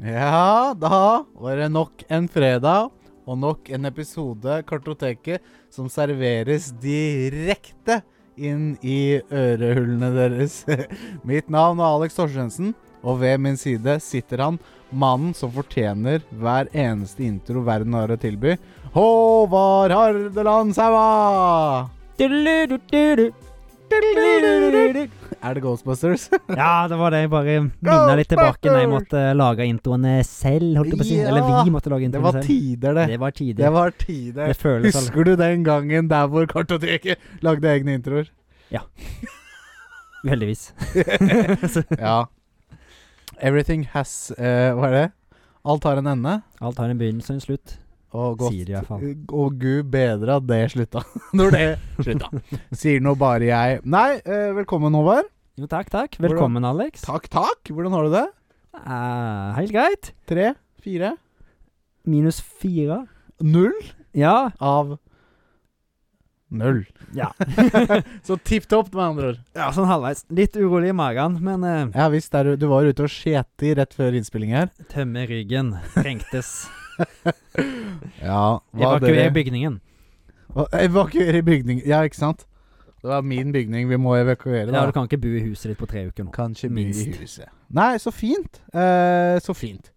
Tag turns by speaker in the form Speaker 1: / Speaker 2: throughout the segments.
Speaker 1: Ja, da var det nok en fredag og nok en episode Kartoteket som serveres direkte inn i ørehullene deres. Mitt navn er Alex Torstensen, og ved min side sitter han, mannen som fortjener hver eneste intro verden har å tilby. Håvard Hardeland Saua! Er det Ghostbusters?
Speaker 2: Ja, det var det. Jeg bare minna litt tilbake når jeg måtte lage introene selv. holdt jeg på å si.
Speaker 1: Ja,
Speaker 2: Eller vi måtte lage
Speaker 1: Det
Speaker 2: introene
Speaker 1: var
Speaker 2: selv.
Speaker 1: tider, det.
Speaker 2: Det var tider.
Speaker 1: Det var tider.
Speaker 2: Det føles all-
Speaker 1: Husker du den gangen der hvor Kartoteket lagde egne introer?
Speaker 2: Uheldigvis.
Speaker 1: Ja. Everything has eh, Hva er det? Alt har en ende.
Speaker 2: Alt har en begynnelse og en slutt.
Speaker 1: Og, godt,
Speaker 2: Sier de i hvert fall.
Speaker 1: og gud bedre at det slutta. Når det slutta. Sier nå bare jeg. Nei, eh, velkommen, Håvard.
Speaker 2: Jo, takk, takk.
Speaker 1: Hvordan-
Speaker 2: Velkommen, Alex.
Speaker 1: Takk, takk. Hvordan har du det?
Speaker 2: Eh, helt greit.
Speaker 1: Tre? Fire?
Speaker 2: Minus fire.
Speaker 1: Null
Speaker 2: Ja.
Speaker 1: av Null.
Speaker 2: Ja.
Speaker 1: Så tipp topp, med andre ord.
Speaker 2: ja, sånn halvveis. Litt urolig i magen, men eh,
Speaker 1: Ja visst, der, du var ute og skjeti rett før innspilling her.
Speaker 2: tømme ryggen trengtes.
Speaker 1: Ja,
Speaker 2: Evakuer bygningen.
Speaker 1: Hva- Evakuere bygning Ja, ikke sant? Det var min bygning vi må evakuere,
Speaker 2: Ja,
Speaker 1: da.
Speaker 2: du kan ikke bo i huset ditt på tre uker nå.
Speaker 1: Kanskje by i
Speaker 2: Minst.
Speaker 1: huset. Nei, så fint. Eh, så fint.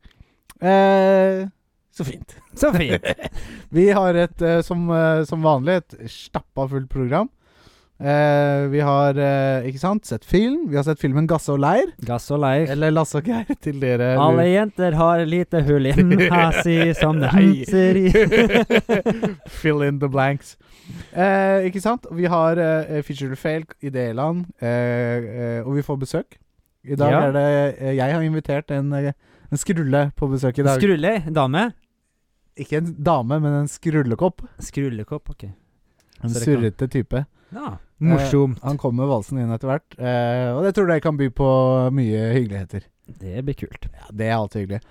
Speaker 1: Eh, så fint.
Speaker 2: Så fint.
Speaker 1: Vi har et, eh, som, eh, som vanlig, et stappa fullt program. Eh, vi har, eh, ikke sant, sett film. Vi har sett filmen 'Gasse og leir'.
Speaker 2: Gass og leir.
Speaker 1: Eller 'Lasse og Geir' til dere.
Speaker 2: Alle jenter har et lite hull innen hasi som det
Speaker 1: Nei.
Speaker 2: henser i.
Speaker 1: Fill in the blanks. Eh, ikke sant? Vi har eh, Feature or Fail, Idéland, eh, eh, og vi får besøk. I dag
Speaker 2: Ja.
Speaker 1: er det eh, Jeg har invitert en, eh, en skrulle på besøk i dag.
Speaker 2: Skrulle, dame.
Speaker 1: ikke en dame, men en skrullekopp.
Speaker 2: Skrullekopp, ok. Eh,
Speaker 1: En
Speaker 2: Så det kan-
Speaker 1: surrete type.
Speaker 2: Ja, morsomt.
Speaker 1: Han kommer valsende inn etter hvert, eh, og det tror jeg kan by på mye hyggeligheter.
Speaker 2: Det blir kult.
Speaker 1: Ja, Det er alltid hyggelig.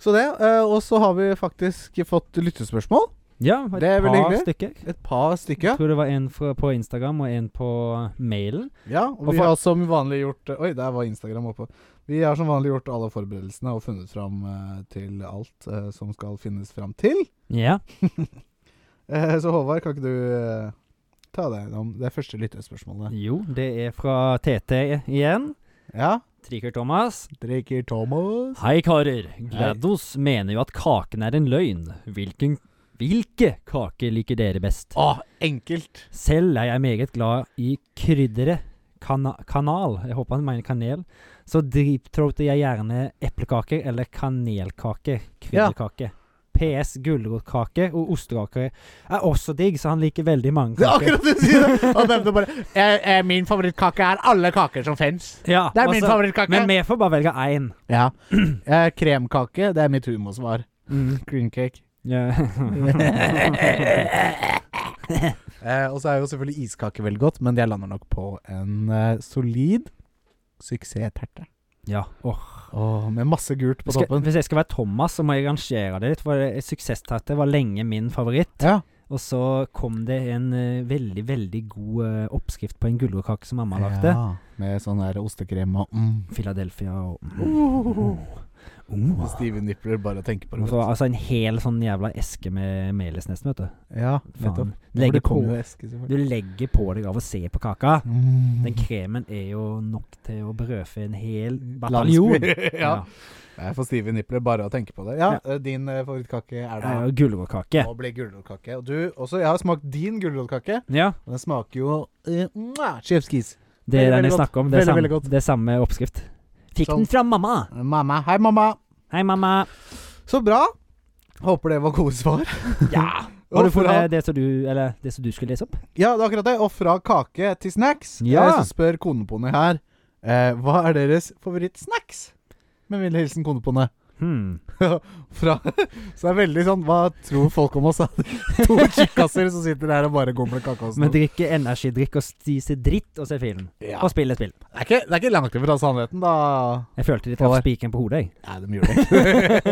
Speaker 1: Så det. Eh, og så har vi faktisk fått lyttespørsmål.
Speaker 2: Ja,
Speaker 1: Det er
Speaker 2: et
Speaker 1: vel
Speaker 2: par
Speaker 1: hyggelig.
Speaker 2: stykker.
Speaker 1: Et par stykker.
Speaker 2: Tror det var en fra, på Instagram og en på mailen.
Speaker 1: Ja, og
Speaker 2: Og
Speaker 1: vi
Speaker 2: for-
Speaker 1: har som vanlig gjort Oi, der var Instagram oppå. Vi har som vanlig gjort alle forberedelsene og funnet fram eh, til alt eh, som skal finnes fram til.
Speaker 2: Ja.
Speaker 1: Eh, så Håvard, kan ikke du eh, ta deg gjennom det første lyttespørsmålet?
Speaker 2: Jo, det er fra TT igjen.
Speaker 1: Ja?
Speaker 2: Triker Thomas.
Speaker 1: Drikker Thomas
Speaker 2: Hei, karer. GLaDOS mener jo at kaken er en løgn. Hvilken, hvilke kaker liker dere best?
Speaker 1: Å, enkelt!
Speaker 2: Selv er jeg meget glad i krydderet kana kanal. Jeg håper han mener kanel. Så deepthroater jeg gjerne eplekaker eller kanelkaker. Krydderkake. PS gulrotkake og ostekaker er også digg, så han liker veldig mange
Speaker 1: Det er
Speaker 2: kaker.
Speaker 1: akkurat det du sier! Han nevnte bare eh, eh, Min favorittkake er alle kaker som fins.
Speaker 2: Ja,
Speaker 1: Det er min
Speaker 2: altså,
Speaker 1: favorittkake!
Speaker 2: Men vi får bare velge én.
Speaker 1: Ja. Eh, kremkake, det er mitt humorsvar. Cream cake.
Speaker 2: Mm. Ja.
Speaker 1: Eh, og så er jo selvfølgelig iskake veldig godt, men jeg lander nok på en eh, solid suksessterte.
Speaker 2: ja. åh.
Speaker 1: Åh, med masse gult på
Speaker 2: Skal,
Speaker 1: toppen.
Speaker 2: hvis jeg skal være Thomas, så må jeg rangere det litt. For det- suksessterte var lenge min favoritt.
Speaker 1: Ja.
Speaker 2: Og så kom det en eh, veldig, veldig god eh, oppskrift på en gulrotkake som mamma lagde.
Speaker 1: Ja, med sånn der ostekrem og mm.
Speaker 2: Philadelphia og
Speaker 1: Uh.
Speaker 2: mm.
Speaker 1: Og Stive nipler Uh, bare å tenke på det.
Speaker 2: Og så, altså en hel sånn jævla eske med melis nesten, vet du.
Speaker 1: ja, nettopp.
Speaker 2: Faen.
Speaker 1: For
Speaker 2: Legger
Speaker 1: det
Speaker 2: på,
Speaker 1: kommer jo i eske, selvfølgelig.
Speaker 2: du legger på deg av å se på kaka.
Speaker 1: Mm.
Speaker 2: Den kremen er jo nok til å brødfø en hel bataljon.
Speaker 1: Landsby. ja. Jeg får stive nipler bare å tenke på det. Ja, eh, din eh, favorittkake er da
Speaker 2: Ja, Gulrotkake.
Speaker 1: Nå blir gulrotkake. Og du også, jeg har smakt din gulrotkake,
Speaker 2: Ja,
Speaker 1: og den smaker jo uh, Chef's kiss.
Speaker 2: det
Speaker 1: Veldig,
Speaker 2: er den jeg
Speaker 1: veldig godt.
Speaker 2: snakker om. Det er,
Speaker 1: Veldig,
Speaker 2: samme,
Speaker 1: veldig godt.
Speaker 2: det er samme oppskrift. Fikk
Speaker 1: Sånn.
Speaker 2: den fra mamma!
Speaker 1: Mamma. Hei, mamma.
Speaker 2: Hei, mamma.
Speaker 1: Så bra. Håper det var gode svar.
Speaker 2: Ja.
Speaker 1: Og
Speaker 2: Har du fått
Speaker 1: fra,
Speaker 2: eh, det som du, eller, det som du skulle lese opp?
Speaker 1: ja, det er akkurat det. Og fra kake til snacks.
Speaker 2: Ja.
Speaker 1: Eh, Så spør konepone her eh, hva er deres favorittsnacks. Med vennlig hilsen konepone.
Speaker 2: Hmm.
Speaker 1: Fra, så det er veldig sånn Hva tror folk om oss? da? to tjukkaser som sitter der og bare gomler kake. og
Speaker 2: Men
Speaker 1: sånn.
Speaker 2: drikke energidrikk og spise dritt og se film.
Speaker 1: Ja.
Speaker 2: Og spille spill.
Speaker 1: Det, er ikke, det er ikke langt ifra sannheten, da.
Speaker 2: Jeg følte de traff
Speaker 1: Håvard.
Speaker 2: spikeren på hodet, jeg.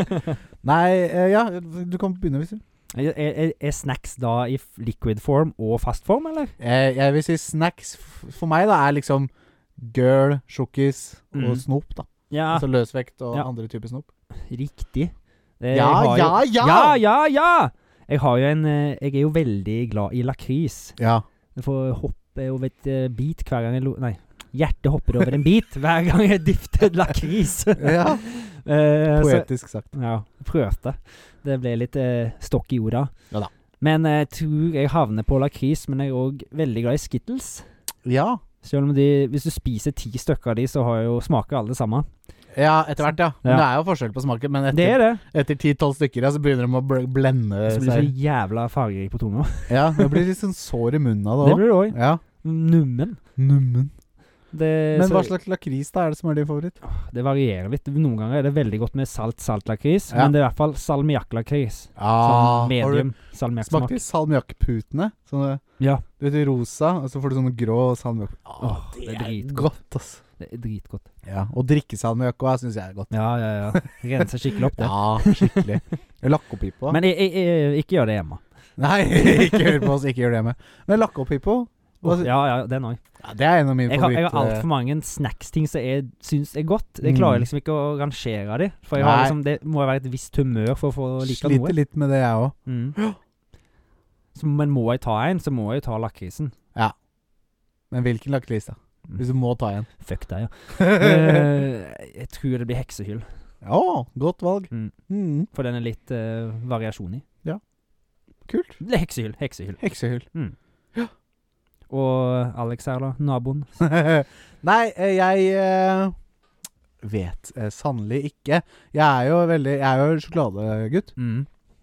Speaker 1: Nei, de gjør det. Nei, eh, ja. Du kan begynne, hvis du
Speaker 2: Er, er, er snacks da i f- liquid form og fast form, eller?
Speaker 1: Eh, jeg vil si snacks f- for meg da er liksom girl, sjokkis og
Speaker 2: Mm.
Speaker 1: snop. da
Speaker 2: Ja.
Speaker 1: Altså løsvekt og
Speaker 2: Ja.
Speaker 1: andre typer snop.
Speaker 2: riktig. Eh,
Speaker 1: Ja,
Speaker 2: jeg har jo-
Speaker 1: ja, ja!
Speaker 2: Ja, ja, ja! Jeg har jo en eh, Jeg er jo veldig glad i lakris.
Speaker 1: ja.
Speaker 2: Jeg får hoppe over et eh, bit hver gang jeg lo... Nei. Hjertet hopper over en bit hver gang jeg dyfter lakris.
Speaker 1: Ja,
Speaker 2: Eh, så-
Speaker 1: Poetisk sagt.
Speaker 2: ja, prøvde. Det ble litt eh, stokk i jorda.
Speaker 1: Ja da.
Speaker 2: Men eh, jeg tror jeg havner på lakris, men jeg er òg veldig glad i Skittles.
Speaker 1: Ja.
Speaker 2: Selv om de, hvis du spiser ti stykker av de, så har jo smaker alle det samme.
Speaker 1: ja, etter hvert, ja. Men
Speaker 2: Ja.
Speaker 1: Det er jo forskjell på smaken, men
Speaker 2: Det
Speaker 1: etter,
Speaker 2: er det.
Speaker 1: etter 10-12 stykker ja, så begynner de å bl blende
Speaker 2: Så blir du
Speaker 1: seg.
Speaker 2: så jævla fargerik på tunga.
Speaker 1: Ja, Det blir litt sånn sår i munnen av
Speaker 2: Det
Speaker 1: det òg.
Speaker 2: blir du òg.
Speaker 1: Ja.
Speaker 2: Nummen.
Speaker 1: Nummen.
Speaker 2: Det,
Speaker 1: Men
Speaker 2: Eh, så-
Speaker 1: hva slags lakris da er det som er din favoritt?
Speaker 2: det varierer litt. Noen ganger er det veldig godt med salt-saltlakris,
Speaker 1: Ja.
Speaker 2: men det er i hvert fall salmiakklakris.
Speaker 1: Ah,
Speaker 2: Sånn
Speaker 1: har du
Speaker 2: medium salmiakksmak.
Speaker 1: smakt salmiakkputene? Sånne
Speaker 2: Ja.
Speaker 1: Du vet, de rosa, og så får du sånne grå salmiakk.
Speaker 2: Åh, det er dritgodt.
Speaker 1: godt, altså.
Speaker 2: Det er dritgodt.
Speaker 1: Ja, og drikkesalmiakk òg syns jeg er godt.
Speaker 2: Ja, ja, ja. Renser skikkelig opp det.
Speaker 1: Ja, skikkelig. Lakkopippo.
Speaker 2: Men jeg, jeg, jeg, ikke gjør det hjemme.
Speaker 1: Nei, ikke hør på oss, ikke gjør det med. Men lakkopippo, Hva sy-
Speaker 2: ja, ja, den òg.
Speaker 1: ja, det er en av mine
Speaker 2: Jeg har, jeg har
Speaker 1: favoritter.
Speaker 2: altfor mange snacksting som jeg syns er godt.
Speaker 1: eh,
Speaker 2: Jeg
Speaker 1: Mm.
Speaker 2: klarer liksom ikke å rangere de. For jeg har
Speaker 1: Nei.
Speaker 2: liksom, det må være et visst humør for å få like
Speaker 1: Sliter
Speaker 2: noe.
Speaker 1: litt med det, jeg òg.
Speaker 2: Mm. Så, men må jeg ta en, så må jeg ta lakrisen.
Speaker 1: Men hvilken lakris, da?
Speaker 2: Mm.
Speaker 1: Hvis du må ta en.
Speaker 2: Fuck deg, ja.
Speaker 1: Å,
Speaker 2: Eh, jeg tror det blir heksehyll,
Speaker 1: godt valg.
Speaker 2: Mm.
Speaker 1: Mm,
Speaker 2: for den er litt eh, variasjon i.
Speaker 1: kult.
Speaker 2: Det er Heksehyll, heksehyll.
Speaker 1: Heksehyll.
Speaker 2: Og Alex her, da. Naboen.
Speaker 1: Nei, eh, jeg eh, vet eh, sannelig ikke. Jeg er jo veldig Jeg er jo sjokoladegutt.
Speaker 2: Mm.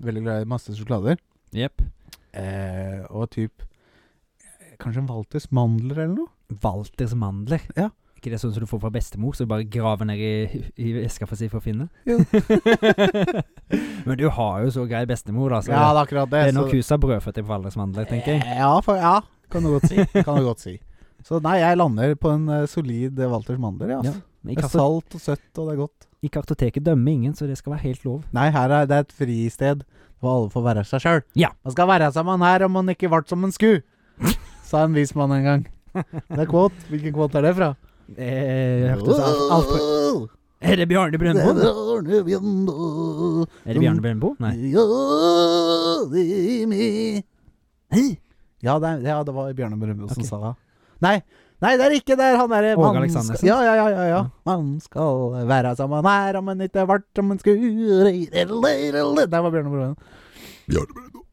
Speaker 1: Veldig glad i masse sjokolader.
Speaker 2: Jepp.
Speaker 1: Eh, og typ eh, Kanskje en Walters mandler eller noe?
Speaker 2: Walters mandler.
Speaker 1: Ja.
Speaker 2: Ikke det sånn som du får fra bestemor, så du bare graver ned i, i eska for å si for å finne?
Speaker 1: Jo.
Speaker 2: Men du har jo så grei bestemor, da. Så
Speaker 1: ja,
Speaker 2: det,
Speaker 1: det er akkurat det.
Speaker 2: Altså, det er nok
Speaker 1: så-
Speaker 2: huset har brødføtter på Walters mandler, tenker jeg.
Speaker 1: Eh, Ja, for, ja kan du godt si. Kan du godt si. Så nei, jeg lander på en eh, solid eh, Walters mandler. Ja,
Speaker 2: Ja.
Speaker 1: altså.
Speaker 2: Men I,
Speaker 1: Det er
Speaker 2: karto
Speaker 1: salt og søtt, og det er godt.
Speaker 2: I kartoteket dømmer ingen, så det skal være helt lov.
Speaker 1: Nei, her er det er et fristed hvor alle får være seg sjøl.
Speaker 2: Ja.
Speaker 1: Man skal være som man er om man ikke ble som en sku, sa en vis mann en gang. Det er quote. Hvilken quote er det fra?
Speaker 2: Eh, hørtes alt, alt på. Er det Bjarne Brøndbo? da? Er det Bjarne Brøndbo? Nei.
Speaker 1: Ja, det, er- ja, det var Bjarne Brøndbo som
Speaker 2: Ok.
Speaker 1: sa det. Nei, nei, det er ikke der! Han derre
Speaker 2: Åge
Speaker 1: man
Speaker 2: Aleksandersen?
Speaker 1: skal- Ja, ja, ja, ja, ja.
Speaker 2: Ja.
Speaker 1: Man skal være som man er, om man ikke ble som man skulle Der var Bjarne Brøndbo.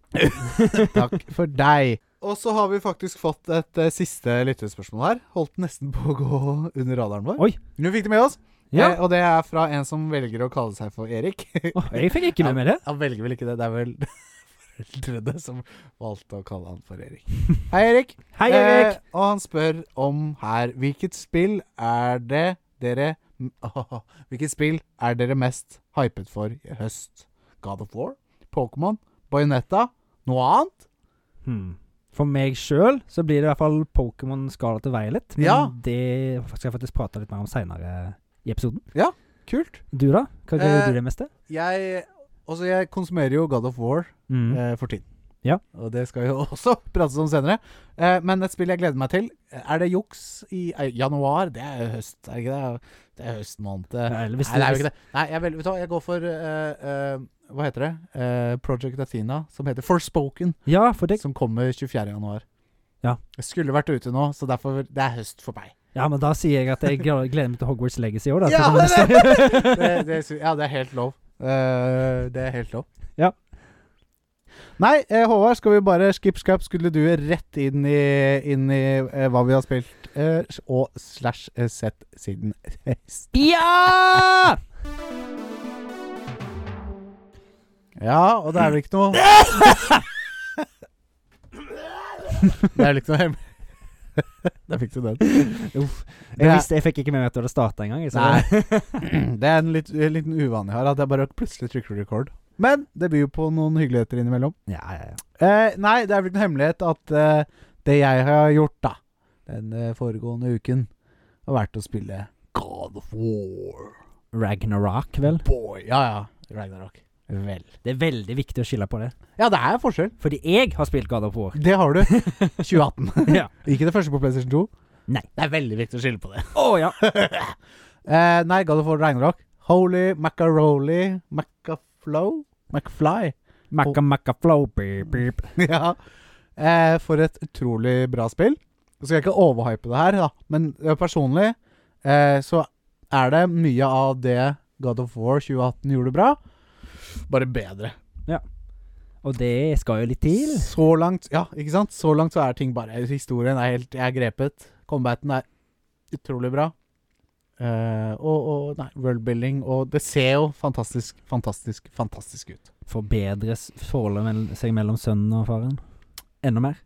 Speaker 1: Takk for deg. Og så har vi faktisk fått et eh, siste lyttespørsmål her. Holdt nesten på å gå under radaren vår.
Speaker 2: Oi.
Speaker 1: Nå fikk det med oss.
Speaker 2: Ja.
Speaker 1: Eh, og det er fra en som velger å kalle seg for Erik.
Speaker 2: Åh, jeg fikk ikke med meg det.
Speaker 1: Han velger vel ikke det, det er vel foreldrene som valgte å kalle han for Erik. Hei, Erik.
Speaker 2: Hei, Erik!
Speaker 1: Eh, og han spør om her Hvilket spill er det dere Åh, Hvilket spill er dere mest hypet for i høst? God of War? Pokémon? Bayonetta? Noe annet?
Speaker 2: Hmm. For meg sjøl så blir det i hvert fall Pokémon Scarlet og Violet. Men
Speaker 1: Ja.
Speaker 2: det skal jeg faktisk prate litt mer om seinere i episoden.
Speaker 1: Kult.
Speaker 2: Du, da? Hva greier
Speaker 1: Eh,
Speaker 2: du det meste?
Speaker 1: Jeg Altså, jeg konsumerer jo God of War
Speaker 2: Mm.
Speaker 1: eh, for tiden.
Speaker 2: Ja.
Speaker 1: Og det skal jo også prates om senere. Eh, men et spill jeg gleder meg til. Er det juks i eh, januar? Det er jo høst, er det ikke det? Det er høstmåned.
Speaker 2: Ja, eller hvis
Speaker 1: Nei, det er jo
Speaker 2: hvis-
Speaker 1: ikke det. Nei, jeg, vel, vet du hva, jeg går for eh, eh, Hva heter det? Eh, Project Athena, som heter Forspoken,
Speaker 2: Ja, for det
Speaker 1: som kommer 24. januar.
Speaker 2: Ja.
Speaker 1: Jeg skulle vært ute nå, så derfor Det er høst for meg.
Speaker 2: Ja, men da sier jeg at jeg gleder gleder meg til Hogwarts Legacy i år, da.
Speaker 1: Ja,
Speaker 2: for det-
Speaker 1: det, det, sy- ja, det er helt lov. Eh, det er helt lov.
Speaker 2: Ja.
Speaker 1: Nei, eh, Håvard, skal vi bare skip skap skulle du rett inn i, inn i eh, hva vi har spilt eh, og slash eh, sett siden sist.
Speaker 2: ja!
Speaker 1: Ja, og det er vel ikke noe Det er vel ikke noe hemmelig Der fikk du den.
Speaker 2: Jeg
Speaker 1: Det er-
Speaker 2: visste, jeg fikk ikke med meg at du hadde starta engang. så-
Speaker 1: Nei. Det er en litt, en liten uvanlig her, at jeg bare plutselig trykker record. Men det byr jo på noen hyggeligheter innimellom.
Speaker 2: Ja, ja, ja.
Speaker 1: Eh, nei, det er vel ikke noen hemmelighet at eh, det jeg har gjort da den eh, foregående uken, har vært å spille God of War.
Speaker 2: Ragnarok, vel.
Speaker 1: Boy. Ja, ja. Ragnarok. Vel.
Speaker 2: Det er veldig viktig å skille på det.
Speaker 1: Ja, det er forskjell.
Speaker 2: Fordi jeg har spilt God of War.
Speaker 1: Det har du. 2018.
Speaker 2: Ja.
Speaker 1: Ikke det første på PlayStation 2.
Speaker 2: Nei.
Speaker 1: Det er veldig viktig å skille på det.
Speaker 2: Å ja.
Speaker 1: eh, nei, God of War Ragnarok. Holy macaroli macaflow McFly.
Speaker 2: Macca macca flow beep beep.
Speaker 1: ja. Eh, for et utrolig bra spill. Så skal jeg ikke overhype det her, da. men eh, personlig eh, så er det mye av det God of War 2018 gjorde bra, bare bedre.
Speaker 2: Og det skal jo litt til.
Speaker 1: Så langt Ja, ikke sant? Så langt så er ting bare Historien er helt Jeg er grepet. Combaten er utrolig bra. Eh, og, og nei, worldbuilding og Det ser jo fantastisk, fantastisk, fantastisk ut.
Speaker 2: Forbedres forholdet mell- seg mellom sønnen og faren enda mer?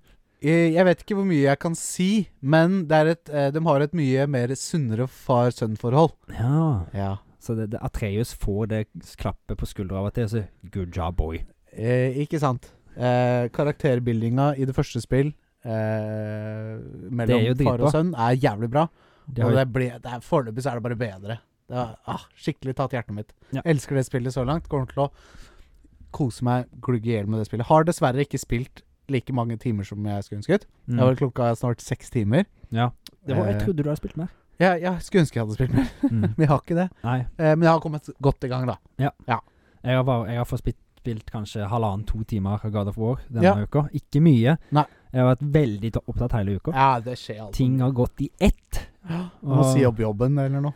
Speaker 1: Eh, Jeg vet ikke hvor mye jeg kan si, men det er et, eh, de har et mye mer sunnere far-sønn-forhold.
Speaker 2: Ja.
Speaker 1: Ja.
Speaker 2: Så det, det, Atreus får det klappet på skuldra av og til, og så Good job, boy.
Speaker 1: Eh, ikke sant. Eh, karakterbuildinga i det første spill eh,
Speaker 2: jo
Speaker 1: mellom
Speaker 2: dritbra.
Speaker 1: far og sønn er jævlig bra.
Speaker 2: Det
Speaker 1: og
Speaker 2: har,
Speaker 1: det ble, det er, foreløpig så er det bare bedre. Det har ah, skikkelig tatt hjertet mitt.
Speaker 2: Ja.
Speaker 1: Elsker det spillet så langt. Kommer til å kose meg glugg i hjel med det spillet. Har dessverre ikke spilt like mange timer som jeg skulle ønsket.
Speaker 2: mm.
Speaker 1: Det var vel klokka snart seks timer.
Speaker 2: ja. det var, Jeg
Speaker 1: eh,
Speaker 2: trodde du hadde spilt mer.
Speaker 1: Jeg, jeg skulle ønske jeg hadde spilt mer,
Speaker 2: Mm.
Speaker 1: men jeg har ikke det.
Speaker 2: Nei.
Speaker 1: Eh, men jeg har kommet godt i gang, da.
Speaker 2: Jeg har, bare, jeg har fått spilt, spilt kanskje halvannen-to timer av God of War denne
Speaker 1: Ja.
Speaker 2: uka. Ikke mye.
Speaker 1: Nei.
Speaker 2: Jeg har vært veldig ta- opptatt hele uka.
Speaker 1: Ja, det skjer alltid.
Speaker 2: Ting har gått i ett.
Speaker 1: Må si opp jobben eller noe.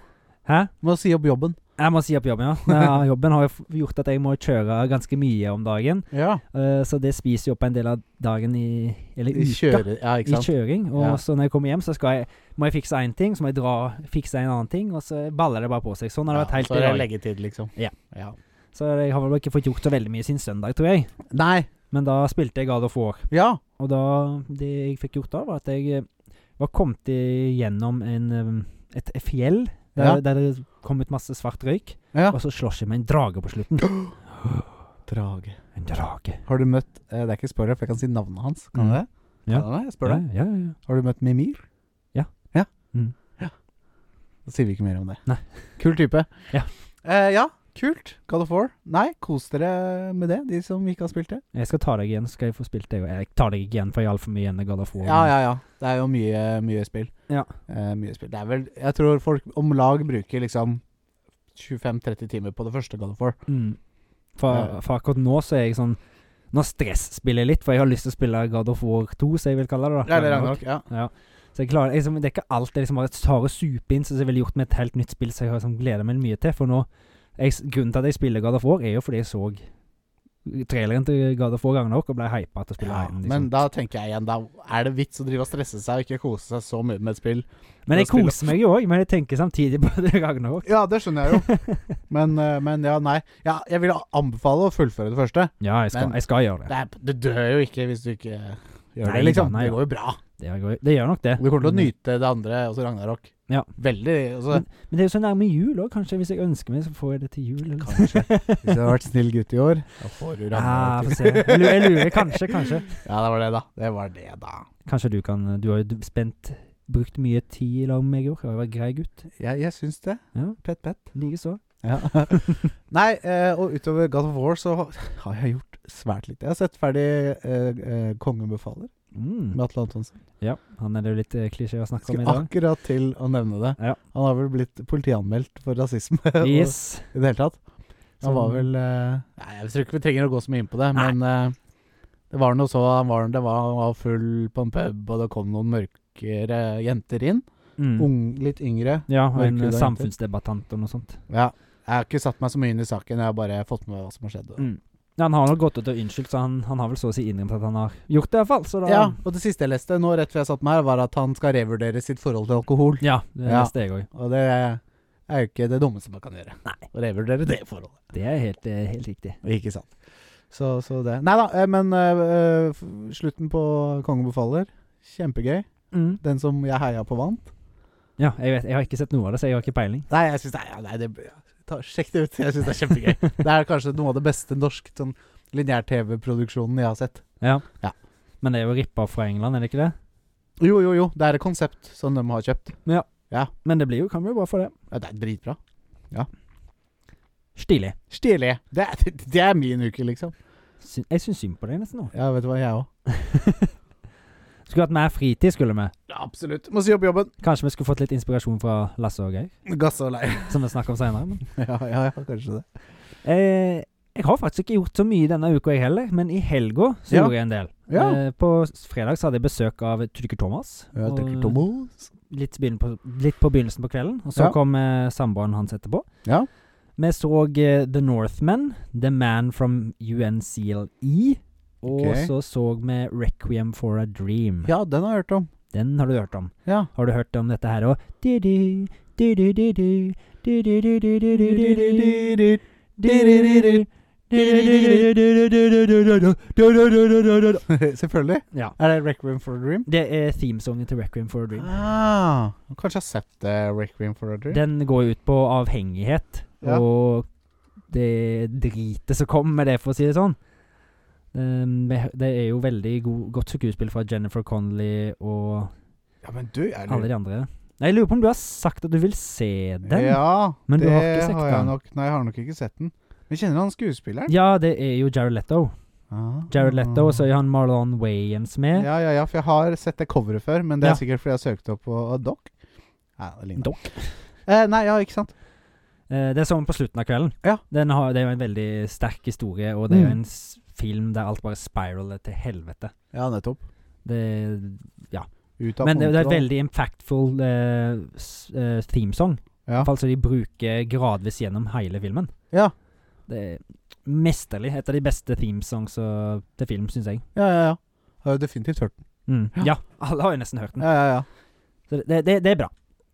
Speaker 2: Hæ?
Speaker 1: Må si opp jobben.
Speaker 2: Jeg må si opp jobben, ja. Men, ja, jobben har jo f- gjort at jeg må kjøre ganske mye om dagen.
Speaker 1: Ja.
Speaker 2: eh, så det spiser jo opp en del av dagen i Eller
Speaker 1: I
Speaker 2: uka.
Speaker 1: kjøre, ja, ikke
Speaker 2: I
Speaker 1: sant.
Speaker 2: kjøring. Og
Speaker 1: Ja.
Speaker 2: så når jeg kommer hjem, så skal jeg, må jeg fikse én ting, så må jeg dra fikse en annen ting, og så baller det bare på seg. Sånn har det vært
Speaker 1: Ja,
Speaker 2: helt
Speaker 1: så er det
Speaker 2: i dag.
Speaker 1: leggetid, liksom.
Speaker 2: Ja.
Speaker 1: ja.
Speaker 2: Så jeg har vel ikke fått gjort så veldig mye siden søndag, tror jeg.
Speaker 1: Nei.
Speaker 2: Men da spilte jeg God of War.
Speaker 1: Ja.
Speaker 2: Og da Det jeg fikk gjort da, var at jeg eh, var kommet gjennom en, eh, et fjell der,
Speaker 1: Ja.
Speaker 2: der det kom ut masse svart røyk,
Speaker 1: ja.
Speaker 2: og så slåss jeg med en drage på slutten.
Speaker 1: Drage.
Speaker 2: En drage.
Speaker 1: Har du møtt eh, Det er ikke spørre, for jeg kan si navnet hans. Kan
Speaker 2: Mm.
Speaker 1: jeg det?
Speaker 2: Ja.
Speaker 1: Kan jeg det? Jeg spør deg.
Speaker 2: Ja, ja, ja.
Speaker 1: Har du møtt Mimir?
Speaker 2: Ja.
Speaker 1: Ja.
Speaker 2: Mm.
Speaker 1: ja. Da sier vi ikke mer om det.
Speaker 2: Nei.
Speaker 1: Kul type.
Speaker 2: Ja.
Speaker 1: Eh, ja, kult. God of War. Nei, kos dere med det, de som ikke har spilt det.
Speaker 2: Jeg skal ta deg igjen, så skal jeg få spilt det. Jeg tar deg ikke igjen, for jeg har altfor mye igjen av God of War.
Speaker 1: Ja, ja, ja. Det er jo mye, mye spill.
Speaker 2: Ja.
Speaker 1: Eh, mye spill. Det er vel Jeg tror folk om lag bruker liksom 25-30 timer på det første God of War.
Speaker 2: Mm. For,
Speaker 1: Ja.
Speaker 2: for akkurat nå så er jeg sånn Nå stresspiller jeg litt, for jeg har lyst til å spille God of War 2, som jeg vil kalle det. da
Speaker 1: Ja, eller Ragnarok. Ja.
Speaker 2: Ja. Så jeg klarer, jeg, liksom, det er ikke alt jeg liksom bare tar og super inn, som jeg ville gjort med et helt nytt spill som jeg har liksom, gleder meg mye til. For nå jeg, Grunnen til at jeg spiller God of War, er jo fordi jeg så traileren til God of War Ragnarok og ble hypa til å spille
Speaker 1: Ja,
Speaker 2: den.
Speaker 1: Men
Speaker 2: Liksom.
Speaker 1: da tenker jeg igjen, da er det vits å drive og stresse seg og ikke kose seg så mye med et spill.
Speaker 2: Men, jeg
Speaker 1: da spiller-
Speaker 2: koser meg jo òg, men jeg tenker samtidig på det Ragnarok.
Speaker 1: Ja, det skjønner jeg jo. Men, eh, men ja, nei. Ja, jeg vil anbefale å fullføre det første.
Speaker 2: Ja, jeg skal,
Speaker 1: Men-
Speaker 2: jeg skal gjøre det.
Speaker 1: Det, er, det dør jo ikke hvis du ikke gjør
Speaker 2: Nei
Speaker 1: det, liksom.
Speaker 2: da, nei
Speaker 1: det
Speaker 2: da.
Speaker 1: går jo bra.
Speaker 2: Det, gjør- det gjør nok det.
Speaker 1: Du kommer til å
Speaker 2: Men-
Speaker 1: nyte det andre, også Ragnarok.
Speaker 2: Ja.
Speaker 1: Veldig. altså, Også,
Speaker 2: Men det er jo så nærme jul òg, kanskje. Hvis jeg ønsker meg, så får jeg det til jul. Eller?
Speaker 1: Kanskje. Hvis du har vært snill gutt i år, da får du
Speaker 2: Ja,
Speaker 1: Ragnarok.
Speaker 2: få se. Jeg lurer, jeg lurer. Kanskje, kanskje.
Speaker 1: Ja, det var det, da. Det var det, da.
Speaker 2: Kanskje du kan Du har jo d- spent Brukt mye tid i lag med meg i år. Jeg har jo vært grei gutt.
Speaker 1: Jeg, jeg syns det.
Speaker 2: Ja.
Speaker 1: Pett, pett.
Speaker 2: Likeså.
Speaker 1: Ja. Nei, eh, og utover God of War så har jeg gjort svært lite. Jeg har sett ferdig eh, eh, Kongen befaler
Speaker 2: Mm.
Speaker 1: med Atle Antonsen.
Speaker 2: Ja, han er det jo litt eh, klisjé å snakke om
Speaker 1: Skulle
Speaker 2: i dag.
Speaker 1: akkurat til å nevne det.
Speaker 2: Ja.
Speaker 1: Han har vel blitt politianmeldt for rasisme og-
Speaker 2: Yes.
Speaker 1: i det hele tatt.
Speaker 2: Så-
Speaker 1: Han var vel eh, Nei, Jeg tror ikke vi trenger å gå så mye inn på det, men eh, det var noe så han var, det var, han var full på en pub, og det kom noen mørkere jenter inn.
Speaker 2: mm.
Speaker 1: Ung, litt yngre.
Speaker 2: Ja, og en
Speaker 1: Mørkhud,
Speaker 2: eh,
Speaker 1: egentlig.
Speaker 2: samfunnsdebattant og noe sånt.
Speaker 1: Ja. Jeg har ikke satt meg så mye inn i saken, jeg har bare fått med hva som har skjedd.
Speaker 2: Mm. Ja, han har nok gått ut og unnskyldt, så han, han har vel så å si innrømt at han har gjort det, iallfall. Så da
Speaker 1: Ja, og det siste jeg leste nå rett før jeg satt meg her, var at han skal revurdere sitt forhold til alkohol.
Speaker 2: Ja, det
Speaker 1: Ja.
Speaker 2: leste jeg òg.
Speaker 1: Og det er jo ikke det dummeste man kan gjøre.
Speaker 2: Nei.
Speaker 1: Å revurdere det forholdet.
Speaker 2: Det er helt, det er helt riktig.
Speaker 1: Ikke sant. Så, så det Nei da, eh, men eh, f- slutten på Kongen befaler. Kjempegøy.
Speaker 2: Mm.
Speaker 1: Den som jeg heia på, vant.
Speaker 2: Ja, jeg vet Jeg har ikke sett noe av det, så jeg har ikke peiling.
Speaker 1: Nei, jeg syns det, er- ja, nei, det ta, Sjekk det ut. Jeg syns det er kjempegøy. det er kanskje noe av det beste norsk sånn, lineær-TV-produksjonen jeg har sett.
Speaker 2: Ja.
Speaker 1: Ja.
Speaker 2: Men det er jo rippa fra England, er det ikke det?
Speaker 1: Jo, jo, jo. Det er et konsept som de har kjøpt.
Speaker 2: Men det blir jo, kan bli bra for det.
Speaker 1: Ja, det er dritbra.
Speaker 2: Stilig.
Speaker 1: Stilig. Det, er- det er min uke, liksom.
Speaker 2: Syn, jeg syns synd på deg nesten nå.
Speaker 1: Ja, vet du hva, jeg òg.
Speaker 2: Skulle hatt mer fritid, skulle vi.
Speaker 1: Ja, absolutt. Må si opp jobben.
Speaker 2: Kanskje vi skulle fått litt inspirasjon fra Lasse og Geir,
Speaker 1: Gasse og lei.
Speaker 2: som vi snakker om seinere. Men
Speaker 1: ja, ja, ja, kanskje det.
Speaker 2: Eh, jeg har faktisk ikke gjort så mye denne uka, jeg heller. Men i helga så
Speaker 1: Ja.
Speaker 2: gjorde jeg en del.
Speaker 1: Ja.
Speaker 2: Eh, på s- fredag så hadde jeg besøk av Trykker Thomas.
Speaker 1: Jeg
Speaker 2: og
Speaker 1: drikker Tomos.
Speaker 2: Litt, begynn på, litt på begynnelsen på kvelden. Og så
Speaker 1: Ja.
Speaker 2: kom eh, samboeren hans etterpå.
Speaker 1: Ja.
Speaker 2: Vi så eh, The Northman, The Man from UNCLE. Og
Speaker 1: Ok.
Speaker 2: så så vi Requiem for a Dream.
Speaker 1: Ja, den har jeg hørt om.
Speaker 2: Den har du hørt om.
Speaker 1: Ja.
Speaker 2: Har du hørt om dette her òg? Dette
Speaker 1: Selvfølgelig.
Speaker 2: Ja.
Speaker 1: Er det Rec Room for a Dream?
Speaker 2: er themesongen til Requiem for a Dream.
Speaker 1: Ah, kanskje jeg har sett uh, Rec Room for a Dream?
Speaker 2: Den går ut på avhengighet
Speaker 1: Ja.
Speaker 2: og det dritet som kommer med det, for å si det sånn. Um, det det er jo veldig god, godt skuespill fra Jennifer Connolly og
Speaker 1: Ja, men du, er
Speaker 2: alle de andre. Nei, Jeg lurer på om du har sagt at du vil se den?
Speaker 1: Ja,
Speaker 2: Men du
Speaker 1: det
Speaker 2: har ikke sett
Speaker 1: jeg
Speaker 2: den.
Speaker 1: nok. Nei, jeg har nok ikke sett den. Men kjenner du han skuespilleren?
Speaker 2: Ja, det er jo Jared Leto.
Speaker 1: Ah.
Speaker 2: Jared Leto, og så er han Marlon Wayans med.
Speaker 1: Ja, ja, ja, for jeg har sett det coveret før, men det er
Speaker 2: Ja.
Speaker 1: sikkert fordi jeg søkte opp på Doc. Nei, det ligner.
Speaker 2: Doc.
Speaker 1: Eh, nei, ja, ikke sant.
Speaker 2: Eh, det er sånn på slutten av kvelden.
Speaker 1: Ja.
Speaker 2: Den har, det er jo en veldig sterk historie, og det er
Speaker 1: Mm.
Speaker 2: jo en s- film der alt bare spiraler til helvete.
Speaker 1: Ja, nettopp.
Speaker 2: Det,
Speaker 1: Ut av
Speaker 2: men det, det er
Speaker 1: kontroll.
Speaker 2: veldig impactful eh, s- eh, themesong. I
Speaker 1: ja.
Speaker 2: hvert fall så altså, de bruker gradvis gjennom hele filmen.
Speaker 1: Ja.
Speaker 2: Det er mesterlig. Et av de beste themesongs eh, til film, syns jeg.
Speaker 1: ja, ja, ja. Har jo definitivt hørt den.
Speaker 2: Mm.
Speaker 1: Ja.
Speaker 2: Ja, alle har jo nesten hørt den.
Speaker 1: Ja, ja, ja.
Speaker 2: Så det, det, det er bra.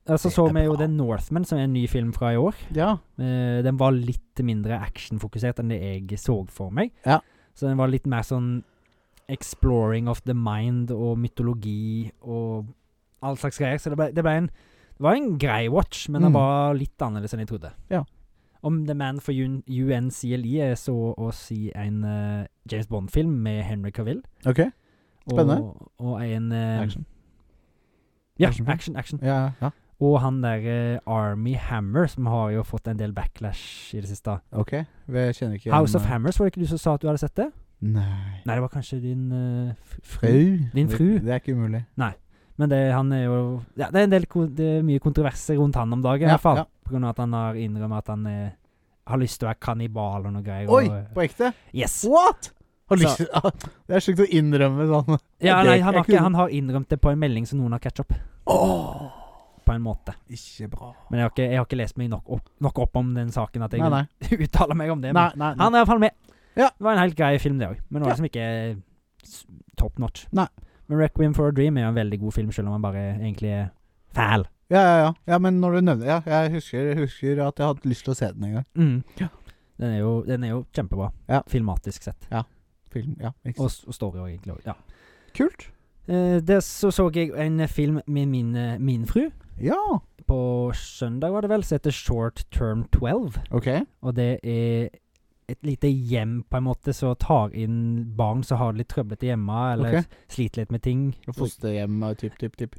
Speaker 2: Og så
Speaker 1: Det
Speaker 2: så
Speaker 1: er
Speaker 2: vi jo
Speaker 1: bra.
Speaker 2: The Northman, som er en ny film fra i år.
Speaker 1: Ja,
Speaker 2: Eh, den var litt mindre actionfokusert enn det jeg så for meg.
Speaker 1: Ja.
Speaker 2: Så den var litt mer sånn exploring of the mind og mytologi og all slags greier. Så det ble, det ble en Det var en grei watch, men den
Speaker 1: Mm.
Speaker 2: var litt annerledes enn jeg trodde.
Speaker 1: Ja.
Speaker 2: Om The Man for UN, UNCLE er så å si en eh, James Bond-film med Henry Cavill.
Speaker 1: ok.
Speaker 2: Og,
Speaker 1: Spennende.
Speaker 2: Og en eh,
Speaker 1: Action.
Speaker 2: Ja,
Speaker 1: Actionfilm.
Speaker 2: action, action.
Speaker 1: Ja, ja, ja.
Speaker 2: Og han der eh, Army Hammer, som har jo fått en del backlash i det siste.
Speaker 1: Ok, jeg kjenner ikke
Speaker 2: House
Speaker 1: igjen,
Speaker 2: of
Speaker 1: eh,
Speaker 2: Hammers, var det ikke du som sa at du hadde sett det?
Speaker 1: Nei.
Speaker 2: Nei, det var kanskje din eh, f- fru.
Speaker 1: Fru?
Speaker 2: Din
Speaker 1: Det-
Speaker 2: fru.
Speaker 1: Det er ikke umulig.
Speaker 2: Men det, han er jo ja, Det er en del ko- det er mye kontroverser rundt han om dagen, i
Speaker 1: Ja,
Speaker 2: hvert fall.
Speaker 1: ja.
Speaker 2: På grunn av at han har innrømmet at han eh, har lyst til å være kannibal og noe greier.
Speaker 1: Oi,
Speaker 2: Og, eh,
Speaker 1: på ekte?
Speaker 2: yes!
Speaker 1: What?! Har
Speaker 2: Så-
Speaker 1: lyst til ah, Det er sjukt å innrømme sånn.
Speaker 2: Ja,
Speaker 1: det-
Speaker 2: nei, han, har
Speaker 1: jeg kunne-
Speaker 2: ikke, han har innrømt det på en melding som noen har catch up,
Speaker 1: Åh,
Speaker 2: på en måte.
Speaker 1: ikke bra.
Speaker 2: Men jeg har ikke, jeg har ikke lest meg nok opp, nok opp om den saken at jeg
Speaker 1: Nei, nei.
Speaker 2: uttaler meg om det.
Speaker 1: nei,
Speaker 2: men-
Speaker 1: nei, nei.
Speaker 2: Han er iallfall med.
Speaker 1: Ja.
Speaker 2: Det var en helt grei film, det òg. Men det var
Speaker 1: Ja.
Speaker 2: liksom ikke s- top notch.
Speaker 1: Nei.
Speaker 2: Men 'Requiem for a Dream' er jo en veldig god film, selv om han bare egentlig er fæl.
Speaker 1: Ja, ja, ja. ja, men når du nevner Ja, jeg husker, husker at jeg hadde lyst til å se den en gang. Ja.
Speaker 2: Den, er jo, den er jo
Speaker 1: Mm.
Speaker 2: kjempebra,
Speaker 1: Ja.
Speaker 2: filmatisk sett.
Speaker 1: Film, ja. Ikke sant.
Speaker 2: Og, s- og story òg, egentlig. også, Ja.
Speaker 1: Kult.
Speaker 2: Eh, det så så jeg en film med min, eh, min fru.
Speaker 1: Ja.
Speaker 2: På søndag, var det vel, som heter Short Term 12.
Speaker 1: Ok.
Speaker 2: Og det er et lite hjem, på en måte, som tar inn barn som har det litt trøblete hjemme, eller
Speaker 1: Ok.
Speaker 2: sliter litt med ting.
Speaker 1: Fosterhjem og tipp, tipp, tipp.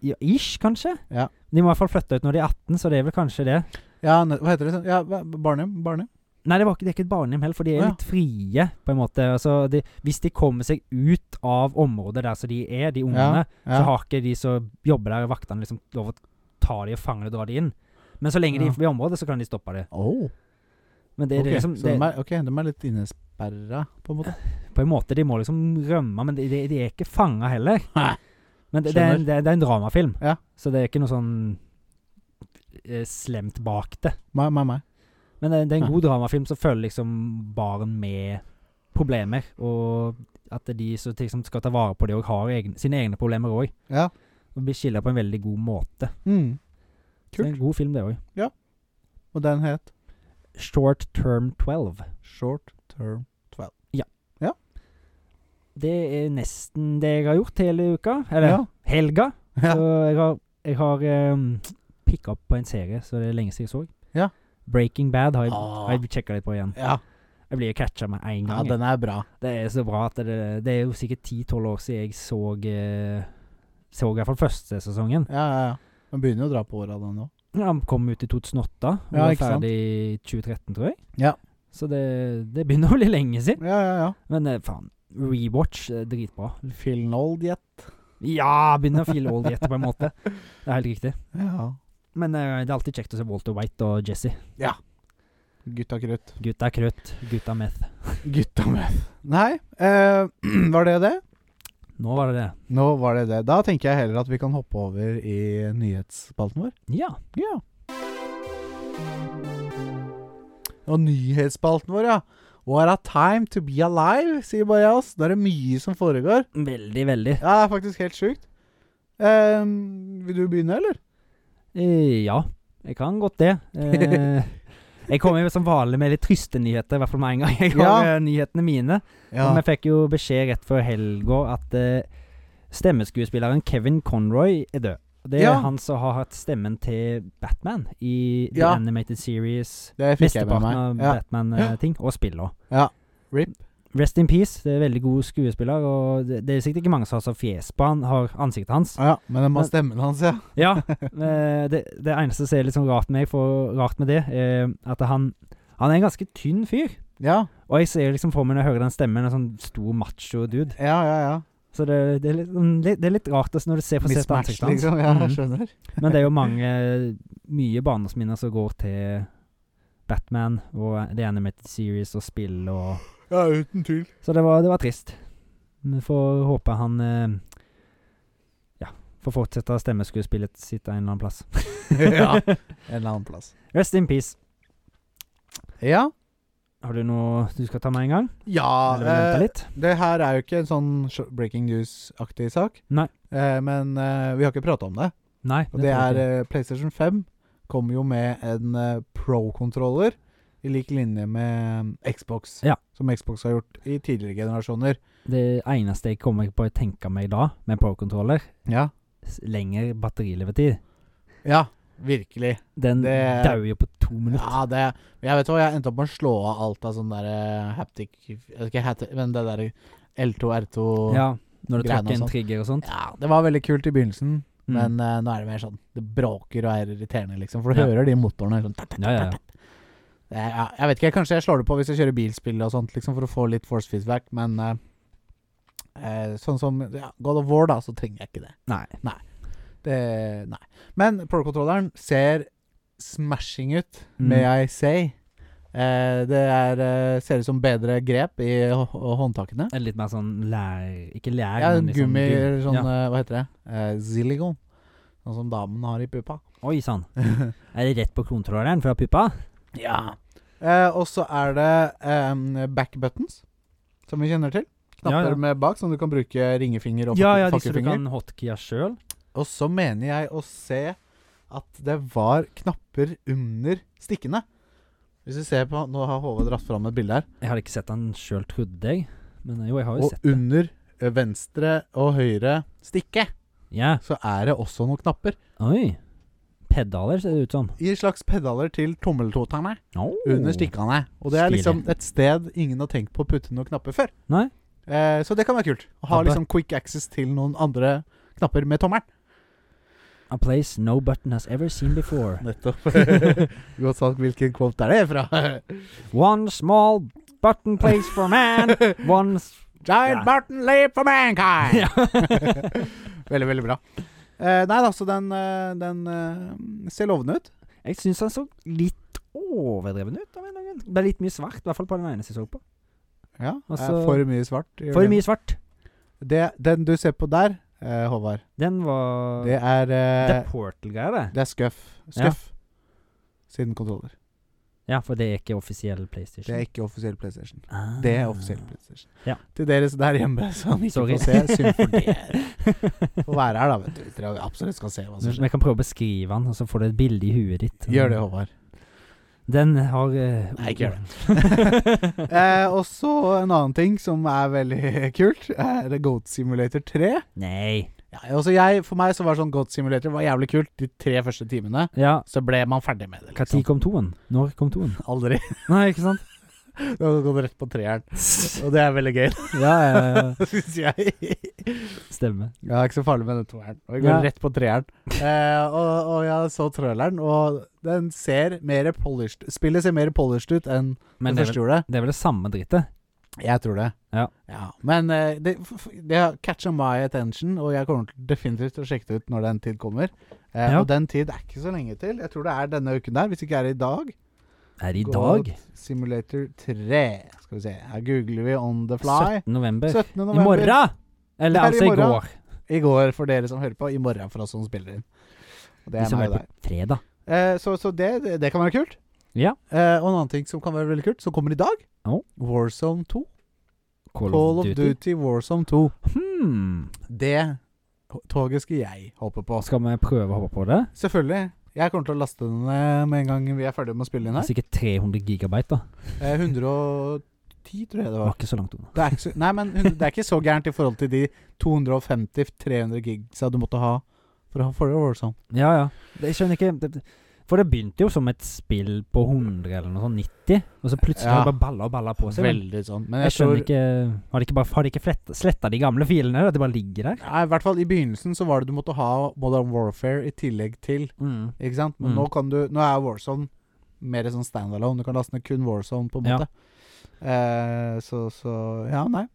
Speaker 2: Ja, ish, kanskje.
Speaker 1: Ja.
Speaker 2: De må i hvert fall flytte ut når de er 18, så det er vel kanskje det.
Speaker 1: Ja, ne- hva heter det? sånn? Ja, hva- Barnehjem? Barnehjem?
Speaker 2: Nei, det, var ikke, det er ikke et barnehjem heller, for de er
Speaker 1: Å, ja.
Speaker 2: litt frie, på en måte. Altså, de, hvis de kommer seg ut av området der som de er, de ungene, så
Speaker 1: Ja.
Speaker 2: har ikke de som jobber der, vaktene, liksom lov å ta de og fange de og dra de inn. Men så lenge de
Speaker 1: Ja.
Speaker 2: er i området, så kan de stoppe det.
Speaker 1: Oh,
Speaker 2: Men det,
Speaker 1: ok,
Speaker 2: er liksom,
Speaker 1: så
Speaker 2: det,
Speaker 1: de er, ok, de er litt innesperra, på en måte.
Speaker 2: på en måte, de må liksom rømme, men de, de, de er ikke fanga heller.
Speaker 1: Nei.
Speaker 2: Men det, det, er en,
Speaker 1: Skjønner.
Speaker 2: det, er- det er en dramafilm,
Speaker 1: Ja.
Speaker 2: så det er ikke noe sånn eh, slemt bak det.
Speaker 1: Meg, meg, meg.
Speaker 2: Men det, det er en
Speaker 1: Ja.
Speaker 2: god dramafilm som følger liksom barn med problemer, og at det er de som liksom skal ta vare på det, og har egne, sine egne problemer òg.
Speaker 1: Ja.
Speaker 2: Og blir skilla på en veldig god måte.
Speaker 1: Mm.
Speaker 2: Så det er en god film, det òg.
Speaker 1: Og den het
Speaker 2: Short Term 12.
Speaker 1: Short Term.
Speaker 2: Det er nesten det jeg har gjort hele uka. Eller
Speaker 1: Ja.
Speaker 2: helga.
Speaker 1: Ja.
Speaker 2: Så jeg har, jeg har um, picka opp på en serie, så det er lenge siden jeg så.
Speaker 1: Ja.
Speaker 2: Breaking Bad har jeg,
Speaker 1: Ah.
Speaker 2: har jeg sjekka litt på igjen.
Speaker 1: Ja.
Speaker 2: Jeg blir jo catcha med en gang.
Speaker 1: ja,
Speaker 2: jeg.
Speaker 1: den er bra.
Speaker 2: Det er så bra at det, det er jo sikkert 10-12 år siden jeg så eh, Så i hvert fall første sesongen.
Speaker 1: Ja, ja, ja. Den begynner jo å dra på åra, den nå.
Speaker 2: Ja, Han kom ut i 2008 og
Speaker 1: Ja,
Speaker 2: var
Speaker 1: ikke sant.
Speaker 2: ferdig i 2013, tror jeg.
Speaker 1: Ja.
Speaker 2: Så det, det begynner å bli lenge siden.
Speaker 1: Ja, ja, ja.
Speaker 2: Men eh, faen, rewatch er dritbra.
Speaker 1: Phil Nold, gjett.
Speaker 2: Ja, binafil oldietter på en måte. Det er helt riktig.
Speaker 1: Ja.
Speaker 2: Men eh, det er alltid kjekt å se Walter White og Jesse.
Speaker 1: Gutta krutt.
Speaker 2: Gutta krøtt, gutta meth.
Speaker 1: Gutta med. Nei, eh, var det det?
Speaker 2: Nå var det det.
Speaker 1: Nå var det det. Da tenker jeg heller at vi kan hoppe over i nyhetsspalten vår.
Speaker 2: Ja.
Speaker 1: Ja. Og nyhetsspalten vår, ja. What a time to be alive, sier bare jeg oss. Da er det mye som foregår.
Speaker 2: Veldig, veldig.
Speaker 1: Ja, det er faktisk helt sjukt. Ehm, vil du begynne, eller?
Speaker 2: Eh, ja, jeg kan godt det. Eh, jeg kommer jo som vanlig med litt triste nyheter, i hvert fall med en gang jeg
Speaker 1: Ja.
Speaker 2: har eh, nyhetene mine. Og vi fikk jo beskjed rett før helga at eh, stemmeskuespilleren Kevin Conroy er død. Det er
Speaker 1: Ja.
Speaker 2: han som har hatt stemmen til Batman i The
Speaker 1: Ja.
Speaker 2: Animated Series.
Speaker 1: Det fikk jeg med
Speaker 2: Mesteparten av
Speaker 1: meg. Ja.
Speaker 2: Batman-ting, og spill òg.
Speaker 1: Ja. Rip.
Speaker 2: Rest in peace. Det er veldig god skuespiller, og det, det er sikkert ikke mange som har så fjes på han, har ansiktet hans.
Speaker 1: Ah, ja. Men den må
Speaker 2: Men-
Speaker 1: stemmen hans, ja.
Speaker 2: Ja, eh, det, det eneste som er litt sånn rart med, meg, for, rart med det, er at han, han er en ganske tynn fyr.
Speaker 1: Ja,
Speaker 2: Og jeg ser liksom for meg når jeg hører den stemmen, en sånn stor macho-dude.
Speaker 1: ja, ja. ja.
Speaker 2: Så det, det, er litt, mm, litt- det er litt rart altså, når du ser på sett
Speaker 1: Mismatch,
Speaker 2: ansiktet hans.
Speaker 1: liksom. Ja, jeg
Speaker 2: Mm.
Speaker 1: skjønner.
Speaker 2: Men det er jo mange, mye barndomsminner som går til Batman og The Animated Series og spill og
Speaker 1: Ja, uten tvil.
Speaker 2: Så det var, det var trist. Vi får håpe han eh, ja, får fortsette stemmeskuespillet sitt en eller annen plass.
Speaker 1: ja. En eller annen plass.
Speaker 2: Rest in peace.
Speaker 1: Ja.
Speaker 2: Har du noe du skal ta med en gang?
Speaker 1: Ja,
Speaker 2: Eller vente
Speaker 1: eh,
Speaker 2: litt?
Speaker 1: Det her er jo ikke en sånn sh- breaking news-aktig sak.
Speaker 2: Nei.
Speaker 1: Eh, men eh, vi har ikke prata om det.
Speaker 2: Nei.
Speaker 1: Og det
Speaker 2: tror
Speaker 1: er
Speaker 2: jeg ikke.
Speaker 1: eh, PlayStation 5 kommer jo med en eh, pro-kontroller i lik linje med eh, Xbox.
Speaker 2: Ja.
Speaker 1: Som Xbox har gjort i tidligere generasjoner.
Speaker 2: det eneste jeg kommer på å tenke meg da, med Pro-kontroller,
Speaker 1: Ja.
Speaker 2: s- lengre batterilevetid.
Speaker 1: Ja, virkelig.
Speaker 2: Den
Speaker 1: Det-
Speaker 2: dauer jo på to minutter.
Speaker 1: Ja, det Jeg vet hva, jeg endte opp med å slå av alt av sånn der eh, haptic Ikke haptic, men det der L2, R2
Speaker 2: Ja, når du
Speaker 1: greiene og
Speaker 2: trykker en
Speaker 1: sånt.
Speaker 2: trigger og sånt.
Speaker 1: Ja, det var veldig kult i begynnelsen,
Speaker 2: Mm.
Speaker 1: men eh, nå er det mer sånn Det bråker og er irriterende, liksom. For du
Speaker 2: Ja.
Speaker 1: hører de motorene sånn
Speaker 2: ja, ja, ja.
Speaker 1: Det er- ja, Jeg vet ikke, kanskje jeg slår det på hvis jeg kjører bilspill og sånt, liksom, for å få litt force feedback, men eh, eh, sånn som ja, God of War, da, så trenger jeg ikke det.
Speaker 2: Nei.
Speaker 1: det nei. Men Pro-kontrolleren ser smashing ut,
Speaker 2: Mm.
Speaker 1: may I say. Eh, det er, eh, ser ut som bedre grep i hå hå- håndtakene.
Speaker 2: En Litt mer sånn lær... Ikke lær,
Speaker 1: Ja,
Speaker 2: men liksom
Speaker 1: gummi eller sånn,
Speaker 2: Ja.
Speaker 1: eh, hva heter det? Eh, silikon. Sånn som damen har i puppa.
Speaker 2: Oi sann. Er det rett på kontrolleren fra puppa?
Speaker 1: Ja. Eh, og så er det eh, back buttons, som vi kjenner til. Knapper
Speaker 2: Ja, ja.
Speaker 1: med bak, som du kan bruke ringefinger og
Speaker 2: Ja, ja, disse du
Speaker 1: fakkefinger.
Speaker 2: kan hotkeya sjøl.
Speaker 1: Og så mener jeg å se at det var knapper under stikkene. Hvis du ser på Nå har Håvard dratt fram et bilde her.
Speaker 2: Jeg hadde ikke sett den sjøl, trodde jeg. Men eh, jo, jeg har jo
Speaker 1: Og
Speaker 2: sett det.
Speaker 1: under ø, venstre og høyre stikke
Speaker 2: Ja.
Speaker 1: så er det også noen knapper.
Speaker 2: Oi. Pedaler ser det ut som.
Speaker 1: I slags pedaler til tommeltotene
Speaker 2: Oh.
Speaker 1: under stikkene. Og det er
Speaker 2: Stilig.
Speaker 1: liksom et sted ingen har tenkt på å putte noen knapper før.
Speaker 2: Nei.
Speaker 1: Eh, så det kan være kult. Å ha
Speaker 2: Abbe.
Speaker 1: liksom quick access til noen andre knapper med tommelen.
Speaker 2: A place no button has ever seen before.
Speaker 1: Nettopp. Godt sagt. Hvilken quote er det fra?
Speaker 2: One small button place for man. One s
Speaker 1: Giant
Speaker 2: Ja.
Speaker 1: Barton Leap for Mankind!
Speaker 2: Ja.
Speaker 1: Veldig, veldig bra. Eh, nei da, så den, eh, den eh, ser lovende ut.
Speaker 2: Jeg syns han så litt overdreven ut. av en eller annen grunn. Det ble litt mye svart, i hvert fall på den ene jeg så på.
Speaker 1: Ja,
Speaker 2: Og
Speaker 1: eh,
Speaker 2: så-
Speaker 1: For mye svart. i
Speaker 2: For
Speaker 1: øynene.
Speaker 2: mye svart.
Speaker 1: Det, den du ser på der, eh, Håvard,
Speaker 2: Den var
Speaker 1: det
Speaker 2: Det,
Speaker 1: er eh,
Speaker 2: er Portal-greier, det.
Speaker 1: Det er Scuff. Scuff siden kontroller.
Speaker 2: Ja, for det er ikke offisiell PlayStation.
Speaker 1: Det er ikke offisiell PlayStation.
Speaker 2: Ah.
Speaker 1: Det er offisiell PlayStation.
Speaker 2: Ja.
Speaker 1: Til dere som der hjemme som ikke
Speaker 2: Sorry.
Speaker 1: får se, synd for dere. Får være her, da, vet du. Dere absolutt skal se hva som skjer.
Speaker 2: Vi kan prøve å beskrive den, og så får du et bilde i huet ditt.
Speaker 1: Gjør det, Håvard.
Speaker 2: Den har eh,
Speaker 1: Nei, ikke gjør
Speaker 2: ord.
Speaker 1: Eh, og så en annen ting som er veldig kult, er Goat Simulator 3.
Speaker 2: Nei.
Speaker 1: Ja, altså jeg, for meg så var sånn Goat Simulator var jævlig kult de tre første timene.
Speaker 2: Ja,
Speaker 1: Så ble man ferdig med det. liksom.
Speaker 2: når kom toen? Når kom toen?
Speaker 1: Aldri.
Speaker 2: Nei, ikke sant?
Speaker 1: Nå har det gått rett på treeren. Og det er veldig gøy,
Speaker 2: Ja, ja, ja.
Speaker 1: syns jeg.
Speaker 2: Stemmer.
Speaker 1: Ja, det er ikke så farlig med den toeren. Og jeg går
Speaker 2: Ja.
Speaker 1: rett på treeren. Eh, og, og jeg så trølleren, og den ser mer polished Spillet ser mer polished ut enn det
Speaker 2: Men det er,
Speaker 1: første
Speaker 2: vel,
Speaker 1: gjorde.
Speaker 2: det er vel det samme drittet?
Speaker 1: Jeg tror det.
Speaker 2: Ja.
Speaker 1: Men eh, det, f- f- det har catcha my attention, og jeg kommer til definitivt til å sjekke det ut når den tid kommer. Eh,
Speaker 2: Ja.
Speaker 1: Og den tid er ikke så lenge til. Jeg tror det er denne uken der, hvis ikke er det i dag.
Speaker 2: Er det i
Speaker 1: Goat
Speaker 2: dag?
Speaker 1: Simulator 3. Skal vi se, her googler vi on the fly.
Speaker 2: 17. november.
Speaker 1: 17.
Speaker 2: I
Speaker 1: november.
Speaker 2: morgen!
Speaker 1: Det
Speaker 2: Eller
Speaker 1: er i
Speaker 2: altså i
Speaker 1: morgen.
Speaker 2: går.
Speaker 1: I går, for dere som hører på. I morgen for oss som spiller inn. Og Det
Speaker 2: De
Speaker 1: er
Speaker 2: som
Speaker 1: meg
Speaker 2: er
Speaker 1: og
Speaker 2: på
Speaker 1: deg.
Speaker 2: fredag.
Speaker 1: Eh, så så det, det, det kan være kult.
Speaker 2: Ja.
Speaker 1: Eh, og en annen ting som kan være veldig kult, som kommer i dag.
Speaker 2: Ja.
Speaker 1: Warzone 2. Call of Duty Warzone 2.
Speaker 2: Hmm.
Speaker 1: Det toget skal jeg hoppe på.
Speaker 2: Skal vi prøve å hoppe på det?
Speaker 1: Selvfølgelig. Jeg kommer til å laste den ned med en gang vi er ferdige med å spille inn her.
Speaker 2: Sikkert 300 gigabyte, da.
Speaker 1: Eh, 110, tror jeg det
Speaker 2: Det
Speaker 1: var.
Speaker 2: var ikke så langt unna.
Speaker 1: Det er ikke så, nei, men hun- det er ikke så gærent i forhold til de 250-300 gigsa du måtte ha for å ha for Warzone.
Speaker 2: Ja, ja. Det, jeg skjønner ikke det, det- For det begynte jo som et spill på 100 eller noe sånn 90, og så plutselig
Speaker 1: Ja.
Speaker 2: har det bare balla og balla på seg. Men
Speaker 1: Veldig sånn. Men
Speaker 2: jeg
Speaker 1: jeg,
Speaker 2: skjønner
Speaker 1: tror
Speaker 2: ikke Har de ikke, bare, har de ikke sletta de gamle filene? eller At de bare ligger der?
Speaker 1: Nei, I hvert fall i begynnelsen så var det du måtte ha Modern Warfare i tillegg til.
Speaker 2: Mm.
Speaker 1: Ikke sant? Men
Speaker 2: Mm.
Speaker 1: nå kan du Nå er Warzone mer sånn standalone. Du kan laste ned kun Warzone, på en
Speaker 2: Ja.
Speaker 1: måte. Eh, så, så Ja, nei.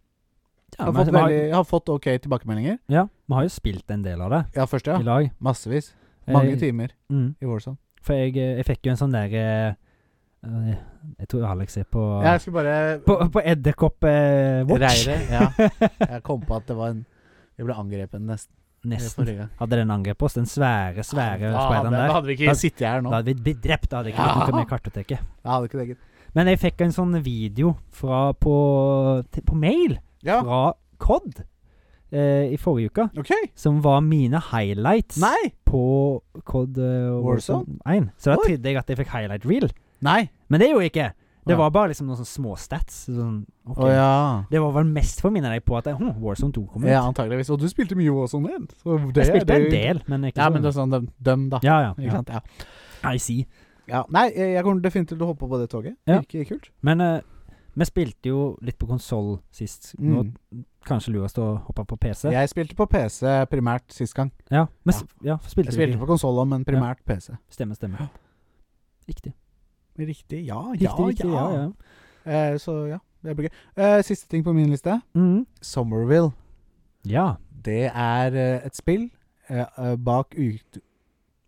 Speaker 2: Ja,
Speaker 1: har
Speaker 2: men altså,
Speaker 1: fått,
Speaker 2: vi, har,
Speaker 1: veldig, har fått ok tilbakemeldinger.
Speaker 2: ja, vi har jo spilt en del av det
Speaker 1: Ja, først, ja.
Speaker 2: i lag.
Speaker 1: Massevis. Mange
Speaker 2: Jeg-
Speaker 1: timer
Speaker 2: Mm.
Speaker 1: i Warzone.
Speaker 2: For jeg, eh, jeg fikk jo en sånn der eh, eh, Jeg tror Alex er på
Speaker 1: Jeg skulle bare
Speaker 2: På, på eh, edderkopp-watch.
Speaker 1: Reire, ja. Jeg kom på at det var en Jeg ble angrepet nesten i
Speaker 2: Nesten.
Speaker 1: forrige gang.
Speaker 2: Hadde den angrepet oss, den svære, svære
Speaker 1: Da hadde-
Speaker 2: speideren
Speaker 1: Da
Speaker 2: der.
Speaker 1: hadde vi
Speaker 2: Da-
Speaker 1: ikke sittet her nå.
Speaker 2: Da hadde vi blitt drept. Da hadde jeg ikke
Speaker 1: Ja.
Speaker 2: vært noe med kartoteket.
Speaker 1: Jeg hadde ikke det, gitt.
Speaker 2: Men jeg fikk en sånn video fra på, til- på mail
Speaker 1: Ja,
Speaker 2: fra Cod eh, i forrige uke,
Speaker 1: OK.
Speaker 2: som var mine highlights
Speaker 1: Nei!
Speaker 2: på Cod eh, Warzone
Speaker 1: Warzone?
Speaker 2: 1. Så da
Speaker 1: Oi.
Speaker 2: trodde jeg at jeg fikk highlight reel,
Speaker 1: Nei!
Speaker 2: men det gjorde jeg ikke. Det
Speaker 1: Ja.
Speaker 2: var bare liksom noen sånne små stats. Sånn, ok.
Speaker 1: Å ja.
Speaker 2: Det var vel mest for å minne deg på at hm, Warzone 2 kom ut.
Speaker 1: Ja, antageligvis. Og du spilte mye Warzone 1. Så det,
Speaker 2: jeg spilte
Speaker 1: det,
Speaker 2: en del, men ikke
Speaker 1: Ja,
Speaker 2: så
Speaker 1: men det er sånn dem, dem da.
Speaker 2: ja, ja,
Speaker 1: Ikke
Speaker 2: ja.
Speaker 1: sant? Ja.
Speaker 2: I see.
Speaker 1: ja. Nei, eh, jeg jeg kommer definitivt til å hoppe på det toget.
Speaker 2: Ja.
Speaker 1: Virker kult.
Speaker 2: Men eh, vi spilte jo litt på konsoll sist. Nå
Speaker 1: Mm.
Speaker 2: kanskje lurest å hoppe på PC.
Speaker 1: Jeg spilte på PC primært sist gang.
Speaker 2: Ja, men s- ja. spilte
Speaker 1: Jeg
Speaker 2: du
Speaker 1: spilte på
Speaker 2: ikke?
Speaker 1: konsoll, men primært PC.
Speaker 2: Stemmer, stemmer. Riktig.
Speaker 1: Riktig. Ja,
Speaker 2: Riktig,
Speaker 1: ja,
Speaker 2: riktig, ja, ja.
Speaker 1: Eh, så ja, det blir gøy. Eh, siste ting på min liste.
Speaker 2: Mhm.
Speaker 1: Somerville.
Speaker 2: ja.
Speaker 1: Det er eh, et spill eh, eh, bak ut...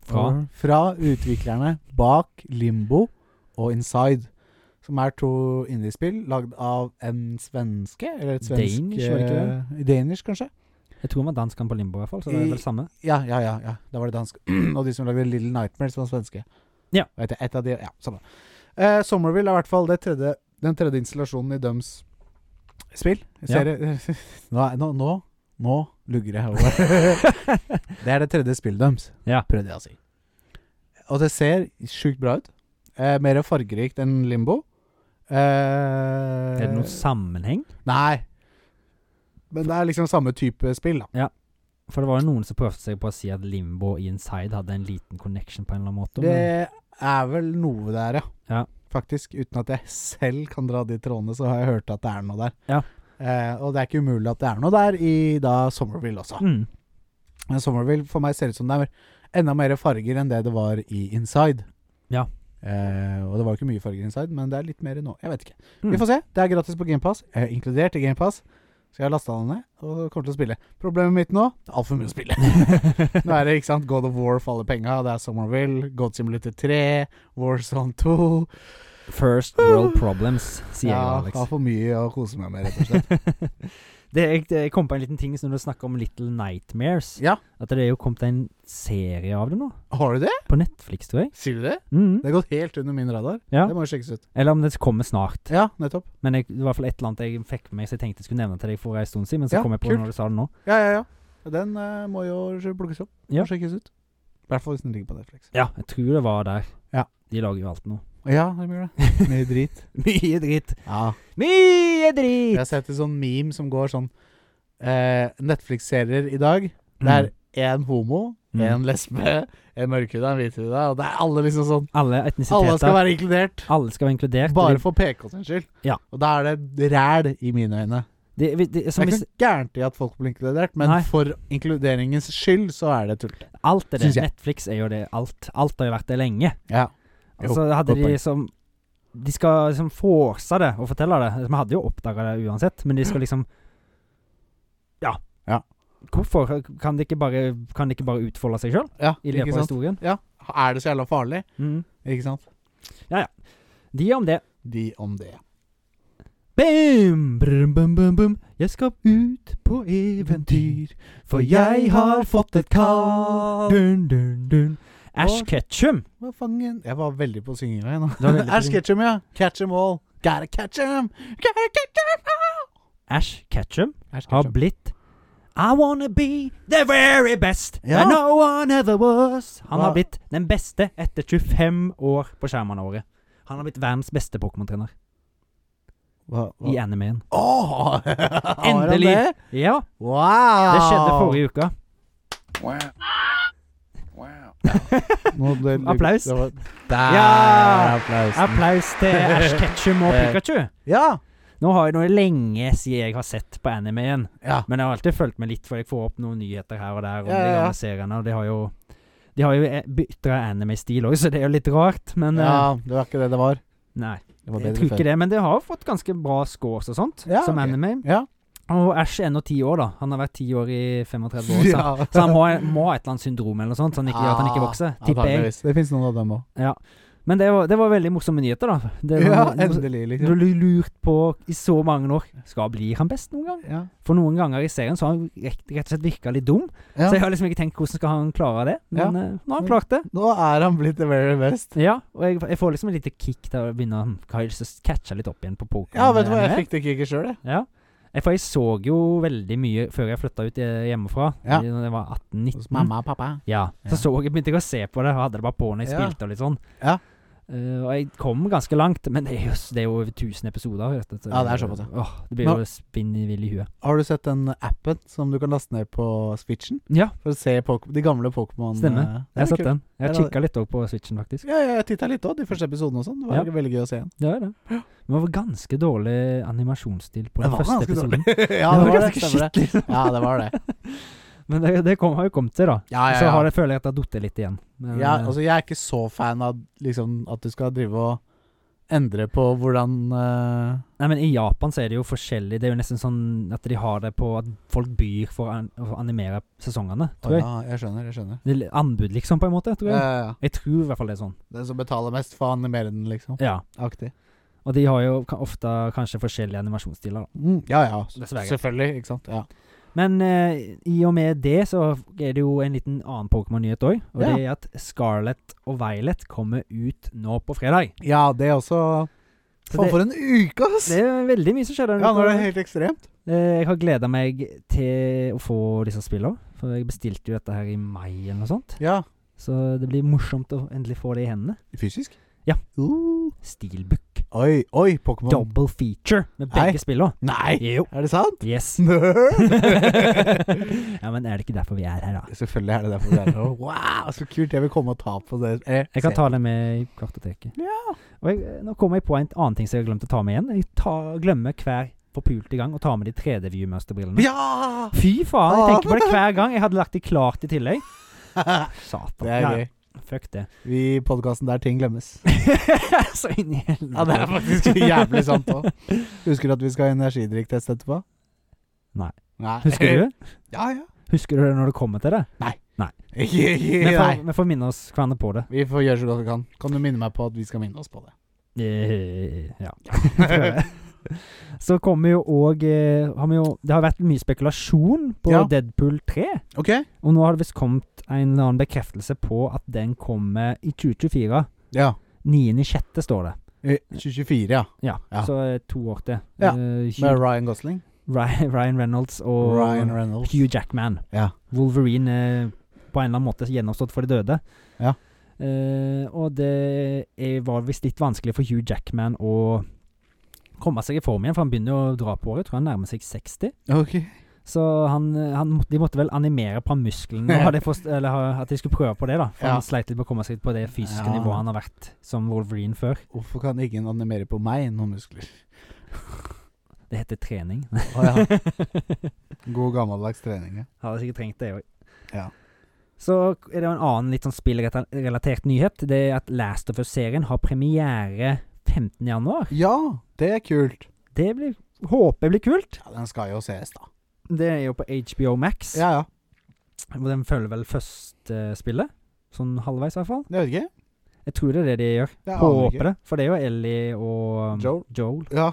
Speaker 2: Fra?
Speaker 1: Fra utviklerne bak Limbo og Inside. Som er to indiespill lagd av en svenske eller et svensk
Speaker 2: Danish, var det ikke
Speaker 1: eh, Danish, kanskje?
Speaker 2: Jeg tror man dansker på limbo, i hvert fall, så det er
Speaker 1: I-
Speaker 2: vel samme.
Speaker 1: Ja, ja, ja. ja. Da var det dansk. og de som lagde Little Nightmares, var svenske.
Speaker 2: Ja.
Speaker 1: Vet jeg, et av de, ja, samme. Eh, Somerville er i hvert fall det tredje, den tredje installasjonen i Dums spill. Serie. nå, er- nå, nå, nå lugger jeg hodet. det er det tredje spillet deres,
Speaker 2: Ja.
Speaker 1: prøvde jeg å si. Og det ser sjukt bra ut. Eh, mer fargerikt enn Limbo. Eh,
Speaker 2: Er det noen sammenheng?
Speaker 1: Nei. Men det er liksom samme type spill, da.
Speaker 2: For det var jo noen som prøvde seg på å si at limbo i inside hadde en liten connection på en eller annen måte. men-
Speaker 1: Det er vel noe der, ja.
Speaker 2: Ja.
Speaker 1: Faktisk. Uten at jeg selv kan dra de trådene, så har jeg hørt at det er noe der.
Speaker 2: Ja.
Speaker 1: Eh, og det er ikke umulig at det er noe der i da Somerville også.
Speaker 2: Mhm.
Speaker 1: Men Somerville for meg ser ut som det er enda mer farger enn det det var i Inside.
Speaker 2: Ja.
Speaker 1: Eh, og det var ikke mye farger i Inside, men det er litt mer nå. Jeg vet ikke.
Speaker 2: Mm.
Speaker 1: Vi får se. Det er gratis på GamePass, eh, inkludert i GamePass. Så jeg har lasta den ned og kommer til å spille. Problemet mitt nå altfor mye å spille. nå er det ikke sant God of War for alle penga. Det er Somerville, God Simulator 3, Warzone 2
Speaker 2: First world problems, sier
Speaker 1: Ah. Ja,
Speaker 2: jeg,
Speaker 1: har
Speaker 2: Alex.
Speaker 1: for mye å kose meg med, rett og slett.
Speaker 2: det, jeg, jeg kom på en liten ting så når du snakker om Little Nightmares.
Speaker 1: Ja.
Speaker 2: At det er jo kommet en serie av det nå.
Speaker 1: Har du det?
Speaker 2: På Netflix, tror jeg.
Speaker 1: Sier du det?
Speaker 2: Mhm.
Speaker 1: Det har gått helt under min radar.
Speaker 2: Ja.
Speaker 1: Det må jo sjekkes ut.
Speaker 2: Eller om det kommer snart.
Speaker 1: Ja, nettopp.
Speaker 2: Men jeg, det var i hvert fall et eller annet jeg fikk med meg, så jeg tenkte jeg skulle nevne til deg for en stund siden, men så
Speaker 1: Ja,
Speaker 2: kom jeg på
Speaker 1: kult.
Speaker 2: når du sa det nå.
Speaker 1: Ja, ja, ja. Den eh, må jo plukkes opp
Speaker 2: Ja.
Speaker 1: og sjekkes ut. I hvert fall hvis den ligger på Netflix.
Speaker 2: Ja, jeg tror det var der.
Speaker 1: Ja.
Speaker 2: De lager jo alt nå.
Speaker 1: Ja, det blir det. Mye drit.
Speaker 2: Mye dritt.
Speaker 1: Ja.
Speaker 2: Mye
Speaker 1: Jeg
Speaker 2: dritt!
Speaker 1: har sett en sånn meme som går sånn eh, Netflix-serier i dag. Det er én homo,
Speaker 2: Mm.
Speaker 1: én lesbe, en mørkhuda, en hvithuda. Og det er alle liksom sånn.
Speaker 2: Alle etnisiteter.
Speaker 1: Alle skal være inkludert.
Speaker 2: alle skal være inkludert.
Speaker 1: Bare
Speaker 2: og
Speaker 1: for PK sin skyld.
Speaker 2: Ja.
Speaker 1: Og da er det ræl i mine øyne.
Speaker 2: de, de, de,
Speaker 1: Det
Speaker 2: som
Speaker 1: er
Speaker 2: hvis,
Speaker 1: ikke gærent i at folk blir inkludert, men
Speaker 2: Nei.
Speaker 1: for inkluderingens skyld så er det tullete.
Speaker 2: Alt er det.
Speaker 1: Synes jeg.
Speaker 2: Netflix er jo det. Alt Alt har jo vært det lenge.
Speaker 1: Ja. Jo,
Speaker 2: Altså,
Speaker 1: godt
Speaker 2: hadde de
Speaker 1: poeng.
Speaker 2: som De skal liksom force det og fortelle det. Altså, Vi hadde jo oppdaga det uansett, men de skal liksom Ja.
Speaker 1: Ja.
Speaker 2: Hvorfor kan de ikke bare, kan de ikke bare utfolde seg sjøl
Speaker 1: Ja,
Speaker 2: i løpet
Speaker 1: ikke
Speaker 2: av
Speaker 1: sant?
Speaker 2: historien?
Speaker 1: Er det så jævla farlig?
Speaker 2: Mm.
Speaker 1: Ikke sant?
Speaker 2: De om det.
Speaker 1: De om det.
Speaker 2: Bam! Brum, bum, bum, bum. Jeg skal ut på eventyr, for jeg har fått et kall. Dun, dun, dun. Ash
Speaker 1: Og-
Speaker 2: Ketchum.
Speaker 1: Hva fangen Jeg var veldig på synginga nå.
Speaker 2: Du var veldig på
Speaker 1: Ash
Speaker 2: synging.
Speaker 1: Ketchum, ja. Catch 'em all. Gotta catch 'em. Gotta catch 'em all.
Speaker 2: Ash Ketchum
Speaker 1: Ash
Speaker 2: har
Speaker 1: Ketchum.
Speaker 2: blitt I wanna be the very best
Speaker 1: Ja.
Speaker 2: that no one ever was. Han har
Speaker 1: Hva-
Speaker 2: blitt den beste etter 25 år på skjermene våre. Han har blitt verdens beste Pokémon-trener
Speaker 1: Hva- hva-
Speaker 2: i animeen.
Speaker 1: Åh, har han
Speaker 2: Endelig.
Speaker 1: det?
Speaker 2: Ja,
Speaker 1: Wow!
Speaker 2: det skjedde forrige uke.
Speaker 1: Nå, det-
Speaker 2: Applaus.
Speaker 1: det var- Der
Speaker 2: Ja!
Speaker 1: er applausen.
Speaker 2: Applaus til Ash Ketchum og
Speaker 1: Eh.
Speaker 2: Pikachu.
Speaker 1: ja.
Speaker 2: Nå har jeg nå er det lenge siden jeg har sett på animeen,
Speaker 1: ja.
Speaker 2: men jeg har alltid fulgt med litt, for jeg får opp noen nyheter her og der om
Speaker 1: Ja,
Speaker 2: de
Speaker 1: ja, ja.
Speaker 2: gamle seriene, og de har jo De har jo eh, byttet anime-stil òg, så det er jo litt rart, men eh,
Speaker 1: ja. Det var ikke det det var.
Speaker 2: Nei.
Speaker 1: Det var
Speaker 2: Jeg
Speaker 1: bedre
Speaker 2: tror ikke
Speaker 1: før.
Speaker 2: det, men det har jo fått ganske bra scores og sånt,
Speaker 1: Ja,
Speaker 2: som
Speaker 1: ok.
Speaker 2: anime.
Speaker 1: Ja.
Speaker 2: Og Ash er nå ti år, da. Han har vært ti år i 35 år, så,
Speaker 1: Ja.
Speaker 2: så han må, må ha et eller annet syndrom eller noe sånt, så han ikke, gjør at han ikke
Speaker 1: Ah,
Speaker 2: vokser, tipper jeg.
Speaker 1: antageligvis. Det fins noen av dem òg.
Speaker 2: Men det var, det var veldig morsomme nyheter, da. Det
Speaker 1: Ja,
Speaker 2: var,
Speaker 1: endelig,
Speaker 2: Du har
Speaker 1: liksom.
Speaker 2: lurt på i så mange år Skal bli han best noen gang?
Speaker 1: Ja.
Speaker 2: For noen ganger i serien så har han rett, rett og slett virka litt dum. Så jeg
Speaker 1: Ja.
Speaker 2: har liksom ikke tenkt hvordan skal han klare det, men
Speaker 1: Ja. Mm.
Speaker 2: eh, nå har han
Speaker 1: Men-
Speaker 2: klart det.
Speaker 1: Nå er han blitt the very best.
Speaker 2: Ja, og jeg, jeg får liksom et lite kick til å begynne å hm, hva har jeg lyst til å catche litt opp igjen på Pokémon.
Speaker 1: Ja, vet du hva, jeg
Speaker 2: eh,
Speaker 1: fikk det kicket sjøl, jeg.
Speaker 2: Ja. Jeg, Eh, for jeg så jo veldig mye før jeg flytta ut eh, hjemmefra,
Speaker 1: Ja.
Speaker 2: i- når jeg var
Speaker 1: Hos
Speaker 2: 18-19.
Speaker 1: mamma og pappa.
Speaker 2: Ja.
Speaker 1: Ja.
Speaker 2: Så, så jeg begynte jeg å se på det, og hadde det bare på når jeg
Speaker 1: Ja.
Speaker 2: spilte og litt sånn.
Speaker 1: Ja.
Speaker 2: Eh, og jeg kom ganske langt, men det er jo, s- det er jo over 1000 episoder. Vet du, så-
Speaker 1: Ja, det er såpass, ja.
Speaker 2: Åh, det blir
Speaker 1: Men-
Speaker 2: jo spinn i vill i huet.
Speaker 1: Har du sett den appen som du kan laste ned på Switchen?
Speaker 2: Ja,
Speaker 1: For å se Pok de gamle Pokémon eh,
Speaker 2: Stemmer. jeg har
Speaker 1: det er
Speaker 2: sett den. Jeg har
Speaker 1: Den er-
Speaker 2: kikka litt òg på Switchen, faktisk.
Speaker 1: kult. Ja, ja, jeg titta litt òg, de første episodene og sånn. Det var veldig gøy å se igjen.
Speaker 2: Det er det. Men det var ganske dårlig animasjonsstil på den første episoden.
Speaker 1: ja,
Speaker 2: det
Speaker 1: det
Speaker 2: var
Speaker 1: var det.
Speaker 2: ganske
Speaker 1: stemmer det.
Speaker 2: skikkelig.
Speaker 1: Ja, det var det.
Speaker 2: Men det, det kom, har jo kommet til, da.
Speaker 1: Ja, ja,
Speaker 2: Så har
Speaker 1: ja.
Speaker 2: det, føler jeg at det har datt litt igjen. Men,
Speaker 1: ja
Speaker 2: eh,
Speaker 1: altså, jeg er ikke så fan av liksom, at du skal drive og endre på hvordan eh,
Speaker 2: nei, men I Japan så er det jo forskjellig. Det er jo nesten sånn at de har det på at folk byr for å an å animere sesongene,
Speaker 1: å,
Speaker 2: tror jeg.
Speaker 1: ja, jeg skjønner, jeg skjønner.
Speaker 2: Det er li- Anbud, liksom, på en måte. tror
Speaker 1: Ja,
Speaker 2: jeg.
Speaker 1: ja, ja.
Speaker 2: Jeg tror i hvert fall det er sånn.
Speaker 1: Den som betaler mest, får animere den, liksom.
Speaker 2: Ja.
Speaker 1: Aktig.
Speaker 2: Og de har jo ka- ofte kanskje forskjellige animasjonsstiler. da.
Speaker 1: Mm, ja, ja.
Speaker 2: Dessverre.
Speaker 1: Selvfølgelig, ikke sant. Ja.
Speaker 2: Men eh, i og med det så er det jo en liten annen Pokémon-nyhet òg. Og det er at Scarlett og Violet kommer ut nå på fredag.
Speaker 1: ja, det er også
Speaker 2: Så
Speaker 1: Faen,
Speaker 2: det-
Speaker 1: for en uke, ass!
Speaker 2: Det er veldig mye som skjer der
Speaker 1: Ja, nå er det
Speaker 2: på-
Speaker 1: helt ekstremt.
Speaker 2: Eh, Jeg har gleda meg til å få disse spillene. For jeg bestilte jo dette her i mai eller noe sånt.
Speaker 1: Ja.
Speaker 2: Så det blir morsomt å endelig få det i hendene.
Speaker 1: Fysisk?
Speaker 2: Ja.
Speaker 1: Uh.
Speaker 2: Steelbook.
Speaker 1: Oi, oi, Pokémon.
Speaker 2: Double feature med
Speaker 1: Nei.
Speaker 2: begge spillene.
Speaker 1: Nei!
Speaker 2: Jo.
Speaker 1: Er det sant?
Speaker 2: Yes.
Speaker 1: Nerd!
Speaker 2: ja, men er det ikke derfor vi er her, da?
Speaker 1: Selvfølgelig er det derfor vi er her. Wow, så kult. Jeg vil komme og ta på det. Eh,
Speaker 2: Jeg kan
Speaker 1: se.
Speaker 2: ta det med i kartoteket.
Speaker 1: Ja.
Speaker 2: Og jeg, nå kommer jeg på en annen ting som jeg har glemt å ta med igjen. Jeg tar, glemmer hver forpulte gang å ta med de 3D-view-mønsterbrillene.
Speaker 1: Ja!
Speaker 2: Fy faen, jeg tenker på det hver gang. Jeg hadde lagt det klart i tillegg. Satan.
Speaker 1: Det er
Speaker 2: Ja,
Speaker 1: gøy.
Speaker 2: Fuck det.
Speaker 1: Vi i podkasten der ting glemmes.
Speaker 2: så inn i helvete.
Speaker 1: Ja, det er faktisk jævlig sånn. sant òg. Husker du at vi skal ha energidrikktest etterpå?
Speaker 2: Nei.
Speaker 1: Nei.
Speaker 2: Husker du? det?
Speaker 1: Ja, ja.
Speaker 2: Husker du det når det kommer til det?
Speaker 1: Ikke-
Speaker 2: Vi
Speaker 1: ikke-
Speaker 2: får,
Speaker 1: Nei.
Speaker 2: vi får minne oss hverandre på det.
Speaker 1: Vi får gjøre så godt vi kan. Kan du minne meg på at vi skal minne oss på det?
Speaker 2: Eh, Ja. Prøver. Så kommer jo òg Det har vært mye spekulasjon på
Speaker 1: Ja.
Speaker 2: Deadpool 3.
Speaker 1: OK?
Speaker 2: Og nå har det visst kommet en eller annen bekreftelse på at den kommer i 2024.
Speaker 1: Ja.
Speaker 2: 9.6. står det.
Speaker 1: Eh, 2024, ja.
Speaker 2: Ja,
Speaker 1: Ja.
Speaker 2: Så eh, to år til.
Speaker 1: Ja,
Speaker 2: Eh,
Speaker 1: Med
Speaker 2: Hugh,
Speaker 1: Ryan Gosling.
Speaker 2: Ryan Reynolds og
Speaker 1: Ryan Reynolds.
Speaker 2: Hugh Jackman.
Speaker 1: Ja.
Speaker 2: Wolverine eh, på en eller annen måte gjenoppstått for de døde.
Speaker 1: Ja.
Speaker 2: Eh, og det er, var visst litt vanskelig for Hugh Jackman å komme seg i form igjen, for han begynner jo å dra på året. Tror han nærmer seg 60.
Speaker 1: Ok.
Speaker 2: Så han, han, må- de måtte vel animere på musklene, og hadde jeg forst- eller ha- at de skulle prøve på det. da For
Speaker 1: Ja.
Speaker 2: han sleit litt med å komme seg på det fysiske
Speaker 1: Ja.
Speaker 2: nivået han har vært som Wolverine før.
Speaker 1: Hvorfor kan ingen animere på meg noen muskler?
Speaker 2: Det heter trening.
Speaker 1: Å ja. God gammeldags trening. ja.
Speaker 2: Hadde sikkert trengt det òg.
Speaker 1: Ja.
Speaker 2: Så er det jo en annen litt sånn spillrelatert nyhet. Det er at Last of Us-serien har premiere 15. januar.
Speaker 1: Ja, det er kult.
Speaker 2: Det blir, håper jeg blir kult.
Speaker 1: Ja, den skal jo ses, da.
Speaker 2: Det er jo på HBO Max.
Speaker 1: Ja, ja.
Speaker 2: Og den følger vel første eh, spillet. Sånn halvveis, i hvert fall.
Speaker 1: Jeg vet ikke.
Speaker 2: Jeg tror det er det de gjør.
Speaker 1: Jeg aner ikke.
Speaker 2: Håper det. For det er jo Ellie og um,
Speaker 1: Joel.
Speaker 2: Joel.
Speaker 1: Ja,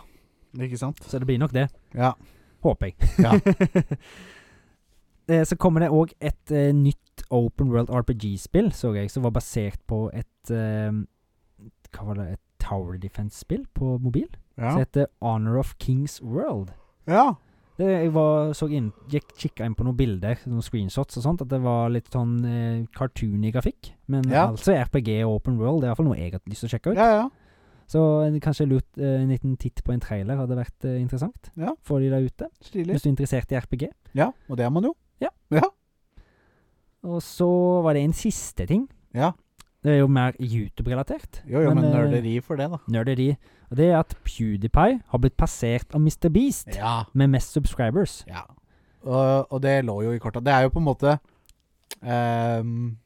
Speaker 1: ikke sant?
Speaker 2: Så det blir nok det.
Speaker 1: Ja.
Speaker 2: Håper jeg.
Speaker 1: Ja.
Speaker 2: Eh, så kommer det òg et eh, nytt Open World RPG-spill, så jeg, som var basert på et eh, Hva var det? Et Tower Defense-spill på mobil?
Speaker 1: Ja.
Speaker 2: Som heter Honor of Kings World.
Speaker 1: ja.
Speaker 2: Det, jeg var, så inn, gikk kikka inn på noen bilder, noen screenshots og sånt, at det var litt sånn eh, cartoony grafikk. Men
Speaker 1: Ja.
Speaker 2: altså RPG og Open World, det er iallfall noe jeg har lyst til å sjekke ut.
Speaker 1: Ja, ja.
Speaker 2: Så en- kanskje lurt, eh, en liten titt på en trailer hadde vært eh, interessant.
Speaker 1: Ja.
Speaker 2: Få de der ute,
Speaker 1: Stilig.
Speaker 2: hvis du er interessert i RPG.
Speaker 1: Ja, og det er man jo.
Speaker 2: Og så var det en siste ting.
Speaker 1: Ja.
Speaker 2: Det er jo mer YouTube-relatert.
Speaker 1: Jo, jo, men,
Speaker 2: eh,
Speaker 1: nerderi for det, da.
Speaker 2: Nerderi. Og det er at PewDiePie har blitt passert av Mr. Beast
Speaker 1: Ja.
Speaker 2: med mest subscribers.
Speaker 1: ja. Og, og det lå jo i korta. Det er jo på en måte ehm,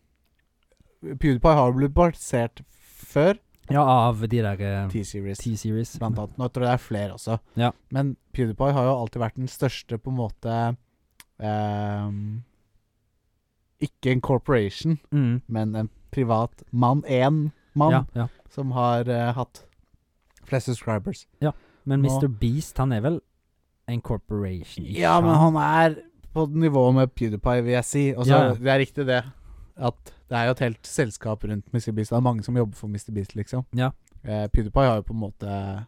Speaker 1: PewDiePie har jo blitt basert før
Speaker 2: Ja, av de der eh,
Speaker 1: T-Series,
Speaker 2: T-series.
Speaker 1: blant annet. Nå tror jeg det er flere også.
Speaker 2: Ja.
Speaker 1: Men PewDiePie har jo alltid vært den største, på en måte ehm, Ikke en corporation,
Speaker 2: Mm.
Speaker 1: men en privat mann. Én mann
Speaker 2: Ja, ja.
Speaker 1: som har eh, hatt flest subscribers.
Speaker 2: Men
Speaker 1: Nå-
Speaker 2: Mr. Beast, han er vel en corporation? ikke
Speaker 1: Ja, men
Speaker 2: sant?
Speaker 1: han er på nivå med PewDiePie, vil jeg si. Og så
Speaker 2: Ja, ja.
Speaker 1: det er riktig det at det er jo et helt selskap rundt Mr. Beast. Det er mange som jobber for Mr. Beast, liksom.
Speaker 2: Ja.
Speaker 1: Eh, PewDiePie har jo på en måte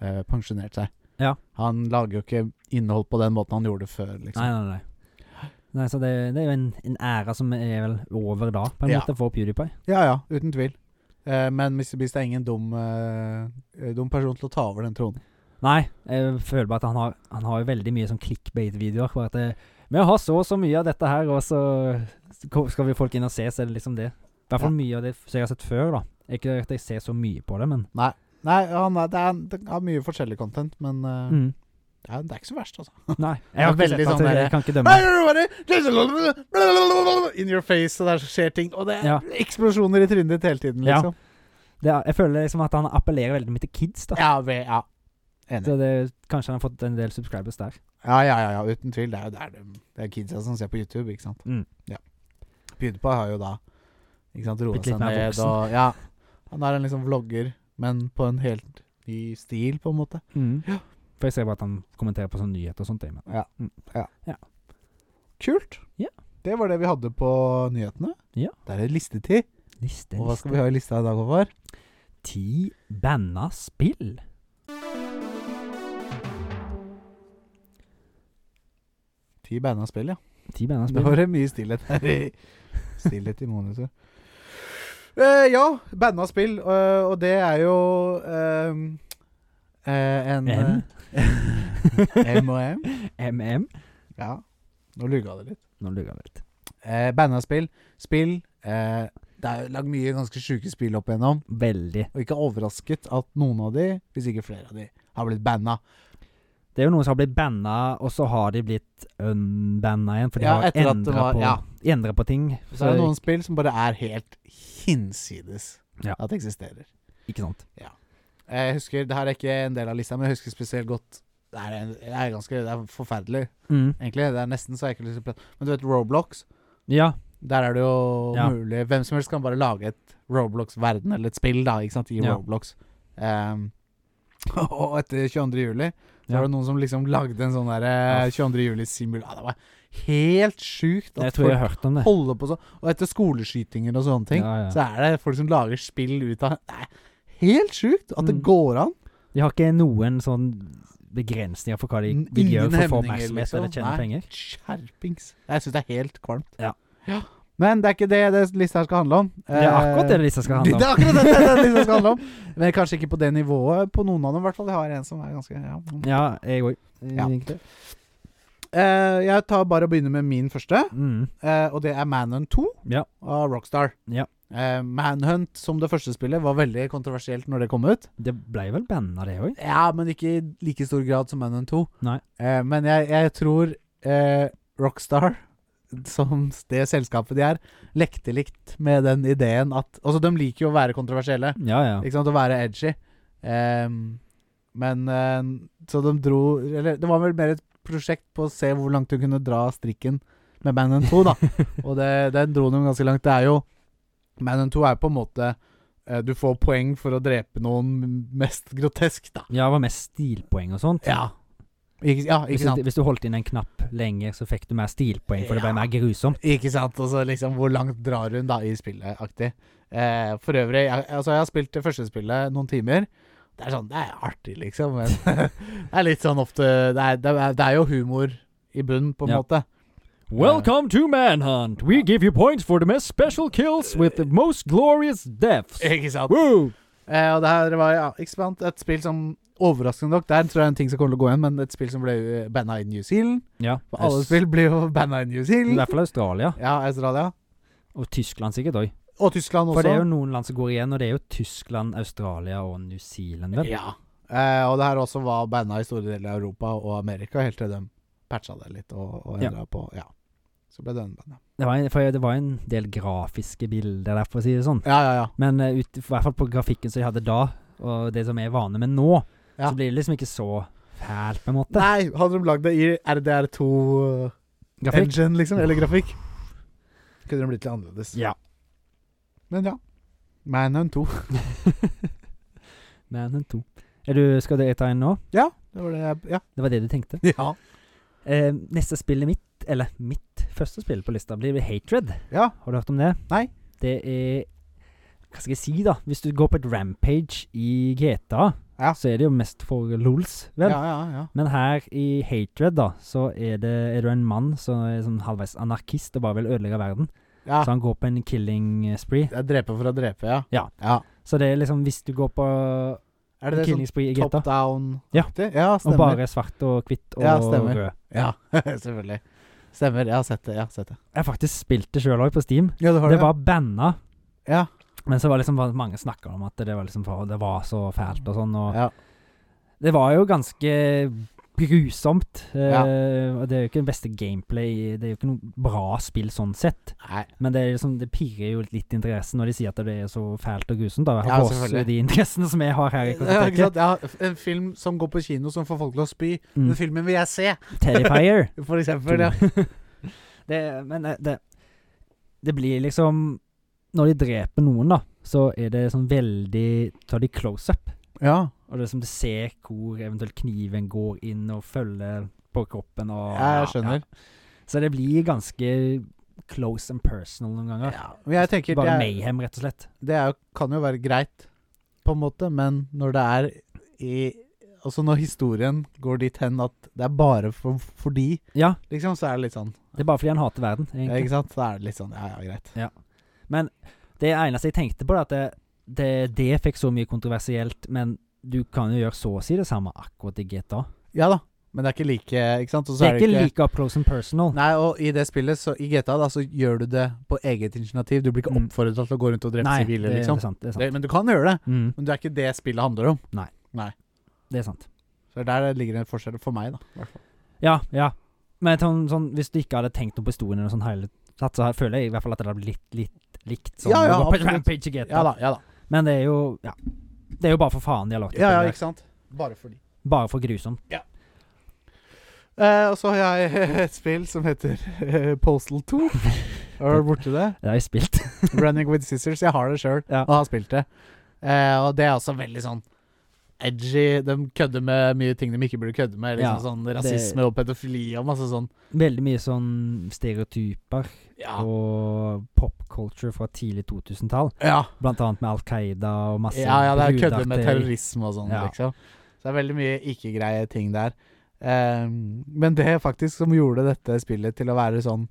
Speaker 1: eh, pensjonert seg.
Speaker 2: Ja.
Speaker 1: Han lager jo ikke innhold på den måten han gjorde før,
Speaker 2: Nei,
Speaker 1: liksom.
Speaker 2: nei, nei. Nei, så det, det er jo en, en æra som er vel over da, på en
Speaker 1: Ja.
Speaker 2: måte, for PewDiePie.
Speaker 1: Ja ja, uten tvil. Eh, men Mr. Beast er ingen dum, eh, dum person til å ta over den tronen.
Speaker 2: Nei, jeg føler bare at han har, han har jo veldig mye sånn clickbait-videoer. Bare at det, Vi har så og så mye av dette her, og så ko- skal vi folk inn og se, så er det liksom det. I hvert fall mye av det som jeg har sett før, da. Ikke at jeg ser så mye på det, men
Speaker 1: Nei, han er, det, er, det er mye forskjellig content, men eh,
Speaker 2: mm.
Speaker 1: det, er, det er ikke så verst, altså.
Speaker 2: Nei. Jeg har
Speaker 1: Det
Speaker 2: ikke
Speaker 1: er
Speaker 2: sett
Speaker 1: veldig
Speaker 2: det,
Speaker 1: sånn
Speaker 2: så jeg
Speaker 1: der-
Speaker 2: kan ikke dømme.
Speaker 1: sånn- In your face, og der skjer ting. Og det er
Speaker 2: Ja.
Speaker 1: eksplosjoner i trynet ditt hele tiden,
Speaker 2: Ja.
Speaker 1: liksom.
Speaker 2: Det er, jeg føler liksom at han appellerer veldig mye til kids, da.
Speaker 1: Ja, ve- ja.
Speaker 2: Så
Speaker 1: Enig.
Speaker 2: det, kanskje han har fått en del subscribers der.
Speaker 1: Ja, ja, ja, ja, uten tvil. Det er jo der de, det er kidsa som ser på YouTube, ikke sant.
Speaker 2: Mm.
Speaker 1: Ja. PewDiePie har jo da ikke sant, roa
Speaker 2: Blitt litt
Speaker 1: seg
Speaker 2: mer
Speaker 1: ned
Speaker 2: voksen.
Speaker 1: og Ja. Han er en liksom vlogger, men på en helt ny stil, på en måte. Ja.
Speaker 2: For jeg ser bare at han kommenterer på sånne nyheter og sånt. jeg, Men.
Speaker 1: Ja.
Speaker 2: Mm.
Speaker 1: ja.
Speaker 2: Ja.
Speaker 1: Kult.
Speaker 2: Ja.
Speaker 1: Det var det vi hadde på nyhetene.
Speaker 2: Ja.
Speaker 1: Det er det listetid.
Speaker 2: Liste,
Speaker 1: Og hva skal
Speaker 2: liste.
Speaker 1: vi ha i lista i dag, Håvard?
Speaker 2: Ti banna spill.
Speaker 1: Ti beina spill, ja.
Speaker 2: Ti banna
Speaker 1: Det
Speaker 2: spill.
Speaker 1: var det mye stillhet her. i- Stillhet i monitor. Eh, ja, banna spill, eh, og det er jo ehm, eh, en
Speaker 2: M?
Speaker 1: eh, M og M.
Speaker 2: MM.
Speaker 1: Ja, nå lugga det litt.
Speaker 2: Nå lurer jeg litt.
Speaker 1: Eh, banna spill. Spill eh, Det er jo lagd mye ganske sjuke spill opp igjennom,
Speaker 2: Veldig.
Speaker 1: og ikke overrasket at noen av de, hvis ikke flere av de, har blitt banna.
Speaker 2: Det er jo noen som har blitt banna, og så har de blitt unbanna igjen. For de
Speaker 1: Ja,
Speaker 2: har
Speaker 1: etter at det
Speaker 2: endra
Speaker 1: var-
Speaker 2: på,
Speaker 1: ja.
Speaker 2: endret på ting.
Speaker 1: Så er det noen spill som bare er helt hinsides
Speaker 2: Ja.
Speaker 1: at eksisterer.
Speaker 2: Ikke sant.
Speaker 1: Jeg husker, Det her er ikke en del av lista, men jeg husker spesielt godt Det er, en, det er ganske det er forferdelig,
Speaker 2: Mm. egentlig.
Speaker 1: egentlig. Det er nesten så jeg ikke har lyst til å prate Men du vet Roblox?
Speaker 2: Ja.
Speaker 1: Der er det jo
Speaker 2: Ja.
Speaker 1: mulig Hvem som helst kan bare lage et Roblox-verden, eller et spill, da, ikke sant, i
Speaker 2: Ja.
Speaker 1: Roblox. Ehm, og etter 22. juli så
Speaker 2: Ja.
Speaker 1: var det noen som liksom lagde en sånn derre
Speaker 2: Ja.
Speaker 1: 22. juli-simul... Ja, det var helt sjukt
Speaker 2: Jeg
Speaker 1: at
Speaker 2: tror jeg
Speaker 1: folk
Speaker 2: har hørt om det.
Speaker 1: holder på sånn. Og etter skoleskytinger og sånne ting,
Speaker 2: Ja, ja.
Speaker 1: så er det folk som lager spill ut av Nei, helt sjukt at det
Speaker 2: Mm.
Speaker 1: går an.
Speaker 2: De har ikke noen sånn begrensninger for hva de
Speaker 1: N-
Speaker 2: vil gjøre
Speaker 1: ingen
Speaker 2: for å få
Speaker 1: hemninger,
Speaker 2: oppmerksomhet
Speaker 1: liksom.
Speaker 2: eller tjene
Speaker 1: Nei.
Speaker 2: penger.
Speaker 1: Skjerpings. Jeg syns det er helt kvalmt.
Speaker 2: Ja.
Speaker 1: Men det er ikke det det lista her skal handle om. Eh,
Speaker 2: Det er akkurat det lista skal handle
Speaker 1: Det
Speaker 2: om.
Speaker 1: er akkurat det, det, det lista skal handle om. Men kanskje ikke på det nivået på noen av dem, i hvert fall. Jeg har en som er ganske ja.
Speaker 2: Ja, jeg òg.
Speaker 1: Ja.
Speaker 2: egentlig.
Speaker 1: Eh, Jeg tar bare og begynner med min første,
Speaker 2: Mm.
Speaker 1: eh, og det er Manhunt 2
Speaker 2: Ja.
Speaker 1: av Rockstar.
Speaker 2: Ja.
Speaker 1: Eh, Manhunt som det første spillet var veldig kontroversielt når det kom ut.
Speaker 2: Det ble vel banna, det òg?
Speaker 1: Ja, men ikke i like stor grad som Manhunt 2.
Speaker 2: Nei.
Speaker 1: Eh, men jeg, jeg tror eh, Rockstar, som det selskapet de er, lekte litt med den ideen at Altså, de liker jo å være kontroversielle.
Speaker 2: Ja, ja.
Speaker 1: Ikke sant? Å være edgy. Ehm, men eh, Så de dro Eller det var vel mer et prosjekt på å se hvor langt du kunne dra strikken med Man in 2, da. Og det, den dro de ganske langt. Det er jo Man in 2 er på en måte eh, Du får poeng for å drepe noen mest grotesk, da.
Speaker 2: Ja, det var mest stilpoeng og sånt.
Speaker 1: Ja. Ikke, ja,
Speaker 2: Hvis,
Speaker 1: ikke sant?
Speaker 2: hvis du holdt inn en knapp lenger, så fikk du mer stilpoeng, for det ble
Speaker 1: Ja.
Speaker 2: mer grusomt.
Speaker 1: Ikke sant? Og så liksom hvor langt drar hun da i spillet aktig. Eh, for øvrig, jeg, altså jeg har spilt det første spillet noen timer. Det er sånn, det er artig, liksom. Men det er litt sånn ofte Det er, det er, det er jo humor i bunnen, på en
Speaker 2: Ja.
Speaker 1: måte.
Speaker 2: Welcome to Manhunt. We give you points for the most special kills with the most glorious deaths.
Speaker 1: Ikke sant?
Speaker 2: Woo!
Speaker 1: Eh, og det her var ja, ikke sant? et spill som Overraskende nok, der tror jeg er en ting som kommer til å gå igjen, men et spill som ble eh, banna i New Zealand.
Speaker 2: Ja.
Speaker 1: For alle spill blir jo banna i New
Speaker 2: I
Speaker 1: Zealand.
Speaker 2: hvert fall Australia.
Speaker 1: Ja, Australia.
Speaker 2: Og Tyskland sikkert òg.
Speaker 1: Og Tyskland også.
Speaker 2: For det er jo noen land som går igjen, og det er jo Tyskland, Australia og New Zealand, vel.
Speaker 1: Ja. Eh, og det her også var banna i store deler av Europa og Amerika, helt til de patcha det litt og, og
Speaker 2: Ja.
Speaker 1: endra på Ja. Så ble den banna.
Speaker 2: Det var, en, for det var en del grafiske bilder der, for å si det sånn.
Speaker 1: Ja, ja, ja.
Speaker 2: Men eh, ut, i hvert fall på grafikken som jeg hadde da, og det som jeg er vane med nå,
Speaker 1: Ja.
Speaker 2: så blir det liksom ikke så fælt, på en måte.
Speaker 1: Nei, hadde de lagd det i RDR2-engine,
Speaker 2: Grafikk.
Speaker 1: eh, liksom, eller grafikk, kunne det blitt litt annerledes.
Speaker 2: Ja.
Speaker 1: Men ja. Manhunt 2.
Speaker 2: Manhunt 2. Er du, skal jeg ta en nå?
Speaker 1: Ja, det var det jeg Ja.
Speaker 2: Det var det du tenkte?
Speaker 1: Ja,
Speaker 2: Eh, neste spillet mitt, eller mitt første spill på lista, blir Hatred.
Speaker 1: ja.
Speaker 2: Har du hørt om det?
Speaker 1: Nei.
Speaker 2: Det er Hva skal jeg si, da? Hvis du går på et rampage i GTA,
Speaker 1: Ja.
Speaker 2: så er det jo mest for lols,
Speaker 1: ja,
Speaker 2: vel?
Speaker 1: ja, ja.
Speaker 2: Men her i Hatred, da, så er, det, er du en mann som er sånn halvveis anarkist og bare vil ødelegge verden.
Speaker 1: ja.
Speaker 2: Så han går på en killing eh, spree.
Speaker 1: Jeg dreper for å drepe, ja.
Speaker 2: Sånn. Ja. Så det er liksom hvis du går på
Speaker 1: Er det det
Speaker 2: killing
Speaker 1: sånn
Speaker 2: spree i
Speaker 1: top
Speaker 2: GTA,
Speaker 1: down-aktig?
Speaker 2: Ja.
Speaker 1: ja,
Speaker 2: og
Speaker 1: stemmer.
Speaker 2: bare er svart og hvitt og
Speaker 1: Ja, stemmer.
Speaker 2: rød
Speaker 1: Ja, selvfølgelig. Stemmer. Jeg har sett det. Jeg har sett det.
Speaker 2: Jeg har faktisk spilt det sjøl òg, på Steam.
Speaker 1: Ja, du
Speaker 2: Det var banna,
Speaker 1: Ja.
Speaker 2: men så var liksom var- mange snakka om at det var liksom for, det var så fælt og sånn. Og
Speaker 1: Ja.
Speaker 2: Det var jo ganske grusomt. eh,
Speaker 1: Ja.
Speaker 2: og Det er jo ikke den beste gameplay Det er jo ikke noe bra spill sånn sett.
Speaker 1: Nei.
Speaker 2: Men det, er liksom, det pirrer jo litt interessen når de sier at det er så fælt og grusomt. Da.
Speaker 1: Ja,
Speaker 2: Ja, oss,
Speaker 1: selvfølgelig.
Speaker 2: de interessene som jeg har her i
Speaker 1: Ja, ikke
Speaker 2: kartoteket.
Speaker 1: sant? Ja, f- en film som går på kino som får folk til å spy. Den
Speaker 2: Mm.
Speaker 1: filmen vil jeg se,
Speaker 2: Terrifier.
Speaker 1: for eksempel. Ja.
Speaker 2: det, men det, det Det blir liksom Når de dreper noen, da, så er det sånn veldig Tar de close up.
Speaker 1: ja.
Speaker 2: Og det er som du ser hvor eventuelt kniven går inn og følger på kroppen og
Speaker 1: Jeg skjønner.
Speaker 2: Ah, Ja. Så det blir ganske close and personal noen ganger.
Speaker 1: Ja. Men jeg tenker det
Speaker 2: Bare
Speaker 1: er,
Speaker 2: mayhem, rett og slett.
Speaker 1: det er, jo- kan jo være greit, på en måte, men når det er i Altså når historien går dit hen at det er bare for, for de,
Speaker 2: Ja,
Speaker 1: liksom, så er det litt sånn.
Speaker 2: det er bare fordi han hater verden,
Speaker 1: Ja,
Speaker 2: egentlig.
Speaker 1: ikke sant? Så er det litt sånn Ja, ja, greit.
Speaker 2: Det eneste jeg tenkte på, er at det, det, det fikk så mye kontroversielt, men du kan jo gjøre så å si det samme akkurat i GTA.
Speaker 1: Ja da. Men det er ikke like Ikke sant? Og så
Speaker 2: Det er ikke like up close and personal.
Speaker 1: Nei, og i det spillet, så i GTA, da, så gjør du det på eget initiativ. Du blir ikke
Speaker 2: Mm.
Speaker 1: oppfordret til å gå rundt og drepe sivile,
Speaker 2: det,
Speaker 1: liksom.
Speaker 2: det er sant. Det er sant.
Speaker 1: Det, men du kan gjøre det.
Speaker 2: mm,
Speaker 1: Men det er ikke det spillet handler om.
Speaker 2: det er sant.
Speaker 1: Så der ligger det en forskjell for meg, da. i hvert fall.
Speaker 2: Ja, ja. Men sånn, sånn, hvis du ikke hadde tenkt noe på historien, eller sånn hele tatt, så her føler jeg i hvert fall at det hadde blitt litt, litt likt. Sånn,
Speaker 1: Ja, ja,
Speaker 2: når du går på
Speaker 1: absolutt.
Speaker 2: Rampage i GTA.
Speaker 1: Ja da, ja da.
Speaker 2: Men det er jo ja. Det er jo bare for faen de har lagt opp
Speaker 1: Ja, ja,
Speaker 2: til det.
Speaker 1: ikke sant? Bare fordi.
Speaker 2: Bare for grusomt.
Speaker 1: Eh, og så har jeg et spill som heter eh, Postal 2. Er du borti det?
Speaker 2: Det har jeg spilt.
Speaker 1: Running with Scissors. Jeg har det sjøl,
Speaker 2: Ja.
Speaker 1: og har spilt det. Eh, og det er også veldig sånn edgy. De kødder med mye ting de ikke burde kødde med.
Speaker 2: Ja,
Speaker 1: Liksom sånn rasisme og pedofili og masse sånn.
Speaker 2: Veldig mye sånn stereotyper
Speaker 1: Ja.
Speaker 2: og pop culture fra tidlig 2000-tall.
Speaker 1: ja.
Speaker 2: Blant annet med Al Qaida og masse
Speaker 1: Ja, ja, det er kødde
Speaker 2: brudaktig-
Speaker 1: med terrorisme og sånn,
Speaker 2: Altså, Ja.
Speaker 1: liksom. Så det er veldig mye ikke-greie ting der. Ehm, men det faktisk som gjorde dette spillet til å være sånn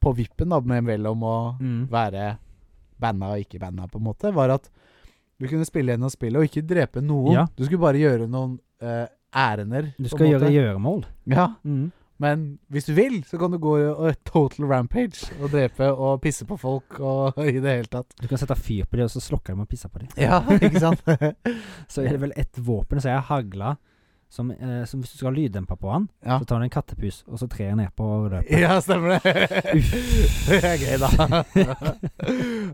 Speaker 1: på vippen da, med mellom å
Speaker 2: Mm.
Speaker 1: være banna og ikke banna, på en måte, var at du kunne spille gjennom spillet og ikke drepe noen.
Speaker 2: Ja.
Speaker 1: Du skulle bare gjøre noen eh, ærender.
Speaker 2: Du
Speaker 1: på en
Speaker 2: skal gjøre
Speaker 1: måte.
Speaker 2: gjøremål.
Speaker 1: Ja,
Speaker 2: Mm.
Speaker 1: men hvis du vil, så kan du gå og total rampage og drepe og pisse på folk og i det hele tatt.
Speaker 2: Du kan sette fyr på dem, og så slokker de og pisser på dem.
Speaker 1: Ja, ikke sant?
Speaker 2: Så er det vel et våpen som er hagla, som, eh, som hvis du skal ha lyddemper på han,
Speaker 1: Ja.
Speaker 2: så tar du en kattepus, og så trer han nedpå og løper.
Speaker 1: Ja, stemmer det.
Speaker 2: Uff.
Speaker 1: Det er gøy, da. det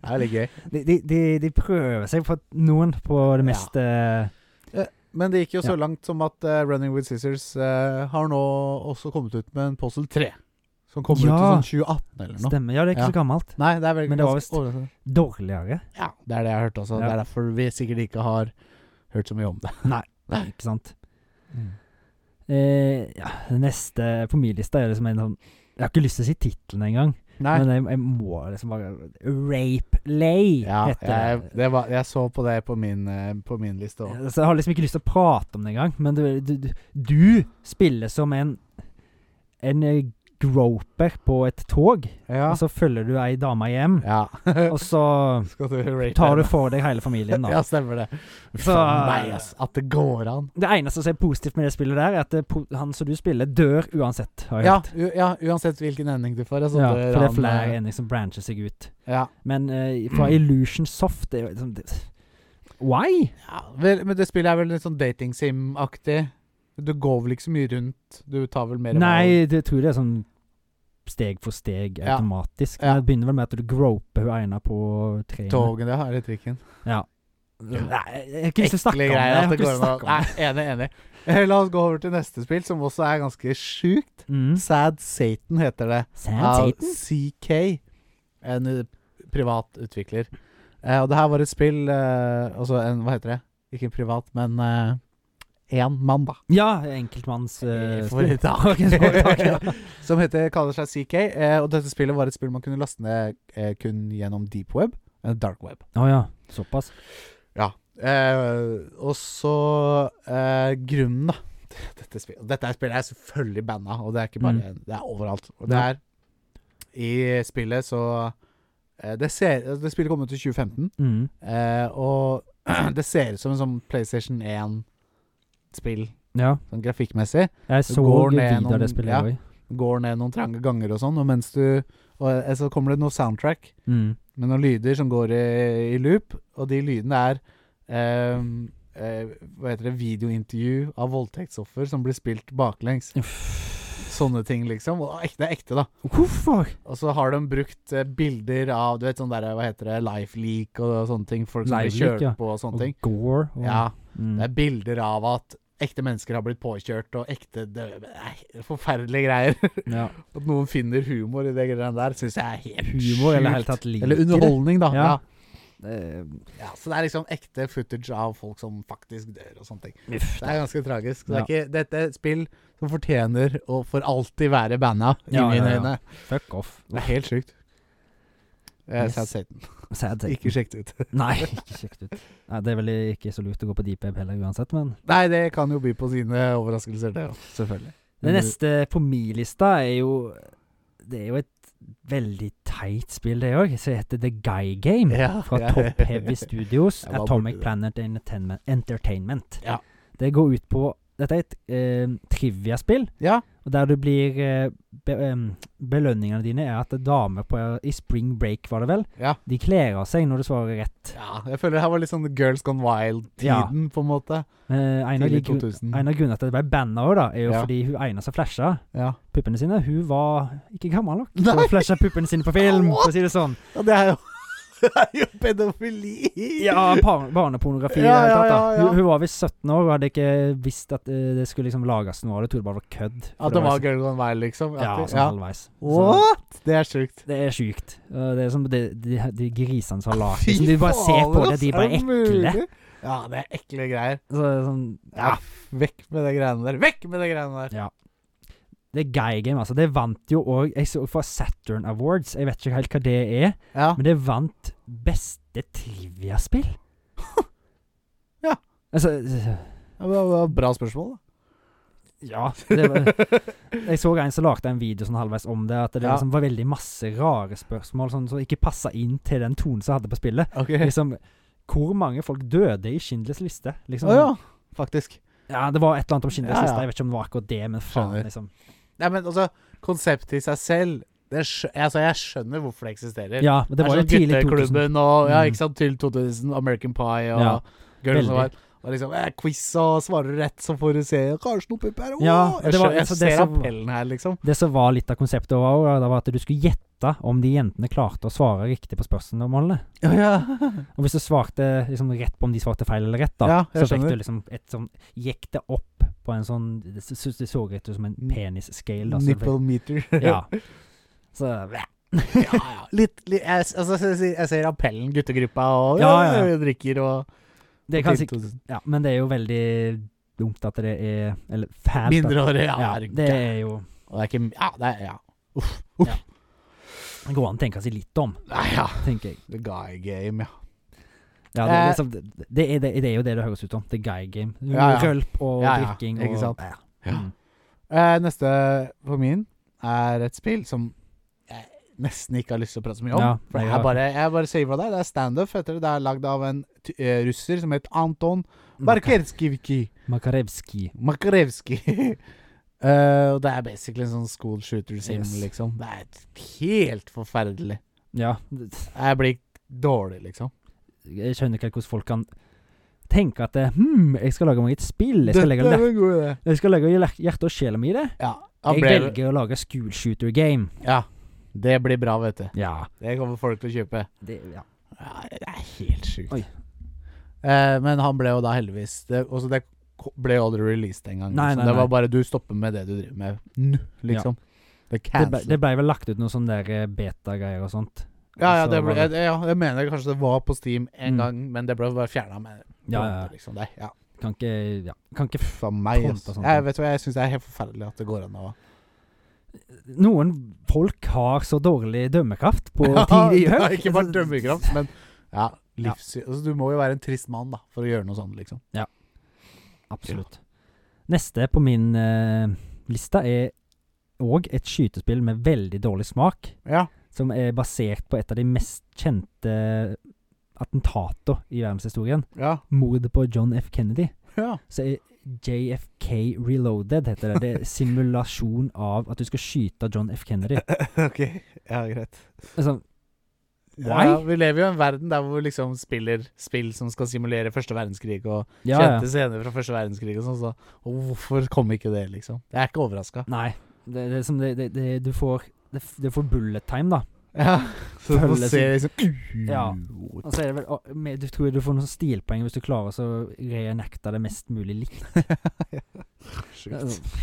Speaker 1: er litt gøy.
Speaker 2: De, de, de, de prøver seg på noen på det
Speaker 1: Ja.
Speaker 2: mest eh,
Speaker 1: Men det gikk jo så
Speaker 2: Ja.
Speaker 1: langt som at eh, Running With Scissors eh, har nå også kommet ut med en Puzzle 3. Som kommer
Speaker 2: Ja.
Speaker 1: ut i sånn 2018 eller noe.
Speaker 2: Stemmer. Ja, det er
Speaker 1: Ja.
Speaker 2: ikke så gammelt.
Speaker 1: Nei, det er vel
Speaker 2: Men det var
Speaker 1: ganske
Speaker 2: visst-
Speaker 1: overraskende.
Speaker 2: Dårligere.
Speaker 1: Ja, det er det jeg har hørt også.
Speaker 2: Ja.
Speaker 1: Det er derfor vi sikkert ikke har hørt så mye om det.
Speaker 2: Ikke sant. Mm. Eh, ja, det neste på min liste er liksom en sånn Jeg har ikke lyst til å si tittelen engang,
Speaker 1: Nei.
Speaker 2: men jeg, jeg må liksom bare Rape Lay
Speaker 1: ja,
Speaker 2: heter
Speaker 1: jeg,
Speaker 2: det.
Speaker 1: det var, jeg så på det på min, eh, på min liste òg.
Speaker 2: Så jeg har liksom ikke lyst til å prate om det engang, men du, du, du, du spiller som en En eh, groper på et tog,
Speaker 1: Ja.
Speaker 2: og så følger du ei dame hjem,
Speaker 1: ja.
Speaker 2: og så
Speaker 1: Skal du rate
Speaker 2: tar du
Speaker 1: henne?
Speaker 2: for deg hele familien, da.
Speaker 1: Ja, stemmer det. Uff
Speaker 2: Så-
Speaker 1: a meg, ass. At det går an.
Speaker 2: Det eneste som er positivt med det spillet der, er at det, po- han som du spiller, dør uansett. Har jeg
Speaker 1: Ja,
Speaker 2: hørt.
Speaker 1: u ja, uansett hvilken ending du får. Altså,
Speaker 2: ja,
Speaker 1: dør
Speaker 2: for
Speaker 1: han,
Speaker 2: det er flere
Speaker 1: eh,
Speaker 2: endinger som brancher seg ut.
Speaker 1: Ja.
Speaker 2: Men eh, fra Illusion Soft det, er jo liksom- det, Why?
Speaker 1: Ja, vel, men det spillet er vel litt sånn dating sim-aktig? Du går vel ikke så mye rundt? Du tar vel mer valg?
Speaker 2: Nei, det jeg tror det er sånn steg for steg
Speaker 1: Ja.
Speaker 2: automatisk.
Speaker 1: Ja.
Speaker 2: Det begynner vel med at du groper hun ene på treet.
Speaker 1: Toget, det har jeg i trikken.
Speaker 2: Nei, jeg har ikke lyst til å snakke om
Speaker 1: Ekle
Speaker 2: det.
Speaker 1: greier
Speaker 2: Jeg
Speaker 1: at
Speaker 2: har
Speaker 1: det
Speaker 2: ikke lyst
Speaker 1: går an
Speaker 2: til å
Speaker 1: å
Speaker 2: snakke om
Speaker 1: Nei,
Speaker 2: det.
Speaker 1: enig, enig. Eh, La oss gå over til neste spill, som også er ganske sjukt.
Speaker 2: Mm.
Speaker 1: Sad Satan heter det.
Speaker 2: Sam
Speaker 1: Av
Speaker 2: Tatum?
Speaker 1: CK, en eh, privat utvikler. Eh, og det her var et spill eh, Altså en Hva heter det? Ikke en privat, men én mann, da.
Speaker 2: Ja, enkeltmanns eh,
Speaker 1: Foretak.
Speaker 2: spill. Foretak, ja.
Speaker 1: Som heter, kaller seg CK. Eh, og dette spillet var et spill man kunne laste ned eh, kun gjennom deep web. eh, Dark web.
Speaker 2: Å ja, såpass.
Speaker 1: Eh, og så eh, Grunnen, da. til Dette spillet, dette er spillet er selvfølgelig banna, og det er ikke bare Det er overalt. Og det
Speaker 2: Ja.
Speaker 1: er I spillet så eh, det, ser, det spillet kom ut i 2015,
Speaker 2: Mm.
Speaker 1: eh, og det ser ut som en sånn PlayStation 1-spill,
Speaker 2: Ja.
Speaker 1: sånn grafikkmessig. Det
Speaker 2: Jeg så
Speaker 1: går ned
Speaker 2: videoer av
Speaker 1: noen-
Speaker 2: det spillet
Speaker 1: ja.
Speaker 2: òg.
Speaker 1: Går ned noen trange ganger og sånn, og mens du og, eh, Så kommer det noe soundtrack.
Speaker 2: Mm.
Speaker 1: med noen lyder som går i, i loop, og de lydene er ehm, eh, Hva heter det Videointervju av voldtektsoffer som blir spilt baklengs. Sånne ting, liksom. Og ek- det er ekte, da.
Speaker 2: Hvorfor?
Speaker 1: Og så har de brukt eh, bilder av du vet, sånn der, hva heter det, lifeleak og sånne ting. Folk som blir
Speaker 2: Live leak,
Speaker 1: kjørt
Speaker 2: ja.
Speaker 1: på og sånne
Speaker 2: Og
Speaker 1: ting.
Speaker 2: Gore. Og,
Speaker 1: Ja,
Speaker 2: Mm.
Speaker 1: Det er bilder av at ekte mennesker har blitt påkjørt, og ekte døde Nei, Forferdelige greier.
Speaker 2: ja.
Speaker 1: At noen finner humor i det greiene der, syns jeg er helt
Speaker 2: Humor eller i det hele
Speaker 1: sjukt.
Speaker 2: tatt lik.
Speaker 1: Eller underholdning, da.
Speaker 2: Ja.
Speaker 1: ja.
Speaker 2: Eh,
Speaker 1: Ja, Så det er liksom ekte footage av folk som faktisk dør og sånne ting.
Speaker 2: uff,
Speaker 1: Det er ganske tragisk. Så det er ikke, dette er et spill som fortjener å for alltid være banna, i
Speaker 2: Ja,
Speaker 1: mine
Speaker 2: ja, ja.
Speaker 1: øyne.
Speaker 2: fuck off.
Speaker 1: Det er helt sjukt. Jeg
Speaker 2: Yes.
Speaker 1: sa Satan.
Speaker 2: Sad take.
Speaker 1: Ikke sjekk det ut.
Speaker 2: Nei, ikke kjekt ut. Nei, det er vel ikke så lurt å gå på deep web heller, uansett, men
Speaker 1: Nei, det kan jo by på sine overraskelser, det òg. Selvfølgelig.
Speaker 2: Det neste på min lista er jo Det er jo et veldig teit spill, det òg, som heter The Guy Game.
Speaker 1: Ja,
Speaker 2: Fra eh,
Speaker 1: ja.
Speaker 2: Top Heavy Studios,
Speaker 1: Jeg var
Speaker 2: Atomic
Speaker 1: borti det.
Speaker 2: Planet Entertainment. Entertainment.
Speaker 1: Ja.
Speaker 2: Det går ut på Dette er et eh, triviaspill,
Speaker 1: Ja,
Speaker 2: og der du blir eh, be, em, Belønningene dine er at damer på, i spring break, var det vel,
Speaker 1: ja.
Speaker 2: de kler av seg når du svarer rett.
Speaker 1: ja. Jeg føler det her var litt sånn Girls Gone Wild-tiden, på en måte.
Speaker 2: Eh, en, av de,
Speaker 1: Tidlig
Speaker 2: gru-
Speaker 1: 2000.
Speaker 2: en av grunnene til at det ble banna òg, da, er jo
Speaker 1: Mm. Ja.
Speaker 2: fordi hun ene som flasha
Speaker 1: Ja.
Speaker 2: puppene sine, hun var ikke gammel nok til
Speaker 1: Nei.
Speaker 2: å flashe puppene sine på film, for å si det sånn.
Speaker 1: ja, det er jo Det er jo pedofili!
Speaker 2: Ja, par barnepornografi. i
Speaker 1: Ja,
Speaker 2: det hele
Speaker 1: ja,
Speaker 2: tatt, da.
Speaker 1: ja, ja.
Speaker 2: Hun, hun var visst 17 år og hadde ikke visst at eh, det skulle liksom lages noe av det. Trodde bare det var kødd. for
Speaker 1: At det var
Speaker 2: liksom-
Speaker 1: Girls Gone Wild, liksom? At
Speaker 2: Ja,
Speaker 1: det-
Speaker 2: sånn halvveis. Så
Speaker 1: What?! Det er sjukt.
Speaker 2: det er sjukt. Og Det er som de, de, de grisene som har lagd
Speaker 1: Fy
Speaker 2: liksom, De bare ser på
Speaker 1: faen,
Speaker 2: det, de
Speaker 1: ass,
Speaker 2: bare
Speaker 1: er det
Speaker 2: ekle.
Speaker 1: mulig? Ja, det er ekle greier.
Speaker 2: Så, det er sånn,
Speaker 1: Ja,
Speaker 2: ja.
Speaker 1: vekk med de greiene der. Vekk med de greiene der.
Speaker 2: Det er Guy Game, altså. Det vant jo òg Jeg så fra Saturn Awards. Jeg vet ikke helt hva det er,
Speaker 1: Ja.
Speaker 2: men det vant beste triviaspill.
Speaker 1: Ja.
Speaker 2: Altså
Speaker 1: ja, men det var Bra spørsmål, da.
Speaker 2: Ja. Det var, jeg så en som lagde en video sånn halvveis om det, at det
Speaker 1: Ja.
Speaker 2: liksom var veldig masse rare spørsmål sånn, som ikke passa inn til den tonen som jeg hadde på spillet.
Speaker 1: Ok.
Speaker 2: Liksom Hvor mange folk døde i Schindlers liste?
Speaker 1: Å
Speaker 2: Liksom,
Speaker 1: ja, faktisk.
Speaker 2: ja, det var et eller annet om Schindlers
Speaker 1: Ja, ja.
Speaker 2: liste. Jeg vet ikke om det var akkurat det, men faen,
Speaker 1: Skjønner.
Speaker 2: liksom.
Speaker 1: Nei, men altså, konseptet i seg selv det skj altså, Jeg skjønner hvorfor det eksisterer.
Speaker 2: Ja, men det var jo
Speaker 1: sånn
Speaker 2: tidlig 2000.
Speaker 1: Gutteklubben og ja,
Speaker 2: Mm.
Speaker 1: ikke sant, til 2000, American Pie og
Speaker 2: Ja,
Speaker 1: Girls
Speaker 2: veldig.
Speaker 1: Wild. Og liksom eh, quiz og svarer du rett, så får du se kanskje noe pupp her. Åh,
Speaker 2: Ja,
Speaker 1: jeg,
Speaker 2: det var-
Speaker 1: skjø- jeg
Speaker 2: altså, det
Speaker 1: ser
Speaker 2: som-
Speaker 1: appellen her, liksom.
Speaker 2: Det som var litt av konseptet òg, var at du skulle gjette om de jentene klarte å svare riktig på spørsmålene.
Speaker 1: Ja, ja.
Speaker 2: Og hvis du svarte liksom rett på om de svarte feil eller rett, da,
Speaker 1: Ja, jeg
Speaker 2: så fikk
Speaker 1: skjønner.
Speaker 2: du liksom et sånn Gikk det opp på en sånn Det, så, det så rett ut som en penis-scale. da, så det
Speaker 1: Nipple meter.
Speaker 2: fikk- Ja. Så
Speaker 1: ja, ja. Litt, litt jeg, s- altså, jeg, ser- jeg ser appellen, guttegruppa, og ja,
Speaker 2: Ja, ja, ja.
Speaker 1: jeg drikker og
Speaker 2: Det kan
Speaker 1: Til-
Speaker 2: sikkert Ja, men det er jo veldig dumt at det er Eller fælt. at-
Speaker 1: Mindreårige, ja.
Speaker 2: Ja,
Speaker 1: er du
Speaker 2: det
Speaker 1: gæren?
Speaker 2: er jo
Speaker 1: Og det er ikke Ja, det er ja.
Speaker 2: Det går an å tenke seg litt om,
Speaker 1: Nei, ja.
Speaker 2: tenker jeg.
Speaker 1: The guy game, ja.
Speaker 2: Ja, det, er
Speaker 1: Eh.
Speaker 2: liksom, det, det, er, det, det er jo det det høres ut som. The guy game.
Speaker 1: Ja, ja.
Speaker 2: Rølp og
Speaker 1: Ja, ja,
Speaker 2: drikking og
Speaker 1: ikke sant?
Speaker 2: Ja.
Speaker 1: Ja.
Speaker 2: Mm.
Speaker 1: Eh, neste på min er et spill som jeg nesten ikke har lyst til å prate så mye om.
Speaker 2: Ja,
Speaker 1: for
Speaker 2: jeg
Speaker 1: jeg
Speaker 2: har-
Speaker 1: bare, jeg bare saver det. Det er standup. heter Det Det er lagd av en t eh, russer som heter Anton Barkerskivki.
Speaker 2: Mm. Makarevski.
Speaker 1: Makarevski. Eh, og det er basically en sånn school shooter sim,
Speaker 2: Yes.
Speaker 1: liksom. Det er helt forferdelig.
Speaker 2: Ja,
Speaker 1: Jeg blir dårlig, liksom.
Speaker 2: jeg skjønner ikke helt hvordan folk kan tenke at eh, Hm, jeg skal lage meg et spill. Jeg skal legge,
Speaker 1: er en god idé.
Speaker 2: jeg skal legge hjer- hjerte og sjela mi i det.
Speaker 1: Ja, da
Speaker 2: Jeg
Speaker 1: ble,
Speaker 2: velger å lage school shooter game.
Speaker 1: ja, det blir bra, vet du.
Speaker 2: Ja.
Speaker 1: Det kommer folk til å kjøpe.
Speaker 2: Det, ja.
Speaker 1: Ja, det er helt sjukt.
Speaker 2: Oi.
Speaker 1: Eh, men han ble jo da heldigvis det, også det ko- ble jo aldri released en gang.
Speaker 2: Nei,
Speaker 1: liksom.
Speaker 2: nei,
Speaker 1: det var
Speaker 2: nei.
Speaker 1: bare du stopper med det du driver med nå, liksom. Det
Speaker 2: Det, ble,
Speaker 1: cancel.
Speaker 2: det ble vel lagt ut noen sånne der eh, beta-greier og sånt.
Speaker 1: Ja, ja,
Speaker 2: Så
Speaker 1: det
Speaker 2: var
Speaker 1: ble, jeg, ja, jeg mener kanskje det var på Steam en
Speaker 2: Mm.
Speaker 1: gang, men det ble bare fjerna. med
Speaker 2: Ja, ja, ja.
Speaker 1: Liksom. Det, ja.
Speaker 2: Kan ikke Ja. Kan ikke
Speaker 1: Uff a meg.
Speaker 2: Trump
Speaker 1: ass.
Speaker 2: og sånt, ja.
Speaker 1: Jeg vet hva, jeg syns det er helt forferdelig at det går an å
Speaker 2: Noen folk har så dårlig dømmekraft på
Speaker 1: Ja,
Speaker 2: ting de gjør.
Speaker 1: ja, Ikke bare dømmekraft, men ja,
Speaker 2: Ja.
Speaker 1: livssyn. Altså, du må jo være en trist mann da, for å gjøre noe sånt, liksom.
Speaker 2: Absolutt. Neste på min eh, lista er òg et skytespill med veldig dårlig smak,
Speaker 1: Ja.
Speaker 2: som er basert på et av de mest kjente attentater i verdenshistorien.
Speaker 1: Ja.
Speaker 2: Mordet på John F. Kennedy.
Speaker 1: ja.
Speaker 2: Så er JFK Reloaded, heter det. Det er simulasjon av at du skal skyte John F. Kennedy.
Speaker 1: ok. Ja, greit.
Speaker 2: Altså,
Speaker 1: Ja,
Speaker 2: Why?
Speaker 1: ja, vi lever jo i en verden der hvor vi liksom spiller spill som skal simulere første verdenskrig, og
Speaker 2: ja, ja.
Speaker 1: kjente scener fra første verdenskrig og sånn, så og hvorfor kom ikke det, liksom? Jeg er ikke overraska.
Speaker 2: Nei. Det, det er som det, det, det Du får det, f- du får bullet time, da.
Speaker 1: Ja, så du får
Speaker 2: Føles-
Speaker 1: se liksom
Speaker 2: Ja. Altså, Og så er det vel, å, med, du tror du får noen stilpoeng hvis du klarer å så reenacte det mest mulig likt.
Speaker 1: Sjukt.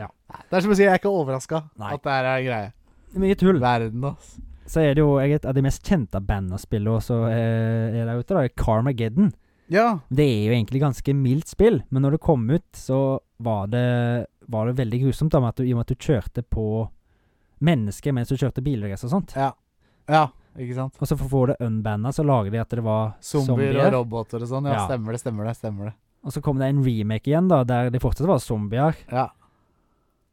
Speaker 2: Ja.
Speaker 1: Det er som å si, jeg er ikke overraska
Speaker 2: Nei.
Speaker 1: at det her er en greie.
Speaker 2: Det er Mye tull.
Speaker 1: Verden, ass.
Speaker 2: Så er det jo jeg, et av de mest kjente bandene spiller også eh, er der ute, da. er Carmageddon.
Speaker 1: Ja.
Speaker 2: Det er jo egentlig ganske mildt spill, men når det kom ut, så var det, var det veldig grusomt da, med at du, i og med at du kjørte på mennesker mens du kjørte bilrace og sånt.
Speaker 1: ja. Ikke sant?
Speaker 2: Og så for å få det unbanna, så lager de at det var
Speaker 1: Zombier og roboter og sånn. Ja,
Speaker 2: Ja.
Speaker 1: stemmer det, stemmer det. stemmer det
Speaker 2: Og så kom det en remake igjen, da, der det fortsatt var zombier.
Speaker 1: Ja,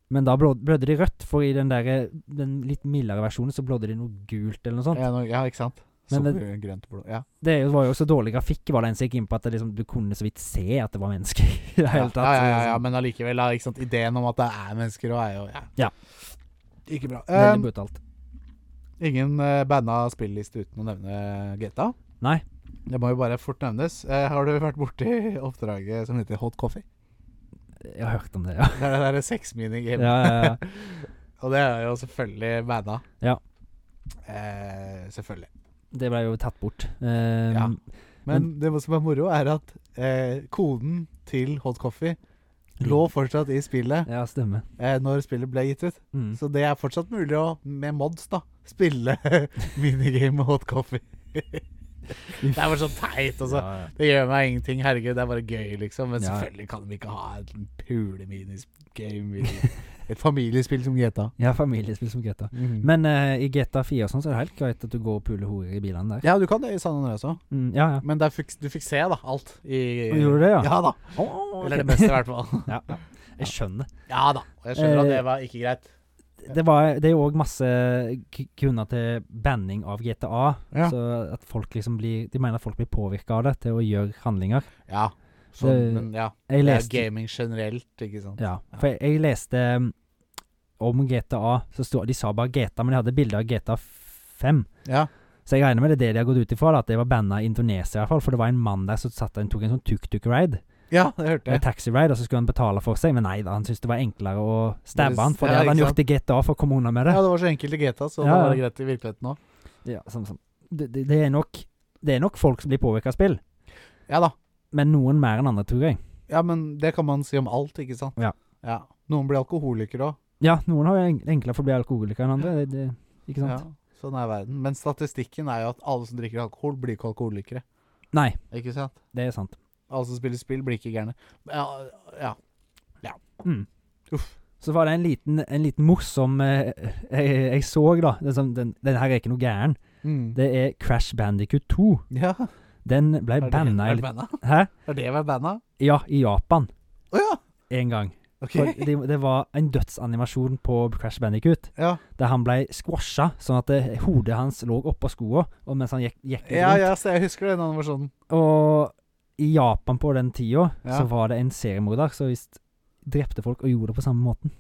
Speaker 2: Men da blå- blødde de rødt, for i den, der, den litt mildere versjonen så blødde de noe gult eller noe sånt.
Speaker 1: ja, nå- ja ikke sant?
Speaker 2: Men det-
Speaker 1: Zombier, grønt blod. Ja.
Speaker 2: Det er jo- var jo så dårlig grafikk, var det en som gikk inn på at det liksom, du kunne så vidt se at det var mennesker i det
Speaker 1: Ja,
Speaker 2: hele tatt.
Speaker 1: Ja, ja, ja,
Speaker 2: så
Speaker 1: ja,
Speaker 2: liksom,
Speaker 1: men allikevel, da, ikke sant? ideen om at det er mennesker og er jo ja.
Speaker 2: Ja.
Speaker 1: Ikke bra.
Speaker 2: Veldig
Speaker 1: Um,
Speaker 2: brutalt.
Speaker 1: ingen uh, banna spilleliste uten å nevne GTA.
Speaker 2: Nei.
Speaker 1: Det må jo bare fort nevnes. Eh, har du vært borti oppdraget som heter Hot Coffee?
Speaker 2: Jeg har hørt om det, ja.
Speaker 1: Det er det derre sexminigame.
Speaker 2: ja, ja, ja.
Speaker 1: Og det er jo selvfølgelig banna.
Speaker 2: Ja.
Speaker 1: Eh, selvfølgelig.
Speaker 2: Det ble jo tatt bort. Ehm,
Speaker 1: Ja. Men, det som er moro, er at eh, koden til Hot Coffee lå fortsatt i spillet
Speaker 2: Ja, stemmer.
Speaker 1: eh, når spillet ble gitt ut.
Speaker 2: Mm.
Speaker 1: Så det er fortsatt mulig å, med mods, da, spille minigame med hot coffee. det er bare så teit, altså.
Speaker 2: Ja, ja.
Speaker 1: Det gjør meg ingenting, herregud. Det er bare gøy, liksom. Men
Speaker 2: Ja.
Speaker 1: selvfølgelig kan de ikke ha et pule-minigame i et familiespill som GTA.
Speaker 2: ja, familiespill som GTA.
Speaker 1: Mhm.
Speaker 2: Men eh, i GTA 4 og sånn, så er det helt greit at du går og puler horer i bilene der.
Speaker 1: ja, du kan det i San Andreas òg,
Speaker 2: Mm, ja, ja.
Speaker 1: men der fikk, du fikk se, da, alt. I,
Speaker 2: Gjorde du det, ja?
Speaker 1: Ja da.
Speaker 2: Å,
Speaker 1: Eller
Speaker 2: ok.
Speaker 1: det beste, i hvert fall.
Speaker 2: ja, ja. Jeg skjønner.
Speaker 1: Ja da. Og jeg skjønner at
Speaker 2: Eh,
Speaker 1: det var ikke greit.
Speaker 2: Det, var, det er jo òg masse k- grunner til banning av GTA.
Speaker 1: Ja.
Speaker 2: Så at folk liksom blir De mener at folk blir påvirka av det til å gjøre handlinger.
Speaker 1: Ja.
Speaker 2: det-
Speaker 1: Sånn, men ja.
Speaker 2: Eh,
Speaker 1: Det er
Speaker 2: Jeg leste
Speaker 1: gaming generelt, ikke sant.
Speaker 2: Ja, for jeg, jeg leste um, om GTA. Så sto, de sa bare GTA, men de hadde bilde av GTA 5.
Speaker 1: Ja.
Speaker 2: Så jeg regner med det er det de har gått ut ifra, da, at det var banna i Indonesia i hvert fall. For det var en mann der som satt, han tok en sånn tuk-tuk-ride,
Speaker 1: Ja, det hørte
Speaker 2: en
Speaker 1: jeg.
Speaker 2: taxi-ride, og så skulle han betale for seg. Men nei da, han syntes det var enklere å
Speaker 1: Det-
Speaker 2: stabbe han, for
Speaker 1: ja,
Speaker 2: det hadde han
Speaker 1: ikke
Speaker 2: gjort i GTA for å komme unna med det.
Speaker 1: Ja, det var så enkelt i GTA, så
Speaker 2: Ja,
Speaker 1: da var
Speaker 2: ja.
Speaker 1: det greit i virkeligheten òg.
Speaker 2: Ja, sånn som det, det, det, er nok, det er nok folk som blir påvirka av spill,
Speaker 1: Ja da.
Speaker 2: men noen mer enn andre, tror jeg.
Speaker 1: Ja, men det kan man si om alt, ikke sant?
Speaker 2: Ja.
Speaker 1: ja. Noen blir alkoholikere òg.
Speaker 2: Ja, noen har jo en- enklere for å bli alkoholikere enn andre. Det, det, ikke sant?
Speaker 1: Ja, sånn er verden. Men statistikken er jo at alle som drikker alkohol, blir ikke alkoholikere.
Speaker 2: Nei,
Speaker 1: Ikke sant?
Speaker 2: det er sant.
Speaker 1: Alle som spiller spill, blir ikke gærne. Ja, ja.
Speaker 2: Mm.
Speaker 1: Uff.
Speaker 2: Så var det en liten, en liten morsom eh, jeg, jeg så, da. Den, som- den, den her er ikke noe gæren.
Speaker 1: Mm.
Speaker 2: Det er Crash Bandicoot 2.
Speaker 1: ja.
Speaker 2: Den ble
Speaker 1: Er det
Speaker 2: banna
Speaker 1: er
Speaker 2: i
Speaker 1: det banna?
Speaker 2: Hæ?
Speaker 1: Er det vært banna?
Speaker 2: Ja, i Japan
Speaker 1: Å ja!
Speaker 2: en gang.
Speaker 1: Ok.
Speaker 2: For det, det var en dødsanimasjon på Crash Bandicoot
Speaker 1: Ja,
Speaker 2: der han ble squasha, sånn at det, hodet hans lå oppå skoa og mens han gikk, gikk litt
Speaker 1: ja,
Speaker 2: rundt.
Speaker 1: ja så jeg husker den animasjonen.
Speaker 2: Og i Japan på den tida
Speaker 1: Ja.
Speaker 2: så var det en seriemorder som visst drepte folk og gjorde det på samme måten.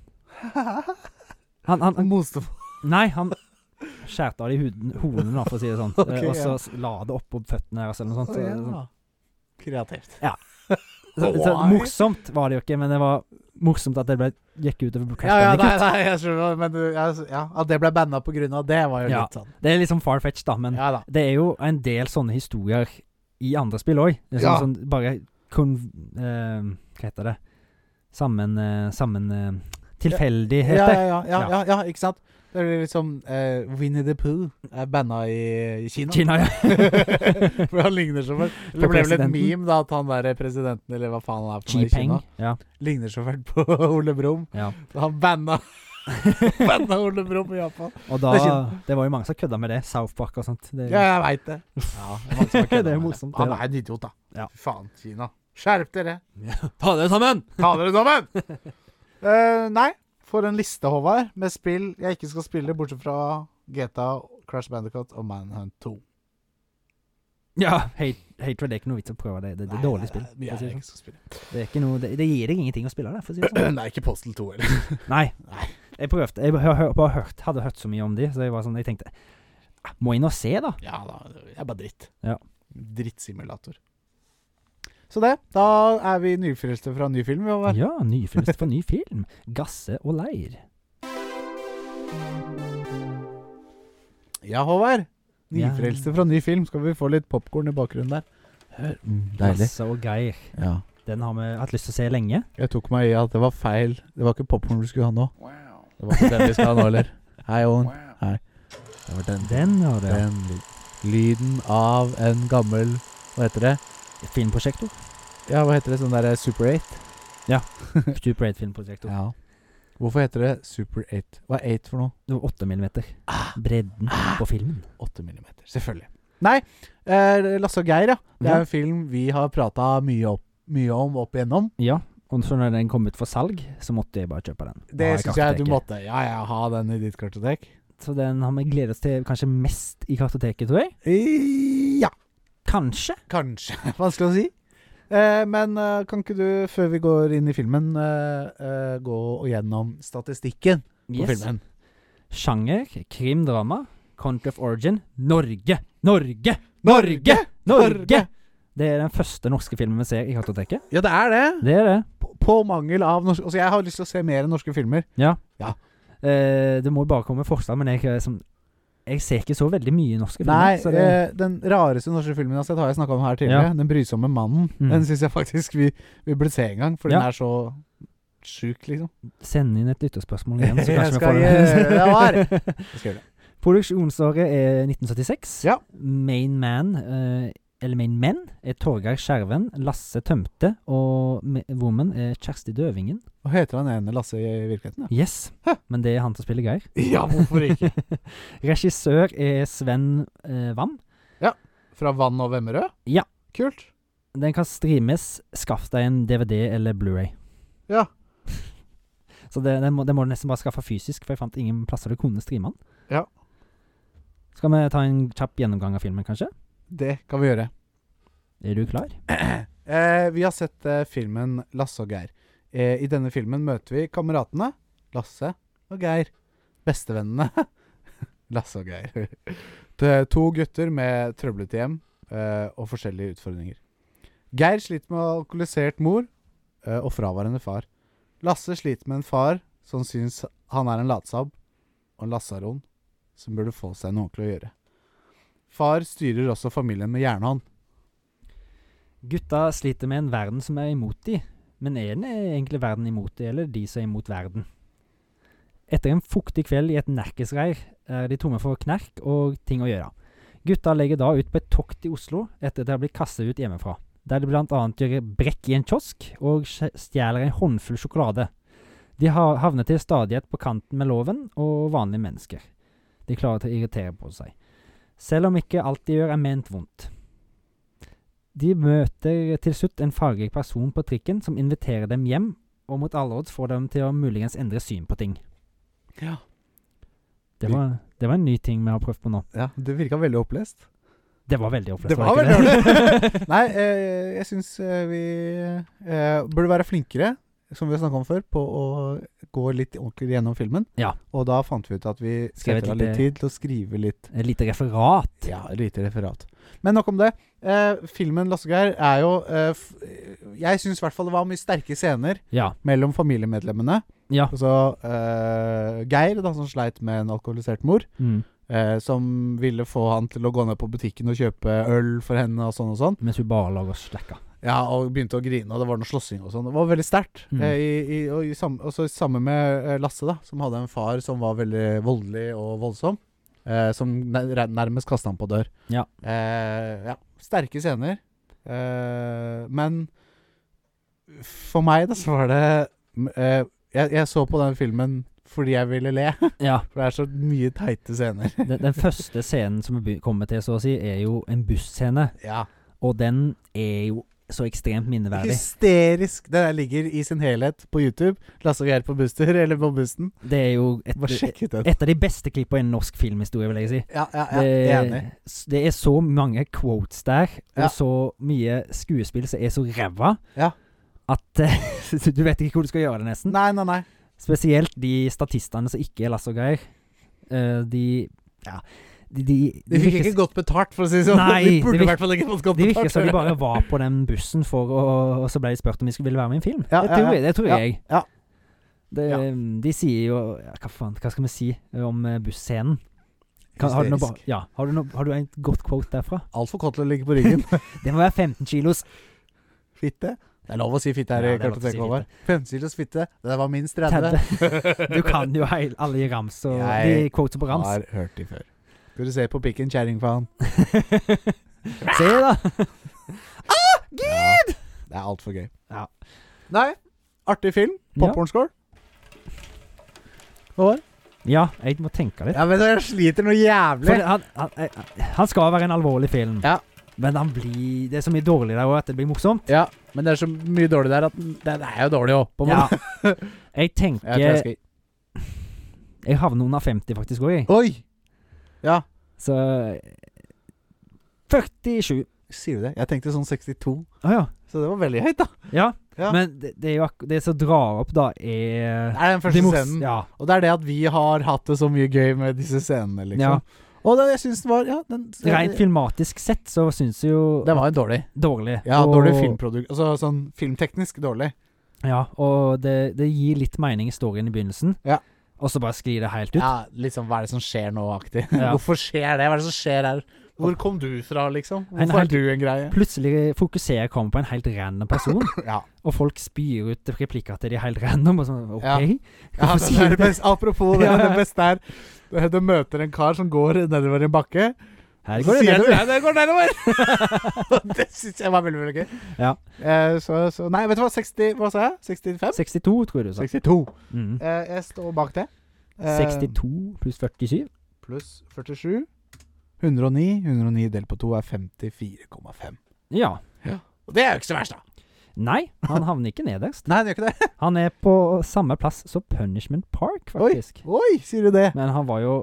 Speaker 2: Han, han, han
Speaker 1: Moste på
Speaker 2: Nei, han skjærte av de huden, hodene, da, for å si det sånn.
Speaker 1: Ok,
Speaker 2: Eh, og så
Speaker 1: ja.
Speaker 2: s- la det oppå føttene deres eller noe sånt.
Speaker 1: Å,
Speaker 2: Så- sånn.
Speaker 1: ja. Kreativt.
Speaker 2: Så, så,
Speaker 1: Why?
Speaker 2: morsomt var det jo ikke, men det var morsomt at det ble, gikk utover Crash
Speaker 1: Ja, ja, nei,
Speaker 2: Bandicoot.
Speaker 1: nei, jeg skjønner, men du- ja, s- ja, at det ble banna på grunn av det, var jo
Speaker 2: Ja.
Speaker 1: litt sånn.
Speaker 2: Det er liksom far-fetched, da, men
Speaker 1: Ja da.
Speaker 2: det er jo en del sånne historier i andre spill òg. Liksom,
Speaker 1: Ja.
Speaker 2: sånn, bare kon... eh, hva heter det? Sammen... eh, sammen eh, tilfeldigheter.
Speaker 1: Ja, ja, ja, ja, ja, ja, ikke sant? Det er liksom eh, Winnie the Pooh er banna i i Kina.
Speaker 2: Kina, ja.
Speaker 1: For han ligner så fælt.
Speaker 2: På
Speaker 1: Det ble vel et
Speaker 2: presidenten.
Speaker 1: meme, da, at han der presidenten, eller hva faen han er for noe i
Speaker 2: Qipeng.
Speaker 1: Kina,
Speaker 2: Ja,
Speaker 1: ligner så fælt på Ole Brumm.
Speaker 2: ja.
Speaker 1: Han banna Banna Ole Brumm i Japan.
Speaker 2: Og da
Speaker 1: Det er Kina.
Speaker 2: Det var jo mange som kødda med det. South Park og sånt. Det,
Speaker 1: Ja, jeg veit det. Ja, det er mange som har kødda
Speaker 2: Det er
Speaker 1: med
Speaker 2: morsomt, det
Speaker 1: Han
Speaker 2: da.
Speaker 1: er en idiot, da.
Speaker 2: Ja.
Speaker 1: Fy faen, Kina. Skjerp dere.
Speaker 2: Ta dere sammen!
Speaker 1: Ta dere sammen! Eh, nei, for en liste, Håvard, med spill jeg ikke skal spille, bortsett fra GTA, Crash Bandicoot og Manhunt 2.
Speaker 2: Ja, hate, Hatred er ikke noe vits å prøve. Det, det, det er dårlig spill.
Speaker 1: Nei, det
Speaker 2: for å si det
Speaker 1: er
Speaker 2: sånn.
Speaker 1: ikke skal spille.
Speaker 2: Det, er ikke noe, det, det gir deg ingenting å spille det, for å si det sånn.
Speaker 1: Nei, ikke Postal 2 heller.
Speaker 2: Nei.
Speaker 1: Nei.
Speaker 2: Jeg prøvde. Jeg hø- hø- bare hørt, hadde hørt så mye om de, så jeg var sånn Jeg tenkte "Ah, Må inn og se, da.
Speaker 1: Ja da, det er bare dritt.
Speaker 2: Ja.
Speaker 1: Drittsimulator. Så det. Da er vi nyfrelste fra en ny film, Håvard.
Speaker 2: Ja, nyfilmst for ny film. Gasse og leir.
Speaker 1: Ja, Håvard.
Speaker 2: Ja.
Speaker 1: Nyfrelste fra ny film. Skal vi få litt popkorn i bakgrunnen der? deilig.
Speaker 2: Gasse og Geir.
Speaker 1: Ja.
Speaker 2: Den har vi hatt lyst til å se lenge.
Speaker 1: Jeg tok meg i at det var feil. Det var ikke popkorn vi skulle ha nå. Det var ikke den vi skal ha nå heller. Hei, Owen. Hei. Det var den.
Speaker 2: Den har det.
Speaker 1: den ly- lyden av en gammel Hva heter det?
Speaker 2: Filmprosjektor.
Speaker 1: Ja, hva heter det? Sånn derre Super 8?
Speaker 2: Super 8-filmprosjektor.
Speaker 1: Ja. Hvorfor heter det Super 8? Hva er 8 for noe?
Speaker 2: Det var 8 millimeter.
Speaker 1: Ah.
Speaker 2: Bredden på filmen.
Speaker 1: 8 millimeter. Selvfølgelig. Nei, eh, Lasse og Geir, ja. Det
Speaker 2: Ja.
Speaker 1: er en film vi har prata mye, opp- mye om opp igjennom.
Speaker 2: Ja, og så når den kom ut for salg, så måtte jeg bare kjøpe den.
Speaker 1: Det
Speaker 2: Har
Speaker 1: syns jeg du
Speaker 2: kartoteket.
Speaker 1: måtte. Ja, ja, ha den i ditt kartotek.
Speaker 2: Så den har vi gledet oss til kanskje mest i kartoteket, tror jeg.
Speaker 1: I- Ja,
Speaker 2: Kanskje.
Speaker 1: kanskje. Vanskelig å si. Eh, men eh, kan ikke du, før vi går inn i filmen, eh, eh, gå gjennom statistikken på filmen?
Speaker 2: Sjanger, krimdrama, country of origin, Norge. Norge!
Speaker 1: Norge!
Speaker 2: Norge! Det er den første norske filmen vi ser i kartoteket.
Speaker 1: Ja, det er det.
Speaker 2: Det er det.
Speaker 1: På, på mangel av norske Altså, jeg har lyst til å se mer enn norske filmer.
Speaker 2: Eh, det må jo bare komme forslag, men jeg, er som- jeg ser ikke så veldig mye norske filmer.
Speaker 1: Nei,
Speaker 2: så det,
Speaker 1: eh, den rareste norske filmen jeg har sett, har jeg snakka om her tidligere.
Speaker 2: Ja.
Speaker 1: Den brysomme mannen.
Speaker 2: Mm.
Speaker 1: Den syns jeg faktisk vi, vi burde se en gang, for
Speaker 2: Ja.
Speaker 1: den er så sjuk, liksom.
Speaker 2: send inn et lytterspørsmål igjen, så
Speaker 1: Jeg
Speaker 2: kanskje vi
Speaker 1: skal
Speaker 2: får
Speaker 1: gjøre
Speaker 2: det. Var.
Speaker 1: Jeg skal gjøre det.
Speaker 2: Produksjonsåret er 1976.
Speaker 1: Ja.
Speaker 2: Main man, eh, eller main menn, er Torgeir Skjerven, Lasse Tømte, og me- woman er Kjersti Døvingen.
Speaker 1: Hva heter han ene Lasse i virkeligheten? da?
Speaker 2: Yes, men det er han som spiller Geir.
Speaker 1: Ja, hvorfor ikke?
Speaker 2: Regissør er Sven eh, Wam.
Speaker 1: Fra Vann og Vemmerød?
Speaker 2: Ja.
Speaker 1: Kult.
Speaker 2: Den kan streames. Skaff deg en DVD eller Blu-ray.
Speaker 1: Ja.
Speaker 2: Så det, den, må, den må du nesten bare skaffe fysisk, for jeg fant ingen plasser du kunne streame den.
Speaker 1: Ja.
Speaker 2: Skal vi ta en kjapp gjennomgang av filmen, kanskje?
Speaker 1: Det kan vi gjøre.
Speaker 2: Er du klar?
Speaker 1: Eh, vi har sett eh, filmen Lasse og Geir. Eh, I denne filmen møter vi kameratene Lasse og Geir. Bestevennene Lasse og Geir. Til to gutter med trøblete hjem eh, og forskjellige utfordringer. Geir sliter med alkoholisert mor eh, og fraværende far. Lasse sliter med en far som syns han er en latsabb og en lasaron som burde få seg noe ordentlig å gjøre. Far styrer også familien med jernhånd.
Speaker 2: Gutta sliter med en verden som er imot de, men er den egentlig verden imot de, eller de som er imot verden? Etter en fuktig kveld i et nerkesreir er de tomme for knerk og ting å gjøre. Gutta legger da ut på et tokt i Oslo etter at de har blitt kastet ut hjemmefra, der de blant annet gjør brekk i en kiosk og skj- stjeler en håndfull sjokolade. De har havner til stadighet på kanten med loven og vanlige mennesker. De klarer til å irritere på seg, selv om ikke alt de gjør er ment vondt. De møter til slutt en fargerik person på trikken som inviterer dem hjem, og mot alle odds får dem til å muligens endre syn på ting.
Speaker 1: Ja.
Speaker 2: Det var, det var en ny ting vi har prøvd på nå.
Speaker 1: ja det virka veldig opplest.
Speaker 2: Det var veldig opplest.
Speaker 1: Det var
Speaker 2: ikke
Speaker 1: veldig
Speaker 2: det?
Speaker 1: Nei, eh, jeg syns eh, vi eh, burde være flinkere, som vi har snakka om før, på å gå litt ordentlig gjennom filmen.
Speaker 2: Ja.
Speaker 1: Og da fant vi ut at vi
Speaker 2: Skrev et
Speaker 1: setter av litt
Speaker 2: lite-
Speaker 1: tid til å skrive litt
Speaker 2: Et lite referat.
Speaker 1: Ja, et lite referat. Men nok om det. Eh, filmen 'Lassegeir' er jo eh, f Jeg syns i hvert fall det var mye sterke scener
Speaker 2: Ja.
Speaker 1: mellom familiemedlemmene.
Speaker 2: Ja.
Speaker 1: Altså eh, Geir, da, som sleit med en alkoholisert mor.
Speaker 2: Mm.
Speaker 1: Eh, som ville få han til å gå ned på butikken og kjøpe øl for henne og sånn og sånn.
Speaker 2: Mens hun bare lager slekka.
Speaker 1: Ja, og begynte å grine, og det var noe slåssing og sånn. Det var veldig sterkt.
Speaker 2: Mm.
Speaker 1: Eh, i, i, og i sam, også sammen med eh, Lasse, da, som hadde en far som var veldig voldelig og voldsom. Eh, som nær, nærmest kasta han på dør.
Speaker 2: Ja.
Speaker 1: Eh, ja. Sterke scener. Eh, men for meg, da, så var det mm, eh, jeg, jeg så på den filmen fordi jeg ville le.
Speaker 2: Ja.
Speaker 1: For det er så mye teite scener.
Speaker 2: Den, den første scenen som vi be- kommer til, så å si, er jo en busscene,
Speaker 1: Ja.
Speaker 2: og den er jo så ekstremt minneverdig.
Speaker 1: Hysterisk. Det der ligger i sin helhet på YouTube. Lasse og Geir på busstur, eller på bussen.
Speaker 2: Det er jo et,
Speaker 1: Bare sjekk ut den.
Speaker 2: et av de beste klippene i norsk filmhistorie, vil jeg si.
Speaker 1: Ja, ja, ja, jeg er enig.
Speaker 2: det, s- det er så mange quotes der, og
Speaker 1: Ja.
Speaker 2: så mye skuespill som er så ræva,
Speaker 1: Ja.
Speaker 2: at eh, du vet ikke hvor du skal gjøre det, nesten.
Speaker 1: Nei, nei, nei.
Speaker 2: Spesielt de statistene som ikke er Lasse og Geir. Eh, de Ja. De, de, de
Speaker 1: De fikk
Speaker 2: virker
Speaker 1: ikke
Speaker 2: s-
Speaker 1: godt betalt, for å si det sånn.
Speaker 2: Nei,
Speaker 1: de
Speaker 2: det
Speaker 1: burde
Speaker 2: virker-
Speaker 1: i hvert fall ikke fått godt
Speaker 2: de
Speaker 1: betalt.
Speaker 2: virker som de bare var på den bussen for å Og så ble de spurt om de skulle ville være med i en film.
Speaker 1: Ja,
Speaker 2: det
Speaker 1: ja,
Speaker 2: tror,
Speaker 1: ja.
Speaker 2: jeg- Det tror
Speaker 1: Ja,
Speaker 2: jeg.
Speaker 1: ja.
Speaker 2: Det, eh,
Speaker 1: Ja.
Speaker 2: De sier jo ja, Hva faen, hva skal vi si om eh, busscenen? Kan, har, du noe, ba-
Speaker 1: Hysterisk.
Speaker 2: ja, har, du noe, har du en godt quote derfra?
Speaker 1: Altfor kort til å ligge på ryggen.
Speaker 2: Det må være 15 kilos.
Speaker 1: fitte. Det er lov å si fitte her
Speaker 2: Ja,
Speaker 1: i
Speaker 2: det er lov å si
Speaker 1: Kartoteket, Håvard. 15 kilos fitte. Det der var minst 30.
Speaker 2: 30. Du kan jo heil, alle i rams og
Speaker 1: Jeg
Speaker 2: de quotes på rams.
Speaker 1: Har hørt de før. Skal du se på pikken, kjerring, faen.
Speaker 2: Se, da!
Speaker 1: Gid! Det er altfor gøy.
Speaker 2: Ja.
Speaker 1: Nei, artig film. Popkornskål. Håvard?
Speaker 2: Ja, jeg må tenke litt.
Speaker 1: Ja, vet du, jeg sliter noe jævlig.
Speaker 2: For det- han, han, eh, han skal være en alvorlig film,
Speaker 1: Ja.
Speaker 2: men han blir, det er så mye dårlig der òg at det blir morsomt.
Speaker 1: Ja, men det er så mye dårlig der at den- den er jo dårlig òg, på en
Speaker 2: Ja.
Speaker 1: måte.
Speaker 2: Jeg tenker
Speaker 1: Jeg tror jeg
Speaker 2: Jeg,
Speaker 1: skal...
Speaker 2: havner under 50 faktisk òg, jeg.
Speaker 1: Oi! Ja,
Speaker 2: Så 47.
Speaker 1: sier du det? Jeg tenkte sånn 62.
Speaker 2: Å ja.
Speaker 1: Så det var veldig høyt, da.
Speaker 2: ja.
Speaker 1: Ja.
Speaker 2: Men det, det er jo akkur- Det som drar opp, da, er
Speaker 1: Det er den
Speaker 2: det
Speaker 1: første
Speaker 2: mors-
Speaker 1: scenen.
Speaker 2: Ja.
Speaker 1: Og det er det at vi har hatt det så mye gøy med disse scenene, liksom.
Speaker 2: Ja.
Speaker 1: Og det, jeg syns den var Ja, den
Speaker 2: Rent filmatisk sett så syns jeg jo
Speaker 1: Den var jo dårlig.
Speaker 2: dårlig.
Speaker 1: Ja,
Speaker 2: og-
Speaker 1: dårlig filmprodukt... Altså sånn filmteknisk dårlig.
Speaker 2: Ja, og det, det gir litt mening i storyen i begynnelsen,
Speaker 1: Ja.
Speaker 2: og så bare sklir det helt ut.
Speaker 1: Ja, liksom hva er det som skjer nå-aktig.
Speaker 2: Ja.
Speaker 1: Hvorfor skjer det? Hva er det som skjer her? Hvor kom du fra, liksom?
Speaker 2: En
Speaker 1: Hvorfor
Speaker 2: helt-
Speaker 1: er du en greie?
Speaker 2: Plutselig fokuserer jeg på en helt random person,
Speaker 1: Ja.
Speaker 2: og folk spyr ut replikker til de helt random, og sånn OK?
Speaker 1: Ja. Ja,
Speaker 2: Hvorfor
Speaker 1: men det
Speaker 2: sier
Speaker 1: er
Speaker 2: du
Speaker 1: det beste, apropos det,
Speaker 2: Ja.
Speaker 1: det beste er eh, Du møter en kar som går nedover i en bakke.
Speaker 2: Her
Speaker 1: og så
Speaker 2: går det
Speaker 1: sier
Speaker 2: nedover.
Speaker 1: han, «Ja, det går nedover! det syns jeg var veldig veldig gøy.
Speaker 2: Ja.
Speaker 1: Eh, så, så, nei, vet du hva? 60, hva sa jeg? 65?
Speaker 2: 62, tror jeg du sa.
Speaker 1: 62.
Speaker 2: Mm.
Speaker 1: Eh, jeg står bak det. Eh,
Speaker 2: 62 pluss 47.
Speaker 1: pluss 47. 109. 109 delt på 2 er 54,5.
Speaker 2: Ja.
Speaker 1: Og det er jo ikke så verst, da.
Speaker 2: Nei, han havner ikke nederst.
Speaker 1: Nei, det gjør ikke det.
Speaker 2: Han er på samme plass som Punishment Park,
Speaker 1: Oi.
Speaker 2: faktisk.
Speaker 1: Oi, sier du det?
Speaker 2: Men han var jo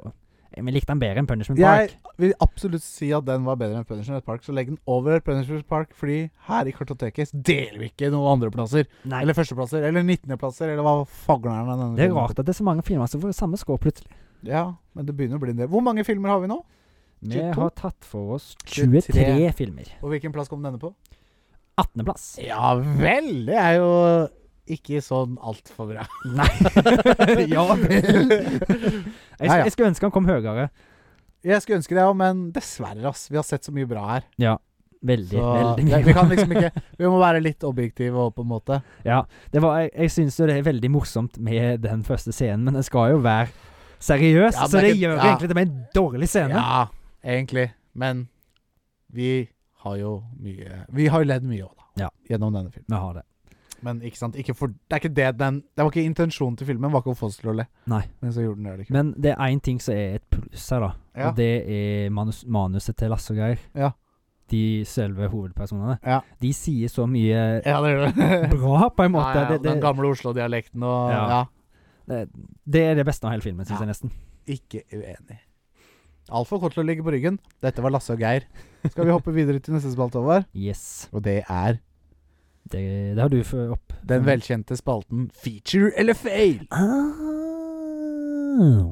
Speaker 2: Vi likte han bedre enn Punishment
Speaker 1: Jeg
Speaker 2: Park.
Speaker 1: vil absolutt si at den var bedre enn Punishment Park, så legg den over Punishment Park, fordi her i kartoteket deler vi ikke noen andreplasser.
Speaker 2: Nei,
Speaker 1: Eller førsteplasser, eller nittenplasser, eller hva fagleren er denne
Speaker 2: det er
Speaker 1: filmen.
Speaker 2: rart at det er så mange filmer som får samme score plutselig.
Speaker 1: Ja, men det begynner å bli en del. Hvor mange filmer har vi nå?
Speaker 2: Vi
Speaker 1: 22?
Speaker 2: har tatt for oss 23
Speaker 1: 23.
Speaker 2: filmer.
Speaker 1: Og hvilken plass kom denne på?
Speaker 2: 18.-plass.
Speaker 1: Ja vel! Det er jo ikke sånn altfor bra.
Speaker 2: Nei Ja vel. Jeg,
Speaker 1: Ja, ja.
Speaker 2: sk- jeg skulle ønske han kom høyere.
Speaker 1: Jeg skulle ønske det òg, men dessverre, ass. Vi har sett så mye bra her.
Speaker 2: Veldig,
Speaker 1: Så
Speaker 2: veldig
Speaker 1: det,
Speaker 2: mye.
Speaker 1: vi kan liksom ikke Vi må være litt objektive òg, på en måte.
Speaker 2: Ja, det var, jeg, jeg syns jo det er veldig morsomt med den første scenen, men den skal jo være seriøs,
Speaker 1: Ja, men
Speaker 2: så
Speaker 1: det er
Speaker 2: det
Speaker 1: ikke-
Speaker 2: gjør
Speaker 1: ja.
Speaker 2: egentlig det med en dårlig scene.
Speaker 1: Ja, egentlig. Men vi har jo mye Vi har jo ledd mye òg, da.
Speaker 2: Ja.
Speaker 1: Gjennom denne filmen.
Speaker 2: Vi har det.
Speaker 1: Men ikke sant ikke for, Det er ikke det den Det var ikke intensjonen til filmen, var ikke å få oss til å le.
Speaker 2: Nei.
Speaker 1: Men så gjorde den det likevel.
Speaker 2: Men det er én ting som er et pluss her, da.
Speaker 1: Ja.
Speaker 2: Og det er manus, manuset til Lasse og Geir.
Speaker 1: Ja.
Speaker 2: De selve hovedpersonene.
Speaker 1: Ja.
Speaker 2: De sier så mye
Speaker 1: Ja, det gjorde det.
Speaker 2: bra, på en
Speaker 1: Ja,
Speaker 2: måte.
Speaker 1: ja,
Speaker 2: Det,
Speaker 1: den
Speaker 2: det,
Speaker 1: gamle Oslo-dialekten og
Speaker 2: Ja.
Speaker 1: ja.
Speaker 2: det er det beste av hele filmen, syns
Speaker 1: Ja.
Speaker 2: jeg nesten.
Speaker 1: Ikke uenig. Altfor kort til å ligge på ryggen. Dette var Lasse og Geir. Skal vi hoppe videre til neste spalte, Håvard?
Speaker 2: Yes.
Speaker 1: Og det er
Speaker 2: Det, det har du fått opp.
Speaker 1: den velkjente spalten Feature eller fail.
Speaker 2: Ah.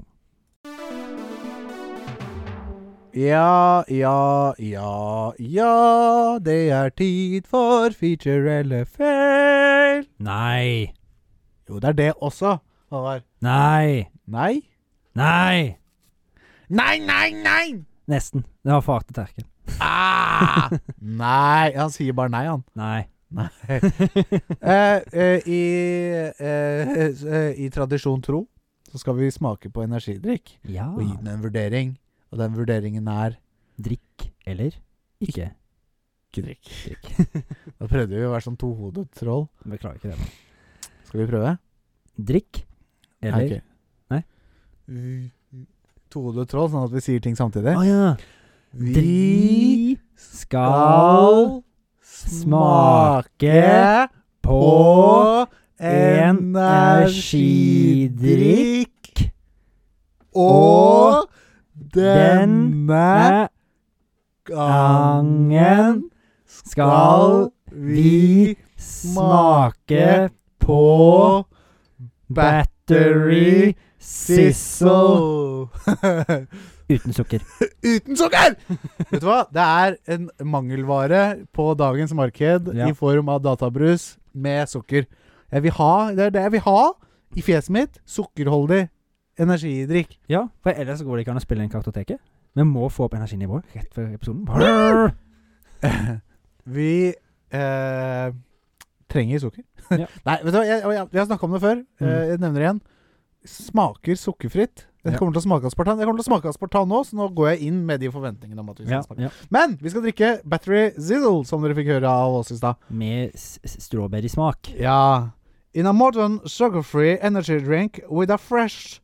Speaker 1: Ja, ja, ja, ja Det er tid for feature eller fail.
Speaker 2: Nei.
Speaker 1: Jo, det er det også, Håvard.
Speaker 2: Nei.
Speaker 1: Nei?
Speaker 2: Nei.
Speaker 1: Nei, nei, nei!
Speaker 2: Nesten. Det var fart til terkel.
Speaker 1: Ah! nei. Han sier bare nei, han.
Speaker 2: Nei.
Speaker 1: Nei. Eh, eh, i, eh, eh, I tradisjon tro så skal vi smake på energidrikk
Speaker 2: Ja.
Speaker 1: og gi den en vurdering. Og den vurderingen er
Speaker 2: Drikk eller ikke
Speaker 1: ikke drikk.
Speaker 2: drikk.
Speaker 1: Da prøvde vi å være sånn tohodet troll.
Speaker 2: Beklager ikke det. men.
Speaker 1: Skal vi prøve?
Speaker 2: Drikk eller
Speaker 1: Nei, ok.
Speaker 2: Nei.
Speaker 1: Vi- Tohodet troll, sånn at vi sier ting samtidig.
Speaker 2: Å ja.
Speaker 1: Vi
Speaker 2: Ah, Dri skal smake på
Speaker 1: på
Speaker 2: energidrikk
Speaker 1: Og
Speaker 2: og
Speaker 1: denne
Speaker 2: Denne
Speaker 1: gangen
Speaker 2: skal vi smake på battery sizzle
Speaker 1: sizzle.
Speaker 2: Uten sukker.
Speaker 1: Uten sukker! Vet du hva? Det er en mangelvare på dagens marked
Speaker 2: Ja.
Speaker 1: i form av databrus med sukker. Jeg vil ha, det er det jeg vil ha i fjeset mitt. Sukkerholdig energidrikk.
Speaker 2: Ja, for ellers så går det ikke an å spille inn Kartoteket. Vi må få opp energinivået rett før episoden. Brrr!
Speaker 1: Vi eh, trenger sukker.
Speaker 2: Ja. Mm.
Speaker 1: Nei, vet du hva, jeg, jeg, vi har snakka om det før. Eh, jeg nevner det igjen. Smaker sukkerfritt. Det
Speaker 2: Ja.
Speaker 1: kommer til å smake aspartan. Det kommer til å smake aspartan nå, så nå går jeg inn med de forventningene om at vi skal
Speaker 2: Ja,
Speaker 1: smake.
Speaker 2: ja.
Speaker 1: Men vi skal drikke Battery Zizzle, som dere fikk høre av oss i stad.
Speaker 2: Med s- s- strawberrysmak.
Speaker 1: Ja. In a modern sugar-free energy drink with a fresh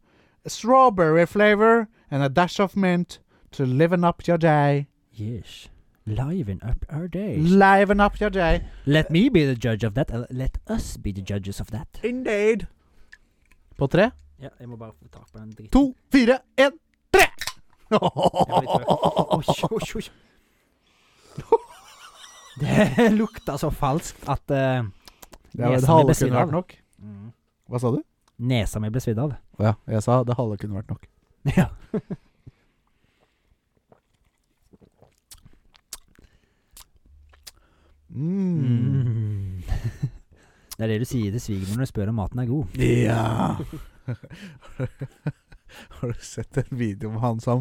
Speaker 1: strawberry flavor and a dash of mint to liven up your day.
Speaker 2: Yes. Liven up our day.
Speaker 1: Liven up your day.
Speaker 2: Let me be the judge of that. uh, Let us be the judges of that.
Speaker 1: Indeed. På tre,
Speaker 2: Ja, jeg må bare få tak på den driten.
Speaker 1: to, fire, én, tre!
Speaker 2: Oi, oi, oi. Det lukta så falskt at eh,
Speaker 1: Det var det
Speaker 2: nesa mi ble
Speaker 1: halve
Speaker 2: svidd
Speaker 1: kunne vært
Speaker 2: av.
Speaker 1: nok. Hva sa du?
Speaker 2: Nesa mi ble svidd av.
Speaker 1: Å ja, jeg sa det halve kunne vært nok.
Speaker 2: Ja.
Speaker 1: Mm.
Speaker 2: Mm. Det er det du sier til svigermor når du spør om maten er god.
Speaker 1: Ja. Har du sett en video med han som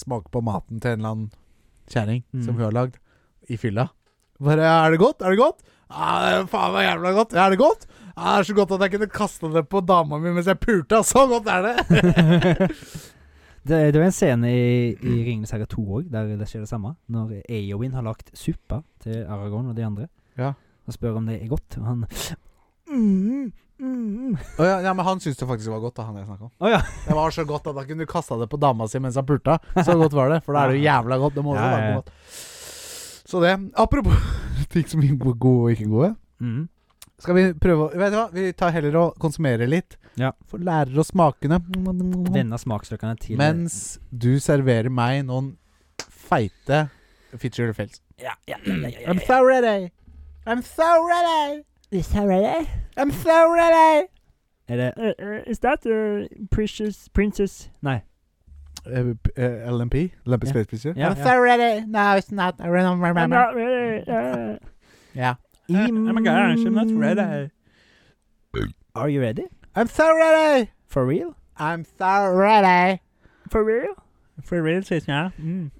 Speaker 1: smaker på maten til en eller annen kjerring
Speaker 2: Mm.
Speaker 1: som hun har lagd, i fylla? Bare 'Er det godt? Er det godt?' Ja, det er faen meg jævla godt. Ja, er det godt? Ja, det er så godt at jeg kunne kaste det på dama mi mens jeg pulte. altså. Så godt er det!
Speaker 2: Det, det er en scene i, i 'Ringenes herre 2' òg, der det skjer det samme. Når Eowyn har lagt suppa til Aragorn og de andre,
Speaker 1: Ja.
Speaker 2: og spør om det er godt, og han mm, mm.
Speaker 1: Å ja, ja, men han syntes det faktisk var godt, da, han jeg snakka om.
Speaker 2: Å ja.
Speaker 1: Det var så godt at han kunne kasta det på dama si mens han pulte. Så godt var det. For da er det jo jævla godt. Det må jo
Speaker 2: Ja, ja,
Speaker 1: være
Speaker 2: ja.
Speaker 1: godt. Så det. Apropos ting som er gode og ikke gode.
Speaker 2: Mm.
Speaker 1: Skal vi prøve å Vet du hva, vi tar heller og konsumerer litt.
Speaker 2: Ja.
Speaker 1: For lærer oss smakene. Mm.
Speaker 2: Vende smaksløkene til
Speaker 1: Mens du serverer meg noen feite feature fails.
Speaker 2: ja, ja, ja, ja, ja,
Speaker 1: I'm so ready. I'm so ready.
Speaker 2: ja.
Speaker 1: I'm so ready.
Speaker 2: Eh, Er det Is that a precious princess? Nei.
Speaker 1: eh, p- eh, LMP? Lempe
Speaker 2: Ja.
Speaker 1: Space Pizza?
Speaker 2: Ja,
Speaker 1: I'm
Speaker 2: ja.
Speaker 1: sorry, no, it's not. I don't remember.
Speaker 2: Eh.
Speaker 1: Yeah.
Speaker 2: Are you ready?
Speaker 1: I'm sorry!
Speaker 2: For real?
Speaker 1: I'm sorry!
Speaker 2: For real?
Speaker 1: For real, sier jeg. Mm.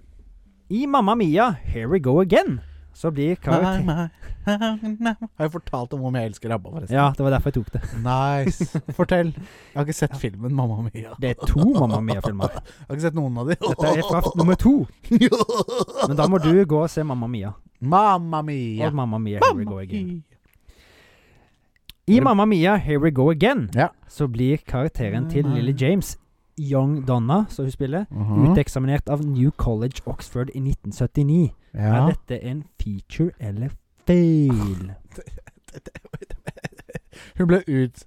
Speaker 2: I Mamma Mia, Here We Go Again, så blir karakter...
Speaker 1: Har jeg fortalt om hvor mye jeg elsker ABBA, forresten?
Speaker 2: Ja, det var derfor jeg tok det.
Speaker 1: Nice. Fortell. Jeg har ikke sett filmen Mamma Mia.
Speaker 2: Det er to Mamma Mia-filmer.
Speaker 1: Jeg har ikke sett noen av de.
Speaker 2: Dette er fra nummer to. Men da må du gå og se Mamma Mia.
Speaker 1: Mamma
Speaker 2: Og
Speaker 1: Mia.
Speaker 2: Mamma Mia, Here We Go
Speaker 1: Mamma
Speaker 2: Again.
Speaker 1: Mia.
Speaker 2: I Mamma Mia, Here We Go Again,
Speaker 1: Ja.
Speaker 2: så blir karakteren til Lily James, Young Donna, som hun spiller,
Speaker 1: Mhm.
Speaker 2: uteksaminert av New College Oxford i 1979.
Speaker 1: Ja.
Speaker 2: Er dette en feature eller fail?
Speaker 1: Hun ble ut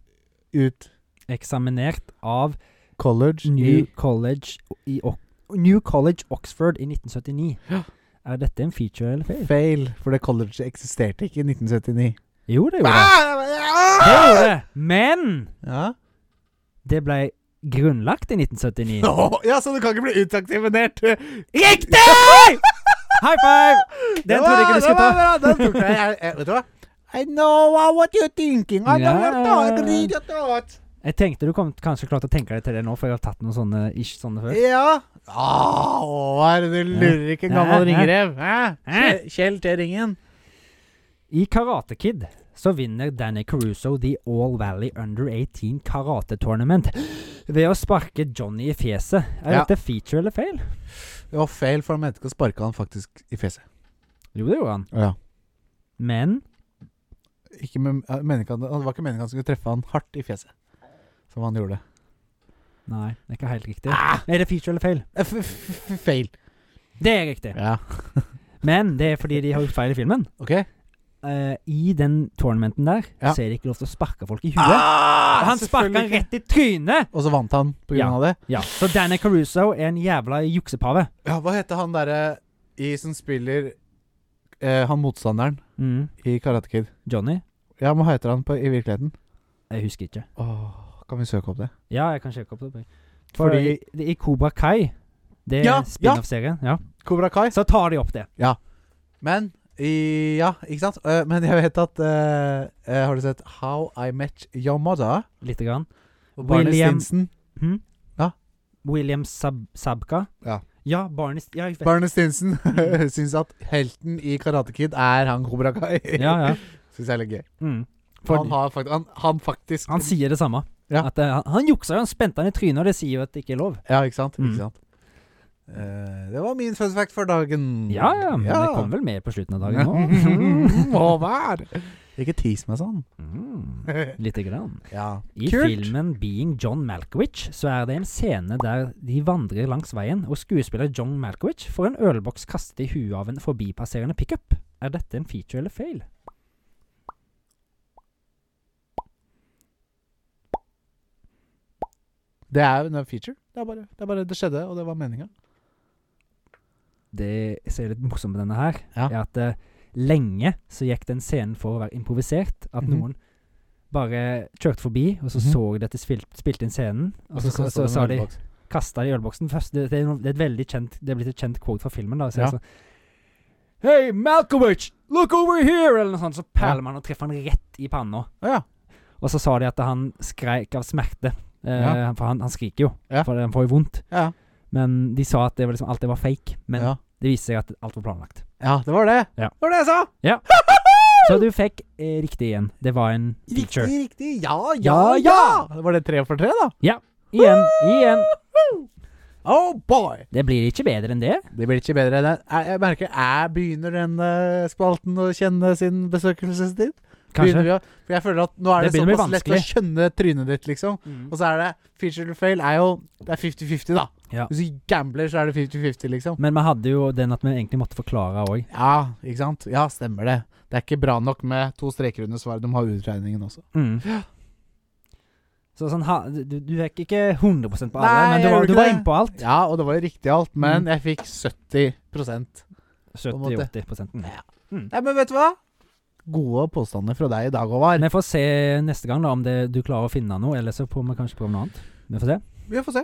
Speaker 1: ut
Speaker 2: Eksaminert av
Speaker 1: college
Speaker 2: New
Speaker 1: i
Speaker 2: College, i Ox- New College Oxford i 1979. Er dette en feature eller fail?
Speaker 1: fail, for det college eksisterte ikke i 1979.
Speaker 2: Jo, det gjorde det. Det
Speaker 1: Ah!
Speaker 2: gjorde det. Men
Speaker 1: Ja.
Speaker 2: det ble grunnlagt i 1979.
Speaker 1: Åh, ja, så du kan ikke bli utaktivinert.
Speaker 2: Riktig! High five! Den trodde jeg ikke du skulle ta.
Speaker 1: Den tok jeg. jeg. jeg- Vet du hva? I know what you're thinking. I know your thought,
Speaker 2: Ja.
Speaker 1: read your thoughts.
Speaker 2: Jeg tenkte du kom kanskje klarte å tenke deg til det nå, for jeg har tatt noen sånne ish sånne før.
Speaker 1: Ja. Ah, Håvard, du lurer ikke en gammel
Speaker 2: Hæ? Hæ?
Speaker 1: ringrev. Hæ?
Speaker 2: Hæ?
Speaker 1: Kjell- Kjell til ringen.
Speaker 2: I Karate Kid så vinner Danny Caruso The All Valley Under 18 Karate Tournament ved å sparke Johnny i fjeset. Er
Speaker 1: Ja.
Speaker 2: dette feature eller fail?
Speaker 1: Det var feil, for han mente ikke å sparke han faktisk i fjeset.
Speaker 2: Jo, det gjorde han.
Speaker 1: Ja.
Speaker 2: Men
Speaker 1: Ikke med, jeg mener ikke at- det var ikke meningen at han skulle treffe han hardt i fjeset, som han gjorde.
Speaker 2: Nei, det er ikke helt riktig. Er det feature eller fail?
Speaker 1: F f f- feil.
Speaker 2: Det er riktig.
Speaker 1: Ja.
Speaker 2: Men det er fordi de har gjort feil i filmen.
Speaker 1: OK?
Speaker 2: Eh, I den tournamenten der
Speaker 1: Ja.
Speaker 2: så er det ikke lov til å sparke folk i huet.
Speaker 1: Ah,
Speaker 2: Og han sparka
Speaker 1: selvfølgelig ikke.
Speaker 2: rett i trynet!
Speaker 1: Og så vant han på grunn
Speaker 2: Ja.
Speaker 1: av det.
Speaker 2: Ja, Så Danny Caruso er en jævla juksepave.
Speaker 1: Ja, hva heter han derre i som spiller eh, han motstanderen
Speaker 2: Mm.
Speaker 1: i Karate Kid?
Speaker 2: Johnny?
Speaker 1: Ja, hva heter han på, i virkeligheten?
Speaker 2: Jeg husker ikke.
Speaker 1: Åh, kan vi søke opp det?
Speaker 2: Ja, jeg kan sjekke opp det. For
Speaker 1: Fordi-
Speaker 2: i- i Cobra Kai Det er
Speaker 1: Ja,
Speaker 2: spin-off-serien. Ja.
Speaker 1: Kobra Kai.
Speaker 2: Så tar de opp det.
Speaker 1: Men i, Ja, ikke sant? Eh, men jeg vet at eh, eh, Har du sett How I Met Your Mother?
Speaker 2: Lite grann.
Speaker 1: Og Barney
Speaker 2: William-
Speaker 1: Stinson.
Speaker 2: Hm?
Speaker 1: Ja.
Speaker 2: William Sab Sabka.
Speaker 1: Ja.
Speaker 2: Ja, Barney St- ja, jeg vet.
Speaker 1: Barney Stinson syns at helten i Karate Kid er han Kobra Kai.
Speaker 2: ja, ja.
Speaker 1: Syns jeg er litt gøy.
Speaker 2: Mm.
Speaker 1: For
Speaker 2: Fordi-
Speaker 1: han, har fakt han, han faktisk
Speaker 2: Han sier det samme.
Speaker 1: Ja.
Speaker 2: At, eh, han, han juksa jo, han spente han i trynet, og det sier jo at det ikke er lov.
Speaker 1: Ja, ikke sant?
Speaker 2: Mm.
Speaker 1: Ikke sant? Eh, det var min fun fact for dagen.
Speaker 2: Ja, ja, men det kom vel med på slutten av dagen nå.
Speaker 1: Mm, Håvard! Ikke tis meg sånn.
Speaker 2: Mm. Lite grann.
Speaker 1: ja.
Speaker 2: I filmen 'Being John Malkovich' så er det en scene der de vandrer langs veien, og skuespiller John Malkovich får en ølboks kastet i huet av en forbipasserende pickup. Er dette en feature eller fail?
Speaker 1: Det er jo en feature. Det er bare det, er bare det skjedde, og det var meninga.
Speaker 2: Det som er litt morsomt med denne her,
Speaker 1: Ja.
Speaker 2: er at eh, lenge så gikk den scenen for å være improvisert. At
Speaker 1: Mhm.
Speaker 2: noen bare kjørte forbi, og så
Speaker 1: Mhm.
Speaker 2: så de at de spil spilte inn scenen, og så, så, så, sa de kasta det i ølboksen først. Det, det, er, no- det er et veldig kjent Det er blitt et kjent quote fra filmen. da Så jeg
Speaker 1: Ja.
Speaker 2: sånn Hey, Malkovich! Look over here! Eller noe sånt. Så
Speaker 1: Ja.
Speaker 2: perler man og treffer han rett i panna.
Speaker 1: Å ja.
Speaker 2: Og så sa de at han skreik av smerte. Eh,
Speaker 1: Ja.
Speaker 2: For han, han skriker jo,
Speaker 1: Ja.
Speaker 2: for han får jo vondt.
Speaker 1: Ja.
Speaker 2: Men de sa at det var liksom, alt det var fake. Men
Speaker 1: ja.
Speaker 2: det viste seg at alt var planlagt.
Speaker 1: ja, det var det.
Speaker 2: Ja.
Speaker 1: Det var det jeg sa!
Speaker 2: Ja. Så du fikk eh, riktig igjen. Det var en feature.
Speaker 1: Riktig, riktig. Ja, ja,
Speaker 2: Ja,
Speaker 1: ja!
Speaker 2: ja!
Speaker 1: Det var det tre for tre, da?
Speaker 2: Igjen, igjen.
Speaker 1: Oh boy!
Speaker 2: Det blir ikke bedre enn det.
Speaker 1: Det blir ikke bedre enn det. Jeg, jeg merker jeg begynner den eh, spalten å kjenne sin besøkelsestid. Begynner
Speaker 2: Kanskje.
Speaker 1: vi å, for jeg føler at nå er det,
Speaker 2: Det begynner å bli
Speaker 1: såpass lett å skjønne trynet ditt, liksom.
Speaker 2: Mm.
Speaker 1: Og så er det feature to fail er jo Det er 50-50, da.
Speaker 2: Ja.
Speaker 1: Hvis du gambler, så er det 50-50, liksom.
Speaker 2: Men vi hadde jo den at vi egentlig måtte forklare òg.
Speaker 1: Ja, ikke sant? Ja, stemmer det. Det er ikke bra nok med to streker under svaret. De har utregningen også.
Speaker 2: Mm. Så sånn, ha, du, du gikk ikke 100 på alle,
Speaker 1: Nei,
Speaker 2: men du
Speaker 1: jeg
Speaker 2: var,
Speaker 1: gjorde
Speaker 2: du
Speaker 1: ikke
Speaker 2: var
Speaker 1: det.
Speaker 2: innpå alt.
Speaker 1: Ja, og det var jo riktig alt, men
Speaker 2: Mm.
Speaker 1: jeg fikk 70 en måte.
Speaker 2: 70-80 mm.
Speaker 1: Nei, men vet du hva? Gode påstander fra deg i dag, Håvard.
Speaker 2: Vi får se neste gang da om det, du klarer å finne noe, eller så får vi kanskje prøve noe annet. Vi får se.
Speaker 1: Vi får se.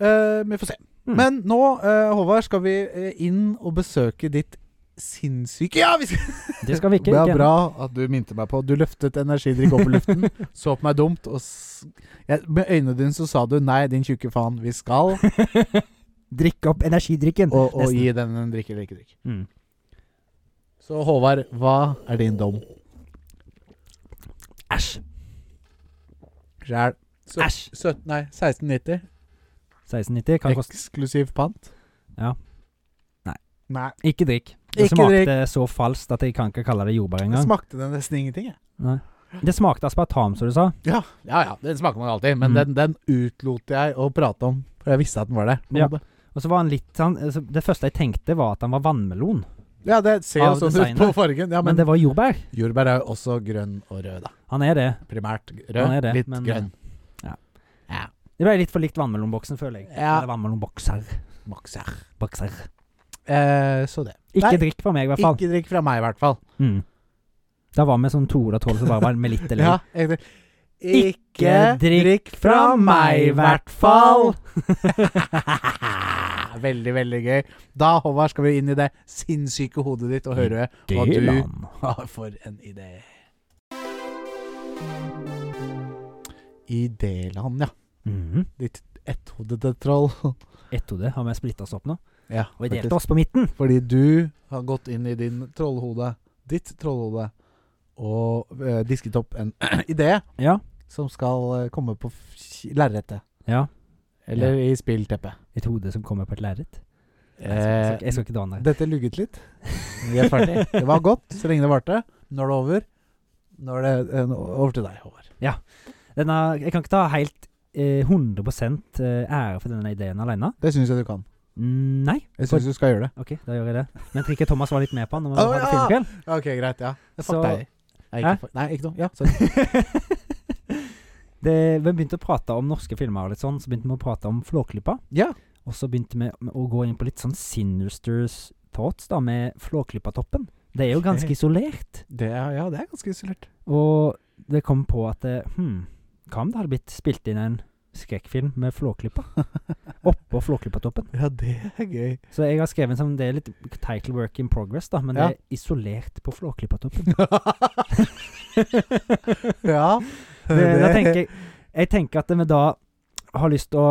Speaker 1: Eh, vi får se.
Speaker 2: Mm.
Speaker 1: Men nå, eh, Håvard, skal vi eh, inn og besøke ditt sinnssyke Ja, vi skal
Speaker 2: Det skal vi ikke.
Speaker 1: Det er
Speaker 2: ikke
Speaker 1: bra at du minte meg på Du løftet energidrikk opp i luften, så på meg dumt, og s jeg, med øynene dine så sa du 'nei, din tjukke faen, vi skal',
Speaker 2: ennå. Drikke opp energidrikken.
Speaker 1: og, og
Speaker 2: Nesten.
Speaker 1: gi den en drikke eller ikke drikk.
Speaker 2: Mm.
Speaker 1: Så Håvard, hva er din dom?
Speaker 2: Æsj.
Speaker 1: Sjæl. Så-
Speaker 2: Æsj.
Speaker 1: 17, nei, 1690.
Speaker 2: 1690 kan koste
Speaker 1: Eksklusiv pant.
Speaker 2: Ja. Nei.
Speaker 1: Nei.
Speaker 2: Ikke drikk. Det
Speaker 1: Ikke
Speaker 2: smakte
Speaker 1: drikk.
Speaker 2: så falskt at jeg kan ikke kalle det jordbær
Speaker 1: Det
Speaker 2: engang.
Speaker 1: smakte den nesten ingenting, jeg.
Speaker 2: Nei. Det smakte aspartam, som du sa.
Speaker 1: Ja, ja, ja den smaker man alltid, men den,
Speaker 2: Mm.
Speaker 1: den utlot jeg å prate om, for jeg visste at den var der. på en
Speaker 2: Ja.
Speaker 1: måte.
Speaker 2: Og så var han litt sånn altså, Det første jeg tenkte, var at han var vannmelon.
Speaker 1: ja, det ser jo
Speaker 2: Av
Speaker 1: sånn ut
Speaker 2: designet.
Speaker 1: på fargen. Ja,
Speaker 2: men,
Speaker 1: men,
Speaker 2: det var jordbær.
Speaker 1: jordbær er jo også grønn og rød, da.
Speaker 2: Han er det.
Speaker 1: primært
Speaker 2: Han
Speaker 1: rød,
Speaker 2: er det,
Speaker 1: litt
Speaker 2: men-
Speaker 1: grønn.
Speaker 2: Det ble litt for likt vannmelonboksen, føler jeg.
Speaker 1: Ja.
Speaker 2: Eller vannmelonbokser.
Speaker 1: Maks her.
Speaker 2: Bokser.
Speaker 1: Eh, så det.
Speaker 2: Ikke
Speaker 1: Nei.
Speaker 2: drikk for meg, i hvert fall.
Speaker 1: Ikke drikk fra meg, i hvert fall.
Speaker 2: Mm. Da var vi sånn to og tolv som bare var med litt eller
Speaker 1: Ja, egentlig. Ikke drikk fra meg, i hvert fall. Veldig, veldig gøy. Da, Håvard, skal vi inn i det sinnssyke hodet ditt og høre hva du
Speaker 2: Dylan.
Speaker 1: har for en idé. Idéland, ja.
Speaker 2: Mhm.
Speaker 1: Ditt etthodede troll.
Speaker 2: Ett hode. Har vi splitta oss opp nå?
Speaker 1: Ja,
Speaker 2: Og vi
Speaker 1: faktisk.
Speaker 2: delte oss på midten.
Speaker 1: Fordi du har gått inn i din trollhode, ditt trollhode, og eh, disket opp en idé
Speaker 2: Ja.
Speaker 1: som skal eh, komme på f- lerretet.
Speaker 2: ja.
Speaker 1: Eller i spillteppet.
Speaker 2: Et hode som kommer på et lerret. Jeg, skal- jeg skal-
Speaker 1: Eh,
Speaker 2: jeg skal ikke dra den der.
Speaker 1: dette lugget litt. Vi er ferdig. Det var godt så lenge det varte. Nå er det over. Nå er det eh, nå- over til deg, Håvard.
Speaker 2: Denne, jeg kan ikke ta helt eh, 100 eh, ære for denne ideen alene.
Speaker 1: Det syns jeg du kan.
Speaker 2: Mm, nei.
Speaker 1: Jeg syns du skal gjøre det.
Speaker 2: Ok, da gjør jeg det. Men Trikke Thomas var litt med på den når vi
Speaker 1: Å,
Speaker 2: hadde
Speaker 1: ja!
Speaker 2: filmkveld.
Speaker 1: Ok, greit. Ja. Fuck
Speaker 2: Så-
Speaker 1: deg. Nei,
Speaker 2: Hæ?
Speaker 1: ikke, fuck- nei, ikke noe. Ja, sorry.
Speaker 2: det, vi begynte å prate om norske filmer og litt sånn. Så begynte vi å prate om Flåklypa.
Speaker 1: Ja.
Speaker 2: Og så begynte vi med å gå inn på litt sånn sinister thoughts da, med Flåklypa-toppen. Det er jo ganske
Speaker 1: Ok.
Speaker 2: isolert.
Speaker 1: Det er, ja, det er ganske isolert.
Speaker 2: Og det kom på at eh, Hm, hva om det hadde blitt spilt inn en skrekkfilm med Flåklypa? Oppå Flåklypa-toppen.
Speaker 1: Ja, det er gøy.
Speaker 2: Så jeg har skrevet en sånn Det er litt title work in progress, da, men
Speaker 1: Ja.
Speaker 2: det er isolert på Flåklypa-toppen.
Speaker 1: ja.
Speaker 2: Det, da tenker jeg, jeg tenker at vi da har lyst til å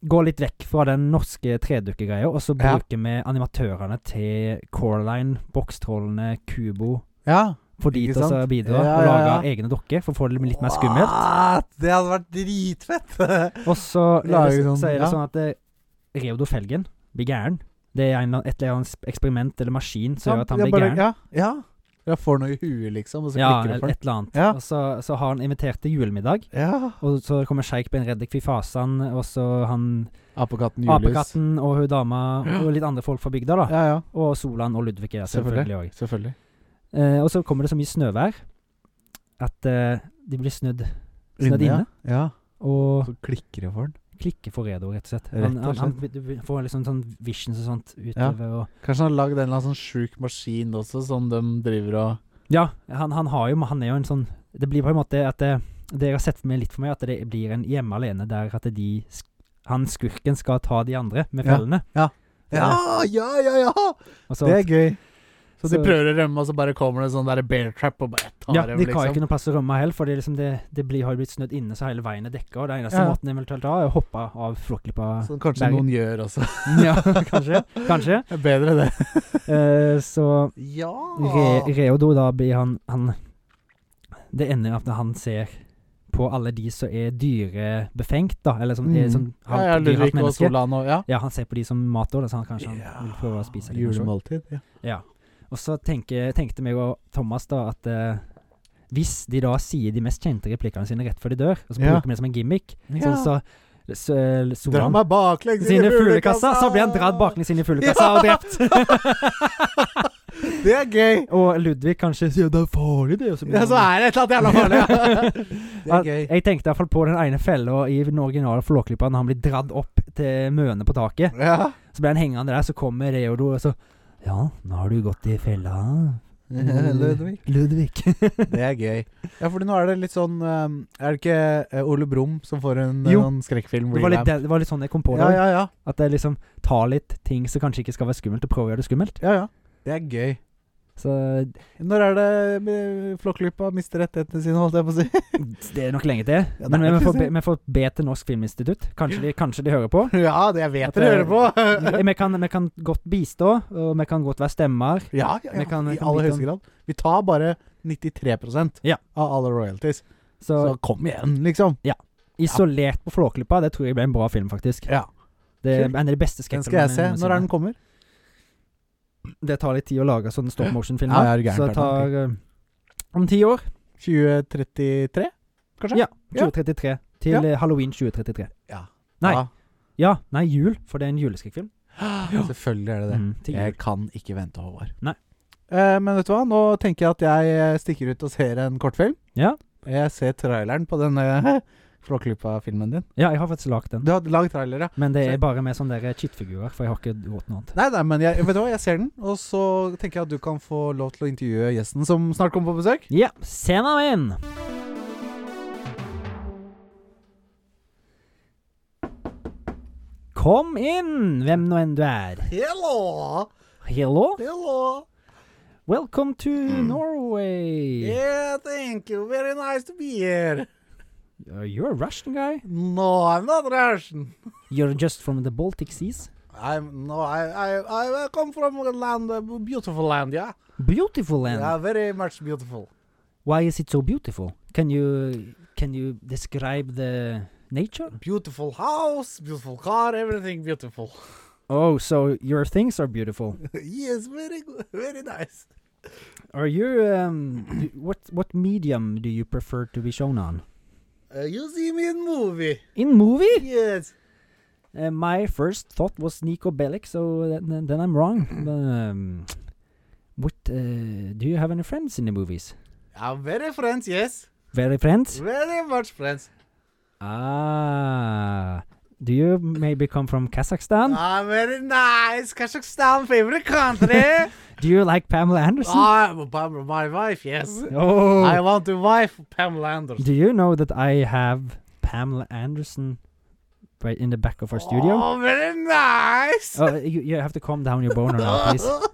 Speaker 2: gå litt vekk fra den norske tredukkegreia, og så
Speaker 1: Ja.
Speaker 2: bruker vi animatørene til Coraline, Bokstrålene, Kubo
Speaker 1: ja.
Speaker 2: For de
Speaker 1: Ikke
Speaker 2: til å
Speaker 1: sant?
Speaker 2: bidra
Speaker 1: Ja,
Speaker 2: og
Speaker 1: ja,
Speaker 2: lage
Speaker 1: ja.
Speaker 2: egne dokker, for å få det litt mer skummelt.
Speaker 1: What? Det hadde vært dritfett!
Speaker 2: Og så, er
Speaker 1: Lager
Speaker 2: det,
Speaker 1: sånn,
Speaker 2: så er det
Speaker 1: ja.
Speaker 2: sånn at eh, Reodor Felgen blir gæren. Det er en, eller annen- et eller annet eksperiment eller maskin som gjør at han
Speaker 1: Ja,
Speaker 2: blir
Speaker 1: bare-
Speaker 2: gæren.
Speaker 1: Ja. ja. Jeg får noe i huet, liksom, og så
Speaker 2: Ja,
Speaker 1: klikker det
Speaker 2: eller
Speaker 1: for den.
Speaker 2: et eller annet.
Speaker 1: Ja.
Speaker 2: Og så, så har han invitert til julemiddag,
Speaker 1: Ja.
Speaker 2: og så kommer Sjeik Ben Reddik Fifasan, og så han
Speaker 1: Apekatten Julius.
Speaker 2: Apekatten og hun dama og litt andre folk fra bygda, da.
Speaker 1: Ja, ja.
Speaker 2: Og Solan og Ludvig er selvfølgelig òg.
Speaker 1: Selvfølgelig.
Speaker 2: Eh, og så kommer det så mye snøvær at eh, de blir snødd, snødd inne.
Speaker 1: Ja. ja. Og
Speaker 2: Og
Speaker 1: så klikker det for den.
Speaker 2: klikker for Redo, rett og slett.
Speaker 1: Rett og
Speaker 2: Han, han, han du- du får liksom sånn visions og sånt utover. Og,
Speaker 1: Kanskje han har lagd en eller annen sånn sjuk maskin også, som de driver og
Speaker 2: ja, han, han har jo Han er jo en sånn Det blir på en måte at det, det jeg har sett for meg litt for meg, at det blir en hjemme alene der at de sk- Han skurken skal ta de andre med
Speaker 1: Ja.
Speaker 2: fellene.
Speaker 1: Ja.
Speaker 2: Ja.
Speaker 1: ja, ja! ja.
Speaker 2: Og så,
Speaker 1: Det er gøy. Så, de
Speaker 2: Så-
Speaker 1: prøver å rømme, og så bare kommer det en sånn der bear trap og bare tar
Speaker 2: Ja,
Speaker 1: dem,
Speaker 2: de kan jo
Speaker 1: liksom.
Speaker 2: ikke noe plass å rømme heller, for det, er liksom det, det blir, har jo blitt snødd inne så hele veien er dekka, og det eneste
Speaker 1: Ja.
Speaker 2: måten de eventuelt har, er å hoppe av flåklypa.
Speaker 1: Som kanskje
Speaker 2: Bergen.
Speaker 1: noen gjør også.
Speaker 2: ja, kanskje. Kanskje.
Speaker 1: Det er Bedre det.
Speaker 2: Eh, så
Speaker 1: Ja!
Speaker 2: Re, Reodo, da blir han, han Det ender at han ser på alle de som er dyrebefengt, da, eller som
Speaker 1: Mm.
Speaker 2: er sånn
Speaker 1: ja, ja,
Speaker 2: halvt dyr,
Speaker 1: Ludvig
Speaker 2: halvt
Speaker 1: og
Speaker 2: menneske.
Speaker 1: Solan og ja.
Speaker 2: Ja, han ser på de som mat òg, så han kanskje han vil prøve å spise dem. kanskje.
Speaker 1: Julemåltid. Ja.
Speaker 2: Ja. Og så tenker, tenkte meg og Thomas da at eh, hvis de da sier de mest kjente replikkene sine rett før de dør, og så
Speaker 1: Ja.
Speaker 2: bruker vi det som en gimmick
Speaker 1: Ja.
Speaker 2: Sånn så, så
Speaker 1: Dra
Speaker 2: Solan
Speaker 1: meg baklengs inn
Speaker 2: sine
Speaker 1: i
Speaker 2: fuglekasser, så blir han dratt baklengs inn i fuglekassa og drept.
Speaker 1: Det er gøy!
Speaker 2: og Ludvig kanskje sier 'det er farlig', det. Og så blir
Speaker 1: Ja, så
Speaker 2: han-
Speaker 1: er det et eller annet jævla farlig. Det
Speaker 2: Ja,
Speaker 1: er gøy.
Speaker 2: Jeg tenkte iallfall på den ene fella i den originale Flåklypa, når han blir dratt opp til mønet på taket.
Speaker 1: Ja.
Speaker 2: Så blir han hengende der, så kommer Reodor og så Ja, nå har du gått i fella.
Speaker 1: Ludvig.
Speaker 2: Ludvig.
Speaker 1: Mm. Det er gøy. Ja, fordi nå er det litt sånn um, Er det ikke eh, Ole Brumm som får en
Speaker 2: Jo.
Speaker 1: sånn skrekkfilm?
Speaker 2: Det var, litt,
Speaker 1: revamp?
Speaker 2: det var litt sånn jeg kom på det.
Speaker 1: Ja, ja, ja.
Speaker 2: At jeg liksom tar litt ting som kanskje ikke skal være skummelt, og prøver å gjøre det skummelt.
Speaker 1: ja, ja. Det er gøy.
Speaker 2: Så
Speaker 1: Når er det eh, Flåklypa mister rettighetene sine, holdt jeg på å si?
Speaker 2: det er nok lenge til.
Speaker 1: Ja, det
Speaker 2: Men
Speaker 1: er
Speaker 2: vi
Speaker 1: nok
Speaker 2: får,
Speaker 1: det.
Speaker 2: be, vi får be til Norsk Filminstitutt. Kanskje de, kanskje de hører på.
Speaker 1: ja, det jeg
Speaker 2: At
Speaker 1: vet dere
Speaker 2: det-
Speaker 1: hører på!
Speaker 2: Vi vi kan, vi kan godt bistå, og vi kan godt være stemmer.
Speaker 1: ja, ja, ja.
Speaker 2: Vi kan-
Speaker 1: i
Speaker 2: vi kan
Speaker 1: aller
Speaker 2: bytte
Speaker 1: høyeste grad. Vi tar bare 93
Speaker 2: Ja.
Speaker 1: av alle royalties.
Speaker 2: Så,
Speaker 1: Så kom igjen, liksom.
Speaker 2: isolert på Flåklypa, det tror jeg ble en bra film, faktisk.
Speaker 1: Ja.
Speaker 2: Det er
Speaker 1: Kult.
Speaker 2: en av de beste
Speaker 1: Den skal jeg se.
Speaker 2: skrekkfilmene.
Speaker 1: Når er den kommer?
Speaker 2: Det tar litt tid å lage sånne stop motion-filmer.
Speaker 1: Ja, ja, er du gæren,
Speaker 2: så det tar eh, om ti år.
Speaker 1: 2033?
Speaker 2: Ja.
Speaker 1: Ja.
Speaker 2: 2033. Til
Speaker 1: Ja.
Speaker 2: eh, halloween 2033.
Speaker 1: Ja.
Speaker 2: Nei.
Speaker 1: Ja.
Speaker 2: Ja, nei, jul, for det er en juleskrekkfilm.
Speaker 1: Selvfølgelig er det det.
Speaker 2: Mm, til jul.
Speaker 1: Jeg kan ikke vente, Håvard.
Speaker 2: Nei.
Speaker 1: Eh, men vet du hva, nå tenker jeg at jeg eh, stikker ut og ser en kortfilm.
Speaker 2: Ja.
Speaker 1: Jeg ser traileren på denne Flåklypa-filmen din.
Speaker 2: Ja, jeg har faktisk lagd den.
Speaker 1: Du har lagd trailer, ja.
Speaker 2: Men det
Speaker 1: Så-
Speaker 2: er bare med sånne der kittfigurer, for jeg har ikke råd til noe annet.
Speaker 1: Nei, nei, men jeg, vet du hva, jeg ser den, og så tenker jeg at du kan få lov til å intervjue gjesten som snart kommer på besøk.
Speaker 2: Ja, scenen er min! Kom inn, hvem nå enn du er.
Speaker 1: Hello!
Speaker 2: Hello,
Speaker 1: Hello!
Speaker 2: welcome to Norway.
Speaker 1: Yeah, thank you. Very nice to be here.
Speaker 2: Uh, you're a Russian guy?
Speaker 1: No, I'm not Russian.
Speaker 2: You're just from the Baltic Seas?
Speaker 1: I'm no, I I I come from a land, a beautiful land, yeah.
Speaker 2: Beautiful land.
Speaker 1: very much beautiful.
Speaker 2: Why is it so beautiful? Can you can you describe the nature?
Speaker 1: Beautiful house, beautiful car, everything beautiful.
Speaker 2: Oh, so your things are beautiful.
Speaker 1: yes, very good, very nice.
Speaker 2: Are you um do- what what medium do you prefer to be shown on?
Speaker 1: Uh, you see me in movie.
Speaker 2: In movie?
Speaker 1: Yes.
Speaker 2: Uh, my first thought was Nico Bellic, so then, then- then I'm wrong.
Speaker 1: Mm-hmm.
Speaker 2: um, what uh, do you have any friends in the movies?
Speaker 1: I'm very friends, yes.
Speaker 2: Very friends?
Speaker 1: Very much friends.
Speaker 2: Ah, do you maybe come from Kazakhstan?
Speaker 1: Ah, very nice. Kazakhstan, favorite country.
Speaker 2: Do you like Pamela Anderson?
Speaker 1: ah, but my wife, yes.
Speaker 2: oh,
Speaker 1: I want to wife Pamela Anderson.
Speaker 2: Do you know that I have Pamela Anderson right in the back of our studio?
Speaker 1: Oh, very nice.
Speaker 2: Oh, you, you have to calm down your boner now, Oh, please.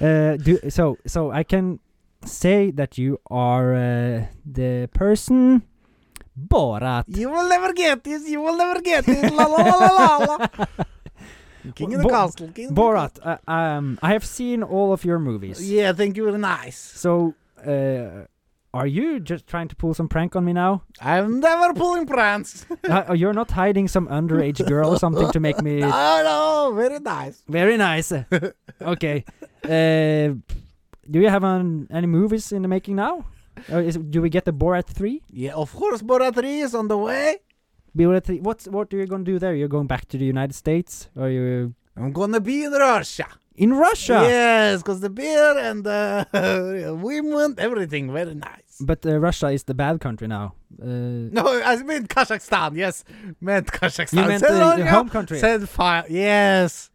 Speaker 2: Uh, do so. So I can say that you are uh, the person Borat.
Speaker 1: You will never get this. You will never get this. La la la la la. la. King of the
Speaker 2: Bo-
Speaker 1: castle. King of the
Speaker 2: Borat. Uh, um, I have seen all of your movies.
Speaker 1: castle. Yeah, thank you. Very nice.
Speaker 2: So, uh, are you just trying to pull some prank on me now?
Speaker 1: I'm never pulling pranks.
Speaker 2: uh, you're not hiding some underage girl or something to make me
Speaker 1: Oh no, very nice.
Speaker 2: Very nice. okay. Uh, do you have an, any movies in the making now? Or is, do we get the Borat 3?
Speaker 1: Yeah, of course, Borat 3 is on the way.
Speaker 2: Borat 3. What's, what are you going to do there? You're going back to the United States? Or you
Speaker 1: I'm gonna be in Russia.
Speaker 2: in Russia?
Speaker 1: Yes, because the beer and the women, everything very nice.
Speaker 2: But uh, Russia is the bad country now. Uh,
Speaker 1: No, I meant Kazakhstan. Yes, meant Kazakhstan.
Speaker 2: You meant
Speaker 1: Said
Speaker 2: the, the
Speaker 1: Russia,
Speaker 2: home country.
Speaker 1: Said fire. Yes.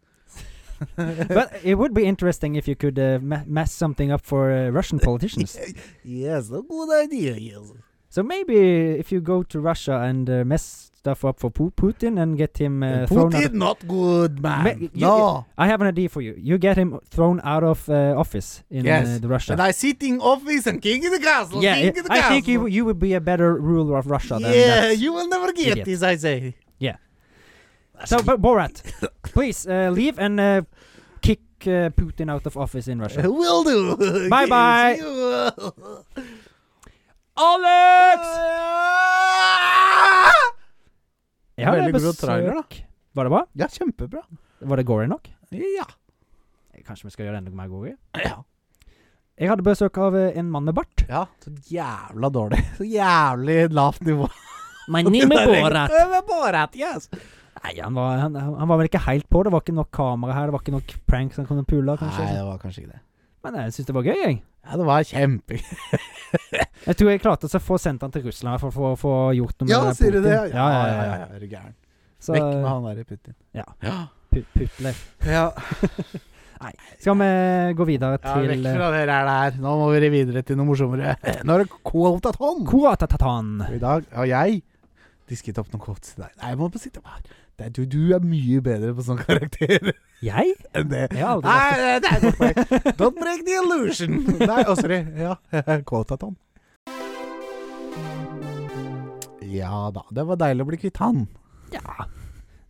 Speaker 2: but it would be interesting if you could uh, ma- mess something up for uh, Russian politicians.
Speaker 1: Yes, a good idea. Yes.
Speaker 2: So maybe if you go to Russia and uh, mess stuff up for Pu- Putin and get him uh, thrown out
Speaker 1: Putin, not good man.
Speaker 2: Ma- you-
Speaker 1: no.
Speaker 2: I have an idea for you. You get him thrown out of uh, office in uh,
Speaker 1: Yes.
Speaker 2: the Russia.
Speaker 1: and I sit in office and king in the castle.
Speaker 2: yeah,
Speaker 1: king
Speaker 2: yeah,
Speaker 1: in the
Speaker 2: I
Speaker 1: castle.
Speaker 2: think you you would be a better ruler of Russia than
Speaker 1: Yeah,
Speaker 2: that.
Speaker 1: you will never get
Speaker 2: idiot.
Speaker 1: this. I say.
Speaker 2: Yeah. so, but Borat, please uh, leave and uh, kick uh, Putin out of office in Russia.
Speaker 1: Will do.
Speaker 2: Bye
Speaker 1: Yes,
Speaker 2: bye.
Speaker 1: you will.
Speaker 2: Alex! Jeg har
Speaker 1: Veldig
Speaker 2: det
Speaker 1: bra trailer, da.
Speaker 2: besøk. Var det bra?
Speaker 1: Ja, kjempebra.
Speaker 2: Var det gory nok?
Speaker 1: Ja.
Speaker 2: Kanskje vi skal gjøre det enda mer gory?
Speaker 1: ja.
Speaker 2: Jeg hadde besøk av eh, en mann med bart.
Speaker 1: Ja, så jævla dårlig. Så jævlig lavt nivå.
Speaker 2: My name is Borat.
Speaker 1: Eh, med Borat, yes.
Speaker 2: Nei, han var, han, han var vel ikke helt på. Det var ikke nok kamera her. Det var ikke nok pranks han kunne pule, kanskje.
Speaker 1: Nei, det var kanskje ikke det.
Speaker 2: Men jeg syns det var gøy, jeg.
Speaker 1: Ja, det var kjempe...
Speaker 2: Jeg tror jeg klarte å få sendt han til Russland for å få- få gjort noe med
Speaker 1: Ja,
Speaker 2: det.
Speaker 1: sier du det?
Speaker 2: Putin. Ja, ja, ja. ja.
Speaker 1: Er du gæren.
Speaker 2: Så,
Speaker 1: Vekk med han der i Putin.
Speaker 2: Ja.
Speaker 1: Ja.
Speaker 2: Pu Putler.
Speaker 1: ja.
Speaker 2: Nei. Skal vi gå videre
Speaker 1: Ja,
Speaker 2: til eh,
Speaker 1: vekk fra det der. der. Nå må vi videre til noe morsommere. Nå er det
Speaker 2: eh,
Speaker 1: Quotaton!
Speaker 2: Koatatatan.
Speaker 1: Og i dag har jeg disket opp noen quotes til deg. Nei, jeg må bare sitte her. Det er, du, du er mye bedre på sånne karakterer
Speaker 2: Jeg?
Speaker 1: enn det.
Speaker 2: Jeg har aldri
Speaker 1: Nei,
Speaker 2: vært
Speaker 1: det det er godt poeng. Don't break the illusion. Nei, å, sorry. Ja, Quotaton. Ja da. Det var deilig å bli kvitt han.
Speaker 2: Ja.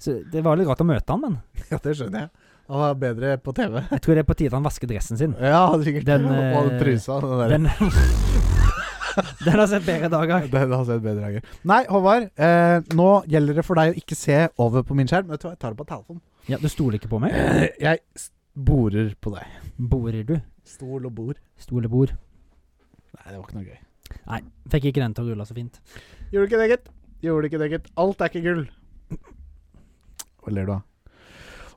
Speaker 2: Så det var litt rart å møte han, men
Speaker 1: Ja, det skjønner jeg. Han var bedre på TV.
Speaker 2: jeg tror det er på tide han vasker dressen sin.
Speaker 1: Ja, sikkert.
Speaker 2: Den,
Speaker 1: og
Speaker 2: eh,
Speaker 1: trusa. Den der.
Speaker 2: Den, den har sett bedre dager.
Speaker 1: Den har sett bedre dager. Nei, Håvard. Eh, nå gjelder det for deg å ikke se over på min skjerm. Vet du hva, jeg tar det på telefonen.
Speaker 2: Ja, Du stoler ikke på meg?
Speaker 1: Eh, Jeg s- borer på deg.
Speaker 2: Borer du?
Speaker 1: Stol og bord.
Speaker 2: Stolebord.
Speaker 1: Nei, det var ikke noe gøy.
Speaker 2: Fikk ikke den til å rulle så fint.
Speaker 1: Gjorde ikke det, gitt. Gjorde ikke det, gitt. Alt er ikke gull. Hva ler du av?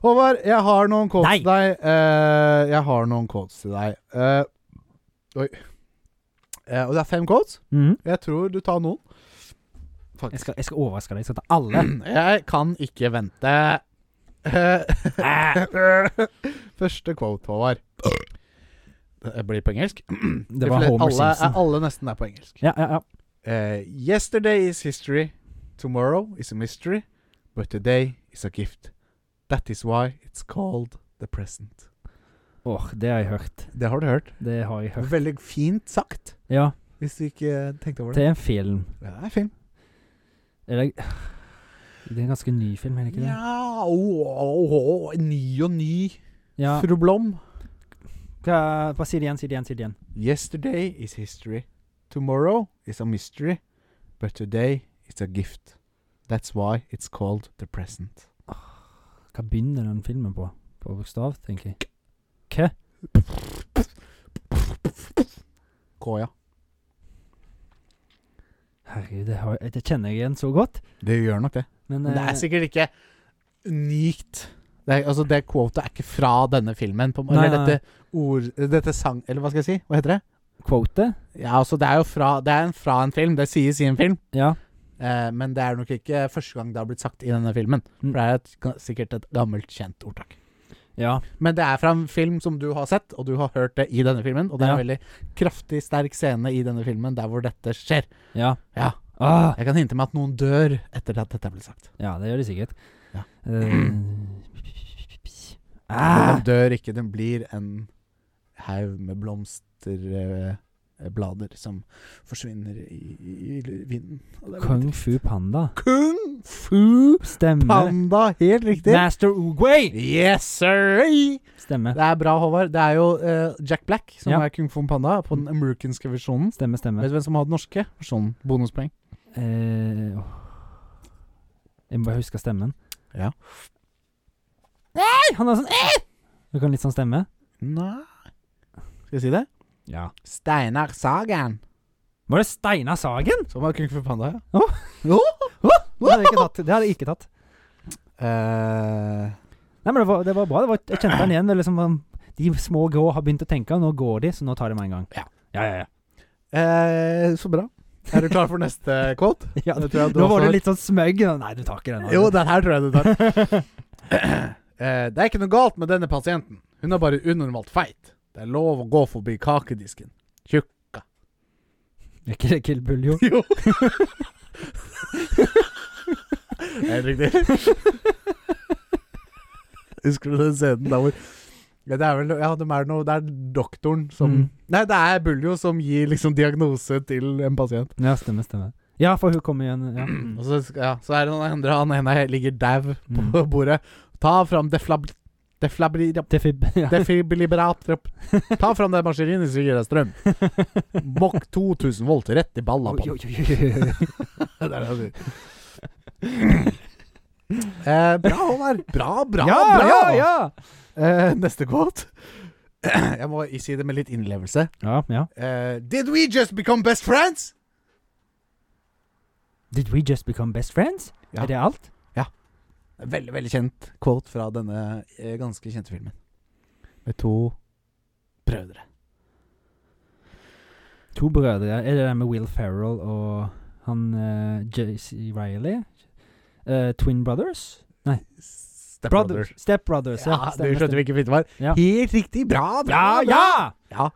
Speaker 1: Håvard, jeg har noen quotes
Speaker 2: Nei.
Speaker 1: til deg. Eh, jeg har noen quotes til deg. Eh, oi. Eh, og det er fem quotes.
Speaker 2: Mhm.
Speaker 1: Jeg tror du tar noen.
Speaker 2: jeg, skal, jeg skal overraske deg. Jeg skal ta alle.
Speaker 1: Jeg kan ikke vente. Eh,
Speaker 2: Æ,
Speaker 1: Første quote, Håvard. Det blir på engelsk.
Speaker 2: Det var Homer
Speaker 1: Mm. alle,
Speaker 2: Simpson.
Speaker 1: er, alle nesten er på engelsk.
Speaker 2: Ja, ja, ja.
Speaker 1: Eh, yesterday is history. Tomorrow is a mystery. But today is a gift. That is why it's called the present.
Speaker 2: Åh, det har jeg hørt.
Speaker 1: Det har du hørt.
Speaker 2: Det har jeg hørt.
Speaker 1: Veldig fint sagt,
Speaker 2: Ja,
Speaker 1: hvis du ikke eh, tenkte over det.
Speaker 2: det er en film.
Speaker 1: Ja, Det er fint.
Speaker 2: Eller Det er en ganske ny film, er det ikke det?
Speaker 1: Ja, å, å, å, ny og ny,
Speaker 2: Ja.
Speaker 1: fru Blom.
Speaker 2: Hva, hva sier det igjen, sier det igjen, sier det igjen?
Speaker 1: Yesterday is history. Tomorrow is a mystery. But today is a gift. That's why it's called the present.
Speaker 2: Hva begynner den filmen på? På bokstav, tenker jeg. Hva?
Speaker 1: K, ja.
Speaker 2: Herregud, det, har, det kjenner jeg igjen så godt.
Speaker 1: Det gjør nok det.
Speaker 2: Men
Speaker 1: Men det er
Speaker 2: eh,
Speaker 1: sikkert ikke unikt. Det, er, altså det quotet er ikke fra denne filmen. På,
Speaker 2: Nei,
Speaker 1: eller
Speaker 2: nei.
Speaker 1: dette ord... Dette sang... Eller hva skal jeg si? Hva heter det?
Speaker 2: quote?
Speaker 1: Ja, altså det er jo fra Det er en, fra en film. Det sies i en film.
Speaker 2: Ja.
Speaker 1: Eh, men det er nok ikke første gang det har blitt sagt i denne filmen.
Speaker 2: Mm.
Speaker 1: For det er et, ga- sikkert et gammelt, kjent ordtak.
Speaker 2: Ja.
Speaker 1: Men det er fra en film som du har sett, og du har hørt det i denne filmen. Og det er en
Speaker 2: Ja.
Speaker 1: veldig kraftig, sterk scene i denne filmen der hvor dette skjer.
Speaker 2: Ja.
Speaker 1: Ja.
Speaker 2: Ah,
Speaker 1: Jeg kan hinte med at noen dør etter at dette ble sagt.
Speaker 2: ja, det gjør det sikkert.
Speaker 1: Ja.
Speaker 2: Eh,
Speaker 1: Den
Speaker 2: ah,
Speaker 1: dør ikke, den blir en haug med blomsterblader som forsvinner i, i, i vinden. Og det er
Speaker 2: Kung
Speaker 1: veldig
Speaker 2: Fu Panda.
Speaker 1: trist. Kung Fu
Speaker 2: Stemmer.
Speaker 1: Panda, helt riktig.
Speaker 2: Master Oogway!
Speaker 1: Yes, sir!
Speaker 2: Stemmer.
Speaker 1: Det er bra, Håvard. Det er jo eh, Jack Black som
Speaker 2: Ja.
Speaker 1: er Kung Fu Panda på den amerikanske versjonen.
Speaker 2: Stemmer, stemmer.
Speaker 1: Vet du hvem som har den norske versjonen? Bonuspoeng.
Speaker 2: Eh, åh. jeg må bare huske stemmen.
Speaker 1: Ja.
Speaker 2: Nei, han er sånn eh! Du kan litt sånn stemme?
Speaker 1: Nei Skal jeg si det?
Speaker 2: Ja.
Speaker 1: Steinar Sagen.
Speaker 2: Var det Steinar Sagen?
Speaker 1: Som var Kung Fu Panda, ja.
Speaker 2: Det hadde jeg ikke tatt. Det hadde jeg ikke tatt.
Speaker 1: Eh,
Speaker 2: Nei, men det var, det var bra. Det var, jeg kjente han igjen. Det er liksom, um, de små grå har begynt å tenke, nå går de, så nå tar de meg en gang.
Speaker 1: Ja.
Speaker 2: ja, ja. ja.
Speaker 1: eh, så bra. Er du klar for neste quote?
Speaker 2: Ja,
Speaker 1: Det tror jeg du
Speaker 2: nå
Speaker 1: også
Speaker 2: var
Speaker 1: har.
Speaker 2: du litt sånn smøgg. Nei, du tar ikke den.
Speaker 1: Jo, den her tror jeg du tar. Eh, det er ikke noe galt med denne pasienten. Hun er bare unormalt feit. Det er lov å gå forbi kakedisken. Tjukka.
Speaker 2: Er ikke det Kill Bull, jo?
Speaker 1: Jo. Helt riktig. Husker du den scenen der hvor ja, det er vel ja, de er noe, det er doktoren som
Speaker 2: Mm.
Speaker 1: Nei, det er Buljo som gir liksom diagnose til en pasient.
Speaker 2: Ja, stemmer, stemmer. Ja, for hun kommer igjen. Ja.
Speaker 1: Mm. Og så, sk- ja, så er det noen andre. Han ene ligger dau på
Speaker 2: Mm.
Speaker 1: bordet. Ta fram deflab... deflabri...
Speaker 2: Defib. Ja.
Speaker 1: Defibrillator. Ta fram det maskineriet som gir deg strøm. Mokk 2000 volt rett i balla
Speaker 2: Oi,
Speaker 1: på
Speaker 2: oi,
Speaker 1: den.
Speaker 2: oi, oi.
Speaker 1: Det er det han sier. Eh, bra, Håvard. Bra, bra,
Speaker 2: ja,
Speaker 1: bra.
Speaker 2: ja, ja!
Speaker 1: Eh, neste quote. Jeg må si det med litt innlevelse.
Speaker 2: Ja, ja.
Speaker 1: Eh, Did we just become best friends?
Speaker 2: Did we just become best friends?
Speaker 1: Ja.
Speaker 2: Er det alt?
Speaker 1: Veldig, veldig kjent quote fra denne eh, ganske kjente filmen. Med to brødre.
Speaker 2: To brødre. Er det det med Will Ferrell og han eh, JC Riley? Eh, twin Brothers?
Speaker 1: S- Step
Speaker 2: Brothers.
Speaker 1: Brothers.
Speaker 2: Step Brothers, ja.
Speaker 1: Ja, du
Speaker 2: stemmer,
Speaker 1: skjønte
Speaker 2: stemmer.
Speaker 1: hvilken film det var?
Speaker 2: Ja.
Speaker 1: Helt riktig! Bra, bra!
Speaker 2: Ja,
Speaker 1: bra.
Speaker 2: ja!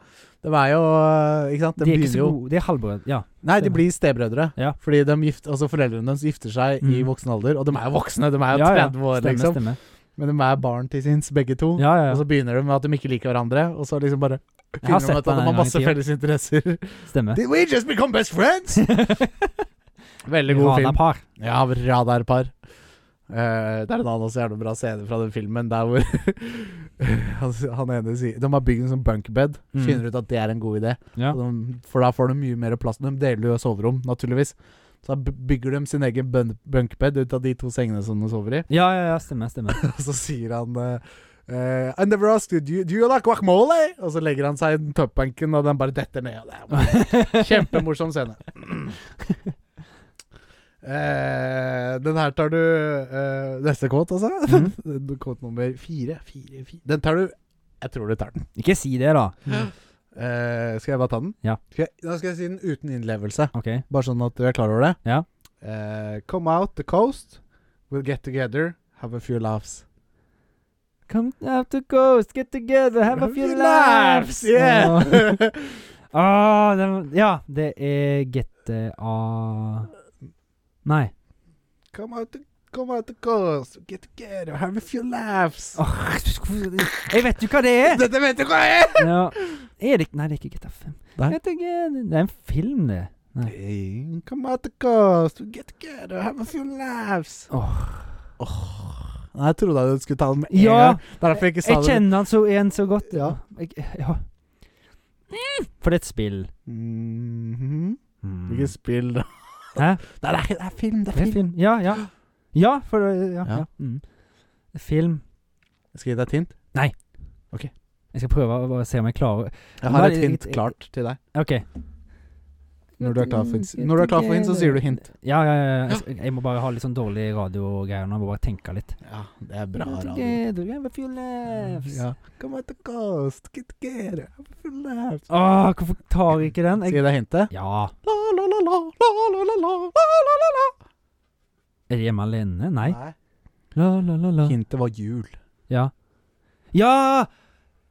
Speaker 1: De er jo øh, Ikke sant? De,
Speaker 2: De er ikke
Speaker 1: begynner
Speaker 2: så
Speaker 1: jo
Speaker 2: gode. De er halvbrødre. Ja.
Speaker 1: Nei, de
Speaker 2: stemmer.
Speaker 1: blir stebrødre.
Speaker 2: Ja.
Speaker 1: Fordi de gift, altså foreldrene deres gifter seg i
Speaker 2: Mm.
Speaker 1: voksen alder. Og de er jo voksne, de er jo
Speaker 2: ja, ja.
Speaker 1: 30 år,
Speaker 2: Stemmer,
Speaker 1: liksom.
Speaker 2: stemmer.
Speaker 1: Men de er barn til sinns, begge to.
Speaker 2: Ja, ja,
Speaker 1: Og
Speaker 2: ja.
Speaker 1: så begynner de med at de ikke liker hverandre, og så liksom bare
Speaker 2: Jeg har
Speaker 1: finner de ut
Speaker 2: sett
Speaker 1: at
Speaker 2: den
Speaker 1: de
Speaker 2: en
Speaker 1: har
Speaker 2: gang i
Speaker 1: masse
Speaker 2: tida.
Speaker 1: felles interesser.
Speaker 2: Stemmer.
Speaker 1: Did we just become best friends? Veldig god film.
Speaker 2: Radarpar.
Speaker 1: Ja, radarpar. Eh, det er en annen også jævlig bra scene fra den filmen der hvor han, han ene sier De har bygd en sånn bunkbed.
Speaker 2: Mm.
Speaker 1: Finner ut at det er en god idé.
Speaker 2: Ja.
Speaker 1: Og de, for da får de mye mer plass. De deler jo soverom, naturligvis. Så da b- bygger de sin egen bun- bunkbed ut av de to sengene som de sover i.
Speaker 2: ja, ja, ja. Stemmer, stemmer.
Speaker 1: Og så sier han eh, eh, I never asked you, do you, do you like guacamole? Og så legger han seg i den topbanken, og den bare detter ned. Og det er bare Kjempemorsom scene. Eh, den her tar du eh, Neste kåt, altså.
Speaker 2: Mhm.
Speaker 1: Kåt nummer fire, fire, fire. Den tar du Jeg tror du tar den.
Speaker 2: Ikke si det, da.
Speaker 1: Eh, skal jeg bare ta den?
Speaker 2: Ja.
Speaker 1: Skal jeg, da skal jeg si den uten innlevelse.
Speaker 2: OK.
Speaker 1: Bare sånn at du er klar over det.
Speaker 2: Ja.
Speaker 1: Eh, come out the coast, we'll get together, have a few laughs.
Speaker 2: Come out to ghost, get together, have a few laughs.
Speaker 1: Yeah!
Speaker 2: Åh, den, ja, det er GTA Nei.
Speaker 1: Come out the Come out the coast, get together, have a few laughs.
Speaker 2: Åh, jeg vet jo hva det er!
Speaker 1: Dette vet du hva jeg er!
Speaker 2: Ja. Er det Nei, det er ikke GTA 5.
Speaker 1: Nei.
Speaker 2: Get together. Det er en film, det.
Speaker 1: Hey, come out the coast, get together, have a few laughs.
Speaker 2: Åh.
Speaker 1: Oh. Nei, jeg trodde du skulle ta den med en
Speaker 2: Ja!
Speaker 1: gang. Derfor jeg ikke sa
Speaker 2: Jeg kjenner han så igjen så godt.
Speaker 1: Ja.
Speaker 2: Jeg, ja. For det er et spill.
Speaker 1: det. Mhm.
Speaker 2: Mm.
Speaker 1: Hvilket spill, da?
Speaker 2: Hæ?
Speaker 1: Nei, det er, det er film, det er
Speaker 2: Det er
Speaker 1: film.
Speaker 2: film. Ja, ja. Ja, for det- Ja.
Speaker 1: Ja.
Speaker 2: ja. Mm. Film.
Speaker 1: Jeg skal jeg gi deg et hint.
Speaker 2: Jeg skal prøve å- å se om jeg klarer
Speaker 1: Jeg har
Speaker 2: Nei,
Speaker 1: et
Speaker 2: jeg-
Speaker 1: hint
Speaker 2: jeg-
Speaker 1: klart til deg.
Speaker 2: OK.
Speaker 1: Når du er klar for, når du er klar for hint, så sier du hint.
Speaker 2: Ja, ja, ja. Jeg, s- jeg må bare ha litt sånn dårlig radio og greier nå. Jeg må bare tenke litt.
Speaker 1: Ja, det er bra radio.
Speaker 2: Together, we have a few laughs.
Speaker 1: Ja. Come out the coast, get together, have a few laughs.
Speaker 2: Åh, hvorfor tar jeg ikke den?
Speaker 1: Skal jeg
Speaker 2: Jeg,
Speaker 1: gi deg hintet?
Speaker 2: ja.
Speaker 1: La, la, la, la, la, la, la, la, la, la, la.
Speaker 2: Er det hjemme alene? Nei.
Speaker 1: Nei.
Speaker 2: La, la, la, la.
Speaker 1: Hintet var jul.
Speaker 2: Ja. Ja!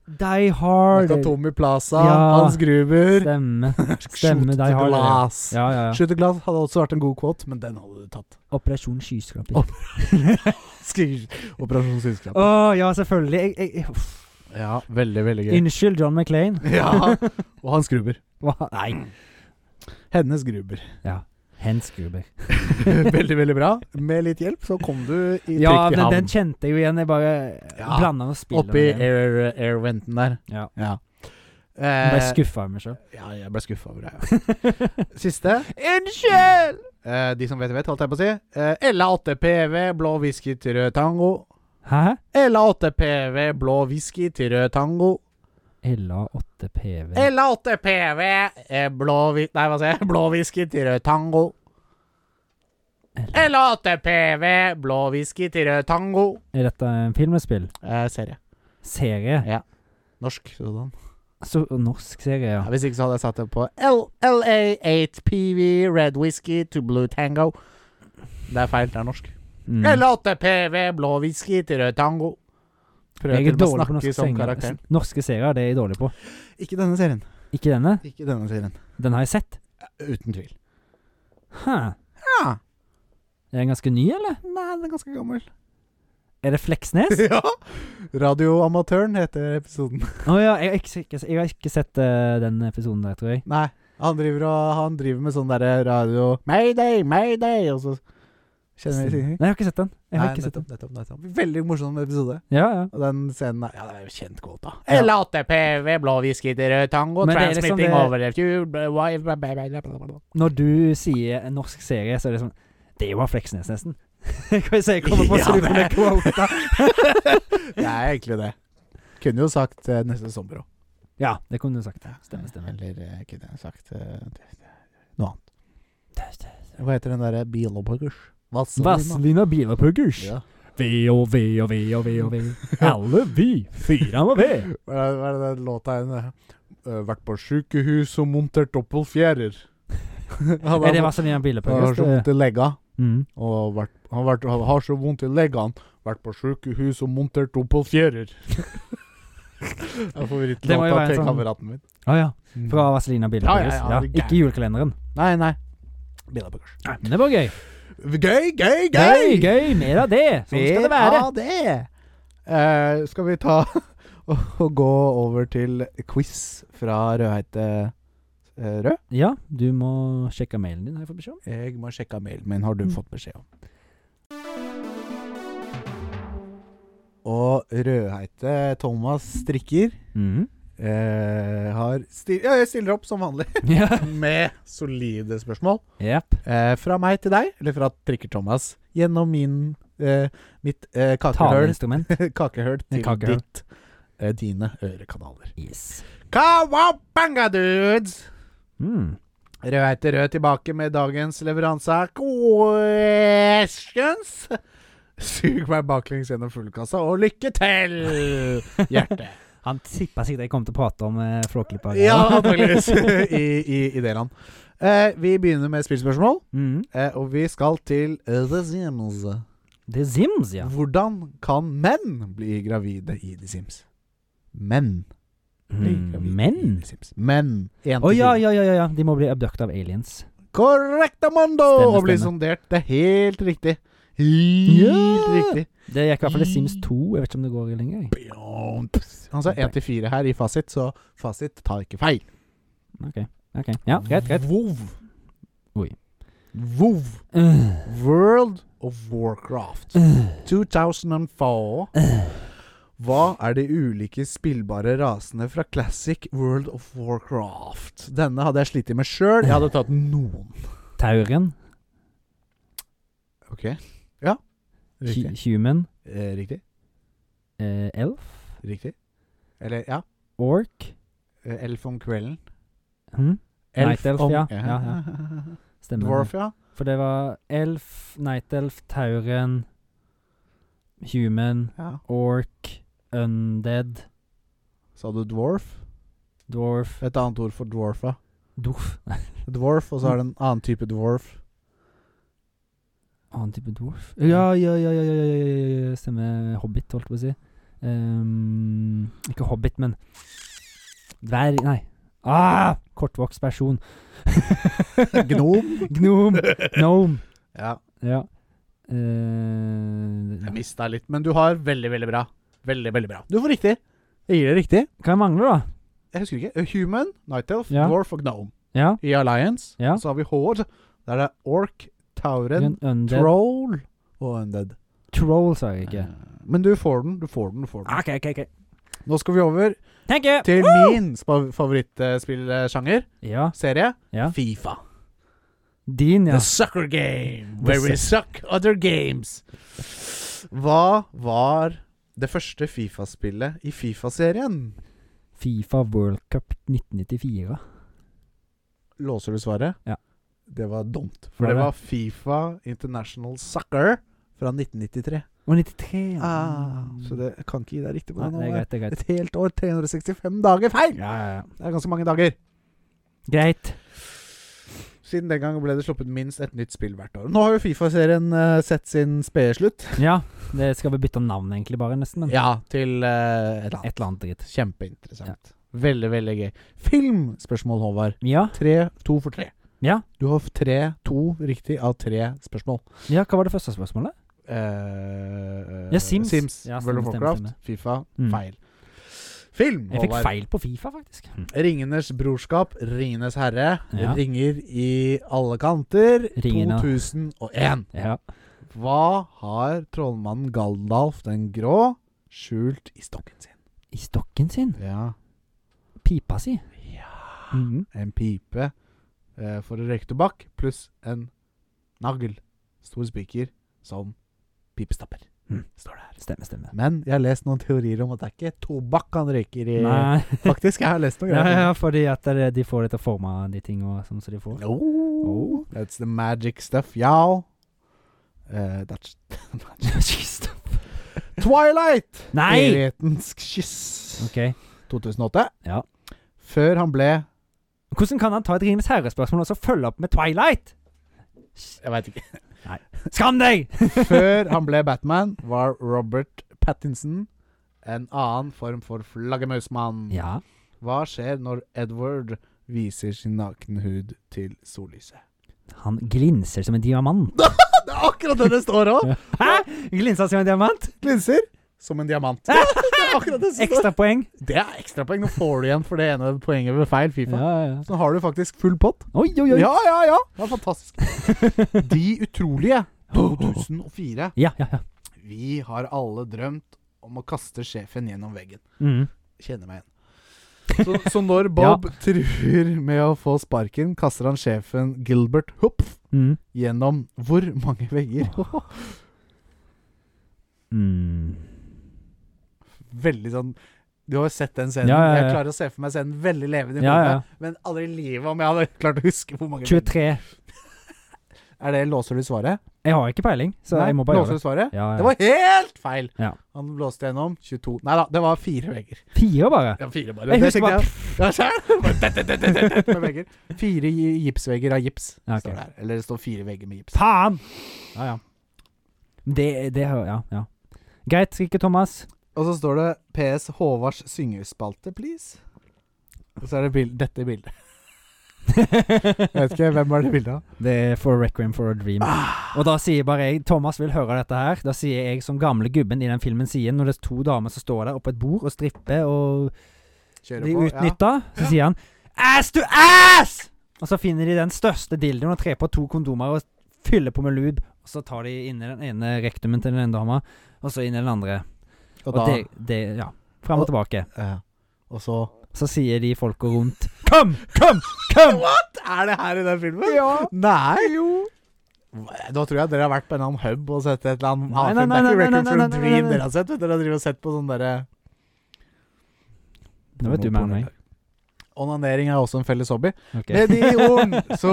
Speaker 2: Die Hard.
Speaker 1: Snakka Tommy Plaza,
Speaker 2: Ja.
Speaker 1: Hans Gruber
Speaker 2: Stemme.
Speaker 1: Shoot
Speaker 2: Stemmer, Die
Speaker 1: the
Speaker 2: Hard.
Speaker 1: Glass.
Speaker 2: Ja, ja, ja.
Speaker 1: Shoot the Glass hadde også vært en god quote, men den hadde du tatt.
Speaker 2: Operasjon Skyskraper.
Speaker 1: Å.
Speaker 2: Åh,
Speaker 1: Skriv- Operasjon Synskrapp.
Speaker 2: ja, selvfølgelig. Jeg, jeg, jeg, uff.
Speaker 1: Ja, veldig, veldig gøy.
Speaker 2: Unnskyld, John McClain.
Speaker 1: Ja, Og Hans Gruber.
Speaker 2: Hva? Nei.
Speaker 1: Hennes Gruber.
Speaker 2: Ja. Hans Gruber.
Speaker 1: veldig, veldig bra. Med litt hjelp så kom du i
Speaker 2: Ja,
Speaker 1: trygt i
Speaker 2: men
Speaker 1: havn.
Speaker 2: den kjente jeg jo igjen. Jeg bare
Speaker 1: Ja.
Speaker 2: blanda og spilte
Speaker 1: Oppi
Speaker 2: med den.
Speaker 1: air, airventen der.
Speaker 2: Ja. Jeg ble
Speaker 1: Eh,
Speaker 2: skuffa over meg sjøl.
Speaker 1: ja, jeg ble skuffa over deg. Ja. Siste.
Speaker 2: Unnskyld!
Speaker 1: Eh, de som vet, vet, holdt jeg på å si. Eh, LA8PV, blå whisky til rød tango.
Speaker 2: Hæ?
Speaker 1: LA8PV, blå whisky til rød tango.
Speaker 2: LA8PV.
Speaker 1: LA8PV, eh, blå vi- Nei, hva sier jeg? Blå whisky til rød tango. LA8PV, blå whisky til rød tango.
Speaker 2: Er dette en film eller spill?
Speaker 1: Eh, serie.
Speaker 2: Serie?
Speaker 1: Norsk. Sådan.
Speaker 2: Så norsk serie, ja.
Speaker 1: Ja, hvis ikke så hadde jeg satt det på LA8PV, red whisky to blue tango. Det er feil, det er norsk.
Speaker 2: Mm.
Speaker 1: LA8PV, blå whisky til rød tango. Prøver
Speaker 2: Jeg er
Speaker 1: til og
Speaker 2: dårlig
Speaker 1: med
Speaker 2: på
Speaker 1: å
Speaker 2: norske
Speaker 1: snakke som
Speaker 2: serier.
Speaker 1: karakteren.
Speaker 2: S- Norske serier det er jeg dårlig på.
Speaker 1: Ikke denne serien.
Speaker 2: Ikke denne.
Speaker 1: Ikke denne serien.
Speaker 2: Den har jeg sett.
Speaker 1: Uten tvil.
Speaker 2: Hæ.
Speaker 1: Ja.
Speaker 2: Er den ganske ny, eller?
Speaker 1: Nei, den er ganske gammel.
Speaker 2: Er det Fleksnes?
Speaker 1: ja! Radioamatøren heter episoden.
Speaker 2: Å ja, jeg har ikke, ikke- jeg har ikke sett eh, den episoden der, tror jeg.
Speaker 1: Nei, han driver, og, han driver med sånn derre radio Mayday, mayday! Og så kjenner vi
Speaker 2: Nei, jeg har ikke sett den. Jeg har
Speaker 1: Nei,
Speaker 2: ikke sett den.
Speaker 1: nettopp, nettopp, nettopp. Veldig morsom episode.
Speaker 2: Ja, ja.
Speaker 1: Og den scenen er Ja, det er jo kjent godt, da.
Speaker 2: Ja.
Speaker 1: LATPV, blå whisky til rød tango,
Speaker 2: Men det er liksom
Speaker 1: transmitting
Speaker 2: det-
Speaker 1: over the fjord wave, bla, bla, bla, bla, bla, bla.
Speaker 2: Når du sier en norsk serie, så er det sånn Det er jo av Fleksnes, nesten. Hva jeg kommer på
Speaker 1: Ja,
Speaker 2: superne
Speaker 1: det-
Speaker 2: quota.
Speaker 1: Det er egentlig det. Kunne jo sagt eh, neste sommer òg.
Speaker 2: Ja, det kunne du sagt. Stemmer, stemmer.
Speaker 1: Eller eh, kunne jeg sagt eh, det- det- noe annet. Hva heter den eh, derre Bielopphøggers? Sånn
Speaker 2: Vazelina Bilapuggers.
Speaker 1: Ja.
Speaker 2: V og V og V og V og V. Alle vi. Fyra med V.
Speaker 1: Hva er det- hva er det den låta er? Uh, vært på sykehus og montert doppelfjærer.
Speaker 2: Er det Vazelina
Speaker 1: Han har
Speaker 2: Bilapuggers?
Speaker 1: så vondt i legga.
Speaker 2: Mm.
Speaker 1: Og vært, han vært, har- har så vondt i leggene. Vært på sykehus og montert opp på fjærer. det er
Speaker 2: Det må jo
Speaker 1: favorittlåta
Speaker 2: være en
Speaker 1: til
Speaker 2: sånn-
Speaker 1: kameraten min.
Speaker 2: Å ja.
Speaker 1: Mm.
Speaker 2: Fra Vazelina Bilde.
Speaker 1: Ja, ja,
Speaker 2: Borges.
Speaker 1: ja,
Speaker 2: ja.
Speaker 1: det er
Speaker 2: Ikke julekalenderen.
Speaker 1: Nei, nei. Bildebagasje.
Speaker 2: Nei, men det var gøy.
Speaker 1: Gøy, gøy,
Speaker 2: Gøy,
Speaker 1: gøy!
Speaker 2: gøy. Mer av det. Sånn skal det være.
Speaker 1: Ja, det. Eh, skal vi ta og, og gå over til quiz fra Rødheite eh, Rød?
Speaker 2: Ja, du må sjekke mailen din. Har jeg fått beskjed om?
Speaker 1: Jeg må sjekke mailen min, har du
Speaker 2: Mm.
Speaker 1: fått beskjed om. Og Rødheite Thomas strikker. Mm.
Speaker 2: Mhm.
Speaker 1: Eh, har sti ja, jeg stiller opp som vanlig
Speaker 2: Ja.
Speaker 1: med solide spørsmål.
Speaker 2: Yep.
Speaker 1: Eh, fra meg til deg, eller fra Trikker-Thomas, gjennom min, eh, mitt eh, kakehull,
Speaker 2: Taleinstrument.
Speaker 1: kakehull til
Speaker 2: Kakehull.
Speaker 1: ditt, eh, dine ørekanaler.
Speaker 2: Yes.
Speaker 1: Kawabanga, dudes!
Speaker 2: Mm.
Speaker 1: Rød etter rød tilbake med dagens leveranse av questions. Sug meg baklengs gjennom fuglekassa, og lykke til, hjerte.
Speaker 2: Han tippa sikkert jeg kom til å prate om eh, Flåklypa.
Speaker 1: ja, antakeligvis. I, i, I det land. Eh, vi begynner med spillspørsmål,
Speaker 2: Mhm.
Speaker 1: eh, og vi skal til The Sims.
Speaker 2: Det er Sims, ja.
Speaker 1: Hvordan kan menn bli gravide i The Sims? Menn blir
Speaker 2: Mm,
Speaker 1: gravide i
Speaker 2: men
Speaker 1: The Sims. Menn. En
Speaker 2: Å
Speaker 1: til
Speaker 2: ja,
Speaker 1: fire.
Speaker 2: ja, ja, ja, ja. De må bli abducta av aliens.
Speaker 1: Korrekt, Amando!
Speaker 2: Stemme,
Speaker 1: Og bli
Speaker 2: stemme.
Speaker 1: sondert. Det er helt riktig. Helt
Speaker 2: Ja!
Speaker 1: riktig.
Speaker 2: Det gikk i hvert fall i Sims 2. Jeg vet ikke om det går lenger. jeg.
Speaker 1: Han sa én til fire her i fasit, så fasit tar ikke feil.
Speaker 2: Ok, Ja, greit, greit.
Speaker 1: Vov.
Speaker 2: Oi.
Speaker 1: Vov.
Speaker 2: Øh,
Speaker 1: World of Warcraft 2004. Hva er de ulike spillbare rasene fra classic World of Warcraft? Denne hadde jeg slitt med sjøl. Jeg hadde tatt noen.
Speaker 2: Tauren.
Speaker 1: Ok. Ja.
Speaker 2: hu-
Speaker 1: Riktig.
Speaker 2: Human.
Speaker 1: Eh, riktig.
Speaker 2: eh, elf.
Speaker 1: Riktig. Eller, ja.
Speaker 2: Ork.
Speaker 1: Eh, Elf om kvelden.
Speaker 2: Hm? Night elf, ja.
Speaker 1: ja.
Speaker 2: Ja, ja. Stemmer. det.
Speaker 1: Dwarf, ja.
Speaker 2: For det var elf, night elf, tauren, human,
Speaker 1: ja.
Speaker 2: ork, undead,
Speaker 1: Sa du dwarf?
Speaker 2: dwarf
Speaker 1: Et annet ord for dwarf, ja.
Speaker 2: Dwarf?
Speaker 1: Dwarf, og så er det en annen type dwarf.
Speaker 2: Annen type dwarf? Ja, ja, ja, ja, ja, ja, ja, ja, ja. stemmer. Hobbit, holdt jeg på å si. Ehm, ikke hobbit, men dverg Nei. Ah! Kortvokst person.
Speaker 1: Gnom.
Speaker 2: Gnom. Gnome.
Speaker 1: ja.
Speaker 2: Ja. Eh,
Speaker 1: Jeg mista litt, men du har veldig, veldig bra. Veldig, veldig bra. Du får riktig. Jeg gir deg riktig.
Speaker 2: hva jeg mangler, da?
Speaker 1: Jeg husker ikke. Human, Night Elf,
Speaker 2: Ja.
Speaker 1: Dwarf og Gnome.
Speaker 2: Ja.
Speaker 1: I Alliance
Speaker 2: Ja.
Speaker 1: så har vi Horde. Der er Ork, Tauren,
Speaker 2: Un- Undead.
Speaker 1: Troll og Undead.
Speaker 2: Troll, sa jeg ikke.
Speaker 1: Eh, Men du får den, du får den, du får den.
Speaker 2: OK, OK. ok
Speaker 1: Nå skal vi over
Speaker 2: Thank you!
Speaker 1: til min spa- favorittspillsjanger,
Speaker 2: Ja,
Speaker 1: serie,
Speaker 2: ja.
Speaker 1: Fifa.
Speaker 2: Din, ja.
Speaker 1: The Sucker Game,
Speaker 2: The
Speaker 1: where we
Speaker 2: suck-
Speaker 1: suck other games. Hva var det første Fifa-spillet i Fifa-serien?
Speaker 2: Fifa World Cup 1994.
Speaker 1: Låser du svaret?
Speaker 2: Ja.
Speaker 1: Det var dumt. For
Speaker 2: Var
Speaker 1: det
Speaker 2: det?
Speaker 1: var Fifa International Soccer fra 1993.
Speaker 2: Og 93. ja.
Speaker 1: Så det jeg kan ikke gi deg riktig på
Speaker 2: Nei,
Speaker 1: det
Speaker 2: det
Speaker 1: nå.
Speaker 2: er greit, det er greit.
Speaker 1: Et helt år, 365 dager feil!
Speaker 2: Ja, ja, ja.
Speaker 1: Det er ganske mange dager.
Speaker 2: Greit.
Speaker 1: Siden den gang ble det sluppet minst et nytt spill hvert år. Nå har jo Fifa-serien eh, sett sin spede slutt.
Speaker 2: Ja, det skal vi bytte navn egentlig bare, nesten. Men
Speaker 1: Ja, til eh, et eller annet.
Speaker 2: et eller annet dritt.
Speaker 1: Kjempeinteressant. Veldig, veldig gøy. Filmspørsmål, Håvard.
Speaker 2: Ja,
Speaker 1: Tre, to for tre.
Speaker 2: ja.
Speaker 1: Du har tre, to riktig av tre spørsmål.
Speaker 2: Ja, hva var det første spørsmålet?
Speaker 1: Eh,
Speaker 2: Ja, Sims. Ja,
Speaker 1: World
Speaker 2: stemmer,
Speaker 1: of
Speaker 2: stemmer,
Speaker 1: Warcraft,
Speaker 2: stemmer.
Speaker 1: Fifa.
Speaker 2: Mm.
Speaker 1: Feil. Film,
Speaker 2: Jeg fikk
Speaker 1: Håvard.
Speaker 2: feil på Fifa, faktisk.
Speaker 1: Ringenes brorskap, Ringenes herre.
Speaker 2: Ja.
Speaker 1: Ringer i alle kanter.
Speaker 2: Ringene.
Speaker 1: 2001.
Speaker 2: Ja.
Speaker 1: Hva har trollmannen Gandalf den grå skjult i stokken sin?
Speaker 2: I stokken sin.
Speaker 1: Ja,
Speaker 2: Pipa si. Mhm.
Speaker 1: en pipe eh, for å røyke tobakk, pluss en nagl. Stor spiker som pipestapper,
Speaker 2: Mm.
Speaker 1: står det her.
Speaker 2: Stemmer, stemmer.
Speaker 1: Men jeg har lest noen teorier om at det er ikke tobakk han røyker i.
Speaker 2: Nei,
Speaker 1: Faktisk, jeg har lest noe
Speaker 2: Eh, ja,
Speaker 1: greier.
Speaker 2: ja, fordi at det- de får det til å forme de tingene som så de får.
Speaker 1: Oh, that's the magic stuff, y'all. Eh, that's Twilight!
Speaker 2: Nei!
Speaker 1: Evighetens kyss.
Speaker 2: Ok.
Speaker 1: 2008.
Speaker 2: Ja.
Speaker 1: Før han ble
Speaker 2: Hvordan kan han ta et Ringenes herre-spørsmål og så følge opp med Twilight?
Speaker 1: Jeg veit ikke.
Speaker 2: Skam deg!
Speaker 1: Før han ble Batman, var Robert Pattinson en annen form for flaggermusmann.
Speaker 2: Ja.
Speaker 1: Hva skjer når Edward viser sin nakenhud til sollyset?
Speaker 2: Han glinser som en diamant.
Speaker 1: Det er akkurat det det står òg!
Speaker 2: Hæ? Glinser som en diamant?
Speaker 1: Glinser som en diamant. Det er akkurat det som står.
Speaker 2: Ekstrapoeng.
Speaker 1: Det er ekstrapoeng. Nå får du igjen for det ene poenget ved feil Fifa.
Speaker 2: Ja, ja.
Speaker 1: Så nå har du faktisk full pott.
Speaker 2: Oi, oi, oi.
Speaker 1: Ja, ja, ja! Det er fantastisk. De utrolige 2004.
Speaker 2: Ja, ja, ja.
Speaker 1: Vi har alle drømt om å kaste sjefen gjennom veggen.
Speaker 2: Mm.
Speaker 1: Kjenner meg igjen. Så, så når Bob truer med å få sparken, kaster han sjefen Gilbert Hopp
Speaker 2: Mm.
Speaker 1: gjennom hvor mange vegger?
Speaker 2: Mm.
Speaker 1: Veldig sånn Du har jo sett den scenen.
Speaker 2: Ja, ja, ja.
Speaker 1: Jeg klarer å se for meg scenen veldig levende, i
Speaker 2: Ja, ja.
Speaker 1: hodet, men aldri i livet om jeg hadde klart å huske hvor mange vegger.
Speaker 2: 23.
Speaker 1: Er det Låser du svaret?
Speaker 2: Jeg har ikke peiling, så jeg må bare
Speaker 1: låser
Speaker 2: gjøre det.
Speaker 1: du svaret?
Speaker 2: Ja,
Speaker 1: Det
Speaker 2: ja.
Speaker 1: var helt feil!
Speaker 2: Ja.
Speaker 1: Han blåste gjennom 22 Nei da, det var fire vegger.
Speaker 2: Fire, bare.
Speaker 1: Ja, fire bare.
Speaker 2: Jeg
Speaker 1: Det
Speaker 2: husker
Speaker 1: tenkte
Speaker 2: bare
Speaker 1: Ja, se her. Bare tett, tett, tett, tett, tett Med vegger. Fire gi- gipsvegger av gips,
Speaker 2: Ja, ok.
Speaker 1: står det her. Eller det står fire vegger med gips.
Speaker 2: Faen!
Speaker 1: Ja, ja.
Speaker 2: Det, det hører Ja, ja. Greit, Rikke Thomas.
Speaker 1: Og så står det PS Håvards syngespalte, please. Og så er det bil dette bildet. Jeg vet ikke, Hvem er det bildet av?
Speaker 2: Det er for Requiem for a Dream. Og da sier bare jeg Thomas vil høre dette her. Da sier jeg som gamle gubben i den filmen sier, når det er to damer som står der oppe på et bord og stripper og
Speaker 1: Kjører
Speaker 2: blir
Speaker 1: på.
Speaker 2: utnytta, så sier han Ass to ass! Og så finner de den største dildoen og trer på to kondomer og fyller på med lube. Og så tar de inni den ene rektumen til den ene dama, og så inn i den andre.
Speaker 1: Ja.
Speaker 2: Og,
Speaker 1: Og, da,
Speaker 2: det, det Ja. Fram og tilbake.
Speaker 1: ja. og så
Speaker 2: Så sier de folka rundt Kom! Kom! Kom!
Speaker 1: What?! Er det her i den filmen?
Speaker 2: Ja.
Speaker 1: Nei! Jo. Da tror jeg dere har vært på en eller annen hub og sett et eller annet
Speaker 2: Nei, nei,
Speaker 1: havfilm. Det er
Speaker 2: nei,
Speaker 1: ikke
Speaker 2: nei,
Speaker 1: Record
Speaker 2: nei,
Speaker 1: for
Speaker 2: nei,
Speaker 1: a
Speaker 2: nei, nei,
Speaker 1: Dream
Speaker 2: nei.
Speaker 1: dere har sett. vet du. Dere har drivet og sett på sånn derre
Speaker 2: Nå vet du mer enn meg.
Speaker 1: Onanering er også en felles hobby.
Speaker 2: Ok.
Speaker 1: Med de ordene så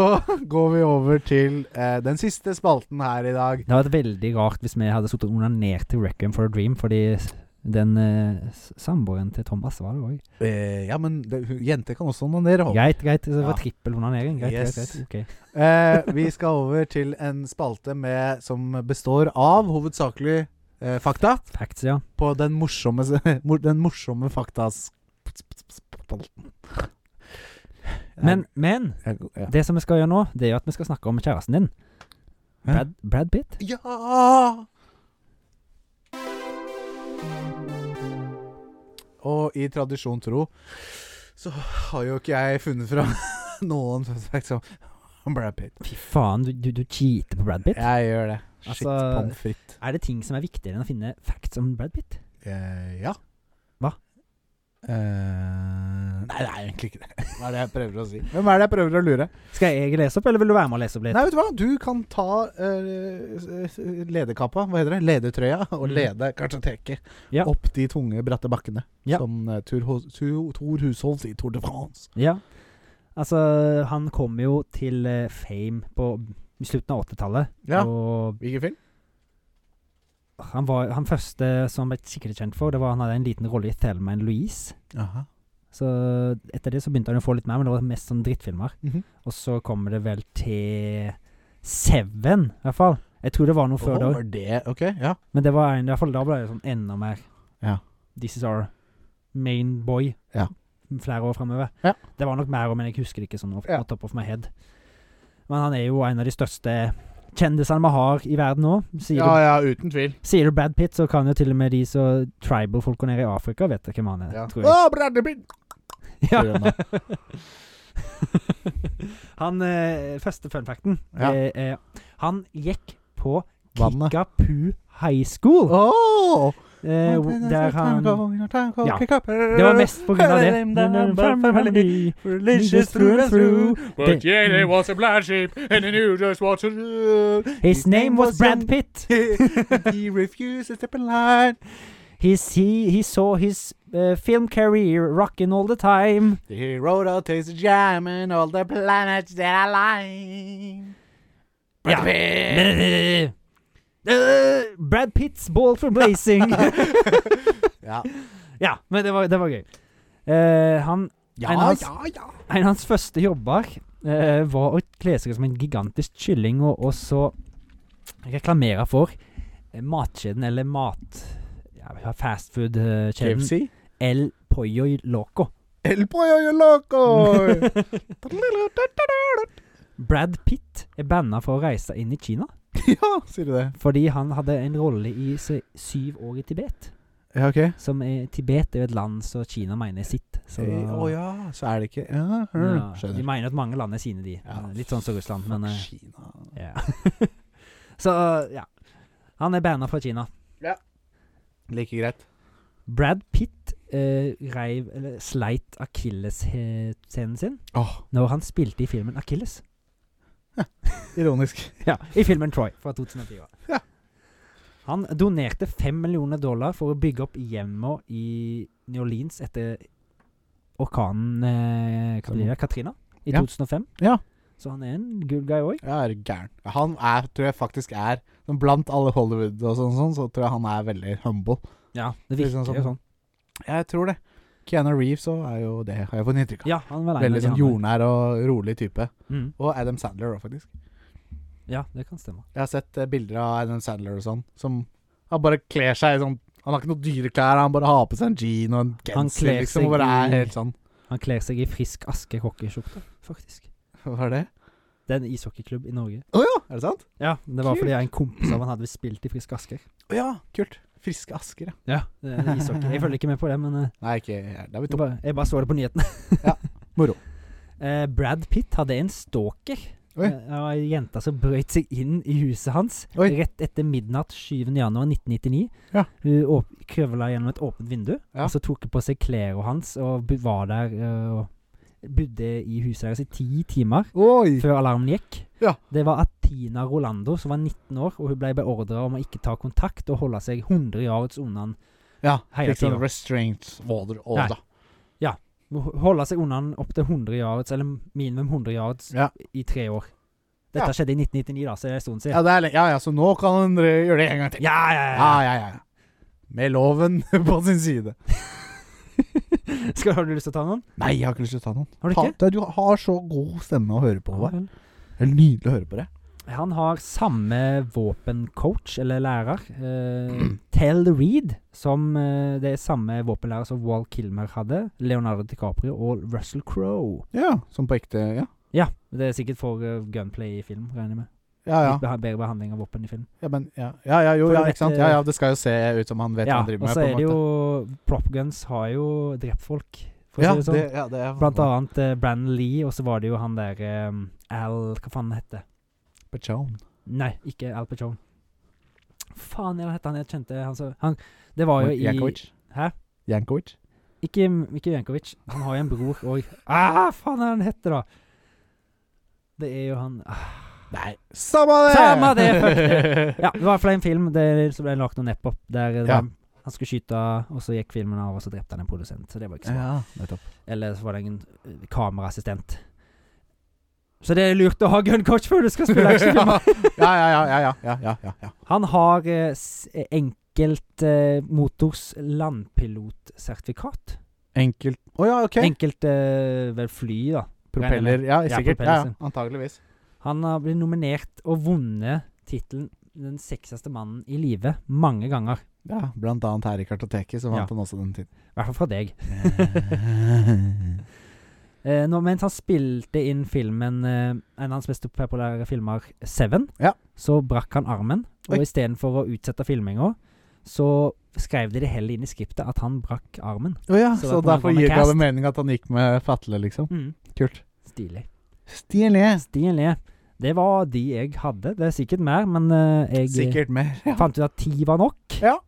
Speaker 1: går vi over til eh, den siste spalten her i dag.
Speaker 2: Det hadde vært veldig rart hvis vi hadde sittet og onanert til Requiem for a Dream, fordi s- den eh, s- samboeren til Thomas var det òg.
Speaker 1: Eh, ja, men det, hun- jenter kan også onanere. håper jeg.
Speaker 2: Greit, greit. Så det var
Speaker 1: Ja.
Speaker 2: trippel onanering. Greit,
Speaker 1: Yes.
Speaker 2: greit, greit.
Speaker 1: Eh, vi skal over til en spalte med, som består av hovedsakelig eh, fakta.
Speaker 2: Ok. Facts, ja.
Speaker 1: På den morsomme, s- mor- den morsomme faktaspalten.
Speaker 2: Men, men
Speaker 1: Jeg- jeg- ja.
Speaker 2: det som vi skal gjøre nå, det er jo at vi skal snakke om kjæresten din.
Speaker 1: Hæ?
Speaker 2: Brad, Brad Pitt.
Speaker 1: Ja! Og i tradisjon tro så har jo ikke jeg funnet fram noen fun facts om- om sånn, Brad Pitt.
Speaker 2: Fy faen, du, du, du cheater på Brad Pitt.
Speaker 1: Jeg gjør det.
Speaker 2: Altså-
Speaker 1: Shit, pommes frites.
Speaker 2: Er det ting som er viktigere enn å finne facts om Brad Pitt?
Speaker 1: Eh, ja.
Speaker 2: Hva?
Speaker 1: Eh, nei, det er egentlig ikke det. Hva er det jeg prøver å si? Hvem er det jeg prøver å lure?
Speaker 2: Skal jeg lese opp, eller vil du være med og lese opp litt?
Speaker 1: Nei, vet du hva? Du kan ta eh, s- s- lederkappa, hva heter det? Ledertrøya, og
Speaker 2: Mm.
Speaker 1: lede kartoteket
Speaker 2: Ja.
Speaker 1: opp de tunge, bratte bakkene.
Speaker 2: Ja.
Speaker 1: Som uh, Tor, Hos- Tor, Tor Hushovd i Tour de France.
Speaker 2: Ja. Altså, han kom jo til eh, fame på slutten av 80-tallet. Og
Speaker 1: Hvilken film?
Speaker 2: han, var, han første som han ble skikkelig kjent for, det var han hadde en liten rolle i Thelma and Louise.
Speaker 1: Aha.
Speaker 2: Så etter det så begynte han å få litt mer, men det var mest sånn drittfilmer.
Speaker 1: Mhm.
Speaker 2: Og så kommer det vel til Seven, i hvert fall. Jeg tror det var noe før
Speaker 1: Åh,
Speaker 2: da
Speaker 1: var det Ok, ja.
Speaker 2: men det var en, i hvert fall da ble det sånn enda mer
Speaker 1: Ja.
Speaker 2: This is our main boy.
Speaker 1: Ja.
Speaker 2: Flere år framover.
Speaker 1: Ja.
Speaker 2: Det var nok mer òg, men jeg husker det ikke sånn off,
Speaker 1: Ja.
Speaker 2: top of my head. Men han er jo en av de største kjendisene vi har i verden nå. Sier du
Speaker 1: Ja, ja, uten tvil.
Speaker 2: Sier du Brad Pitt, så kan jo til og med de så tribal-folka nede i Afrika vet hvem han er,
Speaker 1: Ja.
Speaker 2: tror jeg.
Speaker 1: Å, Bradley Pitt!
Speaker 2: Ja.
Speaker 1: Tror jeg nå.
Speaker 2: Han eh, første fun facten
Speaker 1: Ja.
Speaker 2: eh, eh, Han gikk på
Speaker 1: Vannet.
Speaker 2: Kickapoo High School.
Speaker 1: Åh!
Speaker 2: Eh, hvor- der han Det Ja.
Speaker 1: Det
Speaker 2: var mest på grunn av det.
Speaker 1: Religious through and through.
Speaker 2: But yet he
Speaker 1: was a blind sheep, and he knew just what to do.
Speaker 2: His name was Brad Pitt.
Speaker 1: he refused to step in line.
Speaker 2: His, he, he saw his eh, film career rocking all the time.
Speaker 1: He wrote out his jam and all the planets that align.
Speaker 2: Ja. Eh, Brad Pitts ball for blazing.
Speaker 1: Ja,
Speaker 2: ja, men det var, det var gøy. Eh, han, En
Speaker 1: ja,
Speaker 2: av hans-
Speaker 1: ja. ja.
Speaker 2: en av hans første jobber eh, var å kle seg som en gigantisk kylling, og, og så reklamerer for eh, matkjeden eller mat... Ja, fastfood-kjeden
Speaker 1: KFC?
Speaker 2: eh, El Pollo Loco.
Speaker 1: El pollo yo loco!
Speaker 2: Brad Pitt er banna for å reise inn i Kina
Speaker 1: ja, sier du det?
Speaker 2: fordi han hadde en rolle i se- syv år i Tibet.
Speaker 1: Ja, OK.
Speaker 2: Som er, Tibet er jo et land som Kina mener er sitt. Så
Speaker 1: Å
Speaker 2: da-
Speaker 1: ja, så er det ikke ja,
Speaker 2: ja,
Speaker 1: hmm,
Speaker 2: de
Speaker 1: Skjønner.
Speaker 2: mener at mange land er sine, de.
Speaker 1: Ja.
Speaker 2: Litt sånn som Russland, men eh,
Speaker 1: Kina
Speaker 2: ja. Så eh, ja. Han er banna fra Kina.
Speaker 1: Like greit.
Speaker 2: Brad Pitt eh, reiv, eller sleit akilleshælen sin
Speaker 1: Åh,
Speaker 2: når han spilte i filmen Akilles.
Speaker 1: ironisk.
Speaker 2: Ja, I filmen Troy fra 2004.
Speaker 1: Ja.
Speaker 2: Han donerte fem millioner dollar for å bygge opp hjemmet i New Orleans etter orkanen eh, hva blir det, Katrina i
Speaker 1: Ja.
Speaker 2: 2005.
Speaker 1: Ja.
Speaker 2: Så han er en good guy òg.
Speaker 1: Ja, er du gæren. Han er, tror jeg faktisk er sånn Blant alle Hollywood og sånn, sånn så tror jeg han er veldig humble.
Speaker 2: Ja, det
Speaker 1: Litt
Speaker 2: virker
Speaker 1: sånn
Speaker 2: jo sånn.
Speaker 1: Jeg tror det. Keanu Reeves òg er jo det, har jeg fått inntrykk av.
Speaker 2: Ja, han var
Speaker 1: veldig sånn jordnær og rolig type.
Speaker 2: Mm.
Speaker 1: Og Adam Sandler òg, faktisk.
Speaker 2: Ja, det kan stemme.
Speaker 1: Jeg har sett eh, bilder av Adam Sandler og sånn, som han bare kler seg i sånn Han har ikke noe dyre klær, han bare har på seg en jean og en
Speaker 2: Han
Speaker 1: genser,
Speaker 2: kler
Speaker 1: liksom,
Speaker 2: seg
Speaker 1: og bare
Speaker 2: i-
Speaker 1: er helt sånn.
Speaker 2: Han kler seg i frisk aske hockeyskjorte, faktisk.
Speaker 1: Hva er det?
Speaker 2: Det er en ishockeyklubb i Norge.
Speaker 1: Å ja, er det sant?
Speaker 2: Ja, Det var
Speaker 1: Kult.
Speaker 2: fordi en kompis av han hadde spilt i Frisk Asker.
Speaker 1: Å ja, kult. Friske Asker, ja.
Speaker 2: Ja, det er ishockey. Jeg følger ikke med på det, men eh,
Speaker 1: Nei, ikke Det er vi
Speaker 2: jeg
Speaker 1: to.
Speaker 2: bare, jeg bare så det på nyhetene.
Speaker 1: Moro.
Speaker 2: Eh, Brad Pitt hadde en stalker.
Speaker 1: Oi.
Speaker 2: Eh, og Ei jente som brøt seg inn i huset hans
Speaker 1: Oi.
Speaker 2: rett etter midnatt 7.1.1999.
Speaker 1: Ja.
Speaker 2: Hun åp- krøvla gjennom et åpent vindu,
Speaker 1: Ja.
Speaker 2: og så tok hun på seg klærne hans og bu- var der eh, og bodde i huset deres i ti timer
Speaker 1: Oi!
Speaker 2: før alarmen gikk.
Speaker 1: Ja.
Speaker 2: Det var Atina Rolando, som var 19 år, og hun ble beordra om å ikke ta kontakt og holde seg 100 yards unna
Speaker 1: Ja,
Speaker 2: Heia
Speaker 1: fikk sånn
Speaker 2: Tio.
Speaker 1: restraint order.
Speaker 2: Nei.
Speaker 1: order.
Speaker 2: Holde seg unna opptil 100 yards, eller minimum 100 yards,
Speaker 1: Ja.
Speaker 2: i tre år. Dette
Speaker 1: Ja.
Speaker 2: skjedde i 1999, da, så det er en stund siden.
Speaker 1: Ja, det er, le- ja, ja, så nå kan han eh, gjøre det en gang til.
Speaker 2: Ja, ja,
Speaker 1: ja,
Speaker 2: ja.
Speaker 1: ja. ja. Med loven på sin side.
Speaker 2: Skal, har du lyst til å ta noen?
Speaker 1: Nei, jeg har ikke lyst til å ta noen.
Speaker 2: Har du ikke?
Speaker 1: Ta- du har så god stemme å høre på. Håvard.
Speaker 2: Ja,
Speaker 1: Det er nydelig å høre på det.
Speaker 2: vel. Han har samme våpencoach, eller lærer, eh,
Speaker 1: Mm.
Speaker 2: Tel Reed, som eh, det er samme våpenlærer som Wal Kilmer hadde, Leonardo DiCaprio og Russell Crowe.
Speaker 1: Ja, som på ekte. Ja,
Speaker 2: Ja, det er sikkert for eh, gunplay i film, regner jeg med.
Speaker 1: ja. ja.
Speaker 2: Litt beha bedre behandling av våpen i film.
Speaker 1: Ja, men, ja. ja, ja jo,
Speaker 2: For du
Speaker 1: ja,
Speaker 2: vet,
Speaker 1: ikke sant. Ja, ja, det skal jo se ut som han vet
Speaker 2: Ja,
Speaker 1: hva han driver
Speaker 2: og
Speaker 1: med.
Speaker 2: så
Speaker 1: på en
Speaker 2: er det
Speaker 1: måte.
Speaker 2: jo Prop guns har jo drept folk, for å
Speaker 1: ja,
Speaker 2: si det sånn.
Speaker 1: det, ja, det er
Speaker 2: Blant annet eh, Brandon Lee, og så var det jo han der eh, Al Hva faen heter det?
Speaker 1: Pachone.
Speaker 2: Nei, ikke Al Pacone. Faen, hva heter han? Jeg kjente han, så, han Det var jo i
Speaker 1: Jankovic.
Speaker 2: Hæ?
Speaker 1: Jankovic.
Speaker 2: Ikke, ikke Jankovic. Han har jo en bror òg. Ah, faen hva er han heter, da? Det er jo han ah.
Speaker 1: Nei, samme det!
Speaker 2: Samme det, fuck det. Ja, det var i hvert fall en film der, som ble lagt noe nepp opp, der det
Speaker 1: Ja.
Speaker 2: var, han skulle skyte, og så gikk filmen av, og så drepte han en produsent. Så det var ikke så bra.
Speaker 1: ja, nettopp.
Speaker 2: Eller så var det en eh, kameraassistent. Så det er lurt å ha gun coach før du skal spille actionfilm.
Speaker 1: ja, ja, ja, ja, ja, ja, ja, ja.
Speaker 2: Han har eh, s- eh, enkelt eh, motors landpilotsertifikat.
Speaker 1: Enkelt Å ja, OK.
Speaker 2: Enkelt eh, vel fly, da.
Speaker 1: Propeller. Ja,
Speaker 2: Ja,
Speaker 1: sikkert.
Speaker 2: propeller,
Speaker 1: Ja, ja,
Speaker 2: så.
Speaker 1: antageligvis.
Speaker 2: Han har blitt nominert og vunnet tittelen 'Den sexieste mannen i live' mange ganger.
Speaker 1: Ja, blant annet her i Kartoteket så vant
Speaker 2: Ja.
Speaker 1: han også den
Speaker 2: I hvert fall fra deg.
Speaker 1: tiden.
Speaker 2: Eh, nå, mens han spilte inn filmen eh, en av hans mest populære filmer, Seven,
Speaker 1: Ja.
Speaker 2: så brakk han armen.
Speaker 1: Oi.
Speaker 2: Og istedenfor å utsette filminga, så skrev de det heller inn i skriptet at han brakk armen.
Speaker 1: Å ja,
Speaker 2: Så
Speaker 1: så,
Speaker 2: da kommer
Speaker 1: derfor
Speaker 2: han med
Speaker 1: gir det
Speaker 2: cast.
Speaker 1: alle mening at han gikk med fatle, liksom. Kult.
Speaker 2: Mm. Stilig.
Speaker 1: Stilig.
Speaker 2: Stilig. Det var de jeg hadde. Det er sikkert mer, men eh, jeg
Speaker 1: Sikkert mer. Ja.
Speaker 2: fant ut at ti var nok.
Speaker 1: Ja.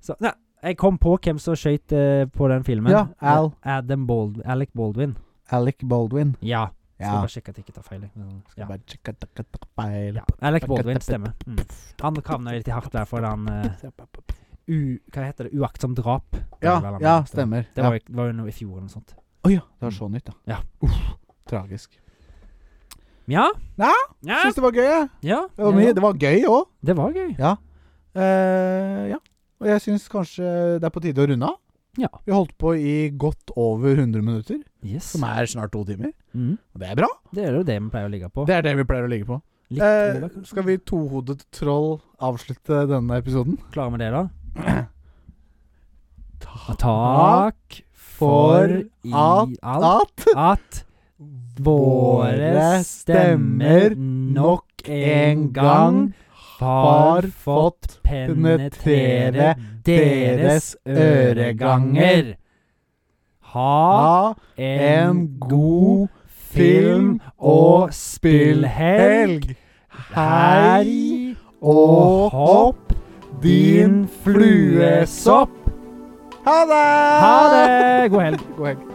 Speaker 2: Så ja, jeg kom på hvem som skøyt eh, på den filmen.
Speaker 1: Ja, Al.
Speaker 2: Adam Baldwin. Alec Baldwin.
Speaker 1: Alec Baldwin.
Speaker 2: Ja. Skal
Speaker 1: Ja.
Speaker 2: bare sjekke at jeg ikke tar feil. jeg. Ja.
Speaker 1: Bare tjekka, tjekka, tjekka, feil.
Speaker 2: Ja, Alec Baldwin stemmer. Mm. Han havna litt i hardt der for han eh, u, Hva heter det? Uaktsomt drap.
Speaker 1: Ja,
Speaker 2: Det var vel han
Speaker 1: ja,
Speaker 2: mente.
Speaker 1: stemmer.
Speaker 2: Det var, det var jo noe i fjor eller noe sånt.
Speaker 1: Å ja, det var så nytt, da.
Speaker 2: Ja.
Speaker 1: Uff, tragisk.
Speaker 2: Ja.
Speaker 1: Ja,
Speaker 2: Ja.
Speaker 1: Syns det var gøy, jeg.
Speaker 2: ja.
Speaker 1: Det var
Speaker 2: ja,
Speaker 1: mye.
Speaker 2: ja.
Speaker 1: Det var gøy òg.
Speaker 2: Det var gøy.
Speaker 1: ja. Og jeg syns kanskje det er på tide å runde av.
Speaker 2: Ja.
Speaker 1: Vi holdt på i godt over 100 minutter,
Speaker 2: Yes.
Speaker 1: som er snart to timer.
Speaker 2: Mm.
Speaker 1: Og det er bra.
Speaker 2: Det er jo det vi pleier å ligge på.
Speaker 1: Det er det vi pleier å ligge på.
Speaker 2: Litt
Speaker 1: Eh,
Speaker 2: over, kanskje?
Speaker 1: skal vi tohodet troll avslutte denne episoden?
Speaker 2: Klare med det, da?
Speaker 1: Ta-
Speaker 2: Takk
Speaker 1: for
Speaker 2: for i
Speaker 1: at-
Speaker 2: alt
Speaker 1: At
Speaker 2: at våre stemmer nok en gang har fått penetrere deres øreganger. Ha
Speaker 1: ha
Speaker 2: en god film og spillhelg.
Speaker 1: helg. Hei
Speaker 2: Hei
Speaker 1: og
Speaker 2: og hopp
Speaker 1: din
Speaker 2: din fluesopp.
Speaker 1: Ha det!
Speaker 2: Ha det! God helg.
Speaker 1: God helg.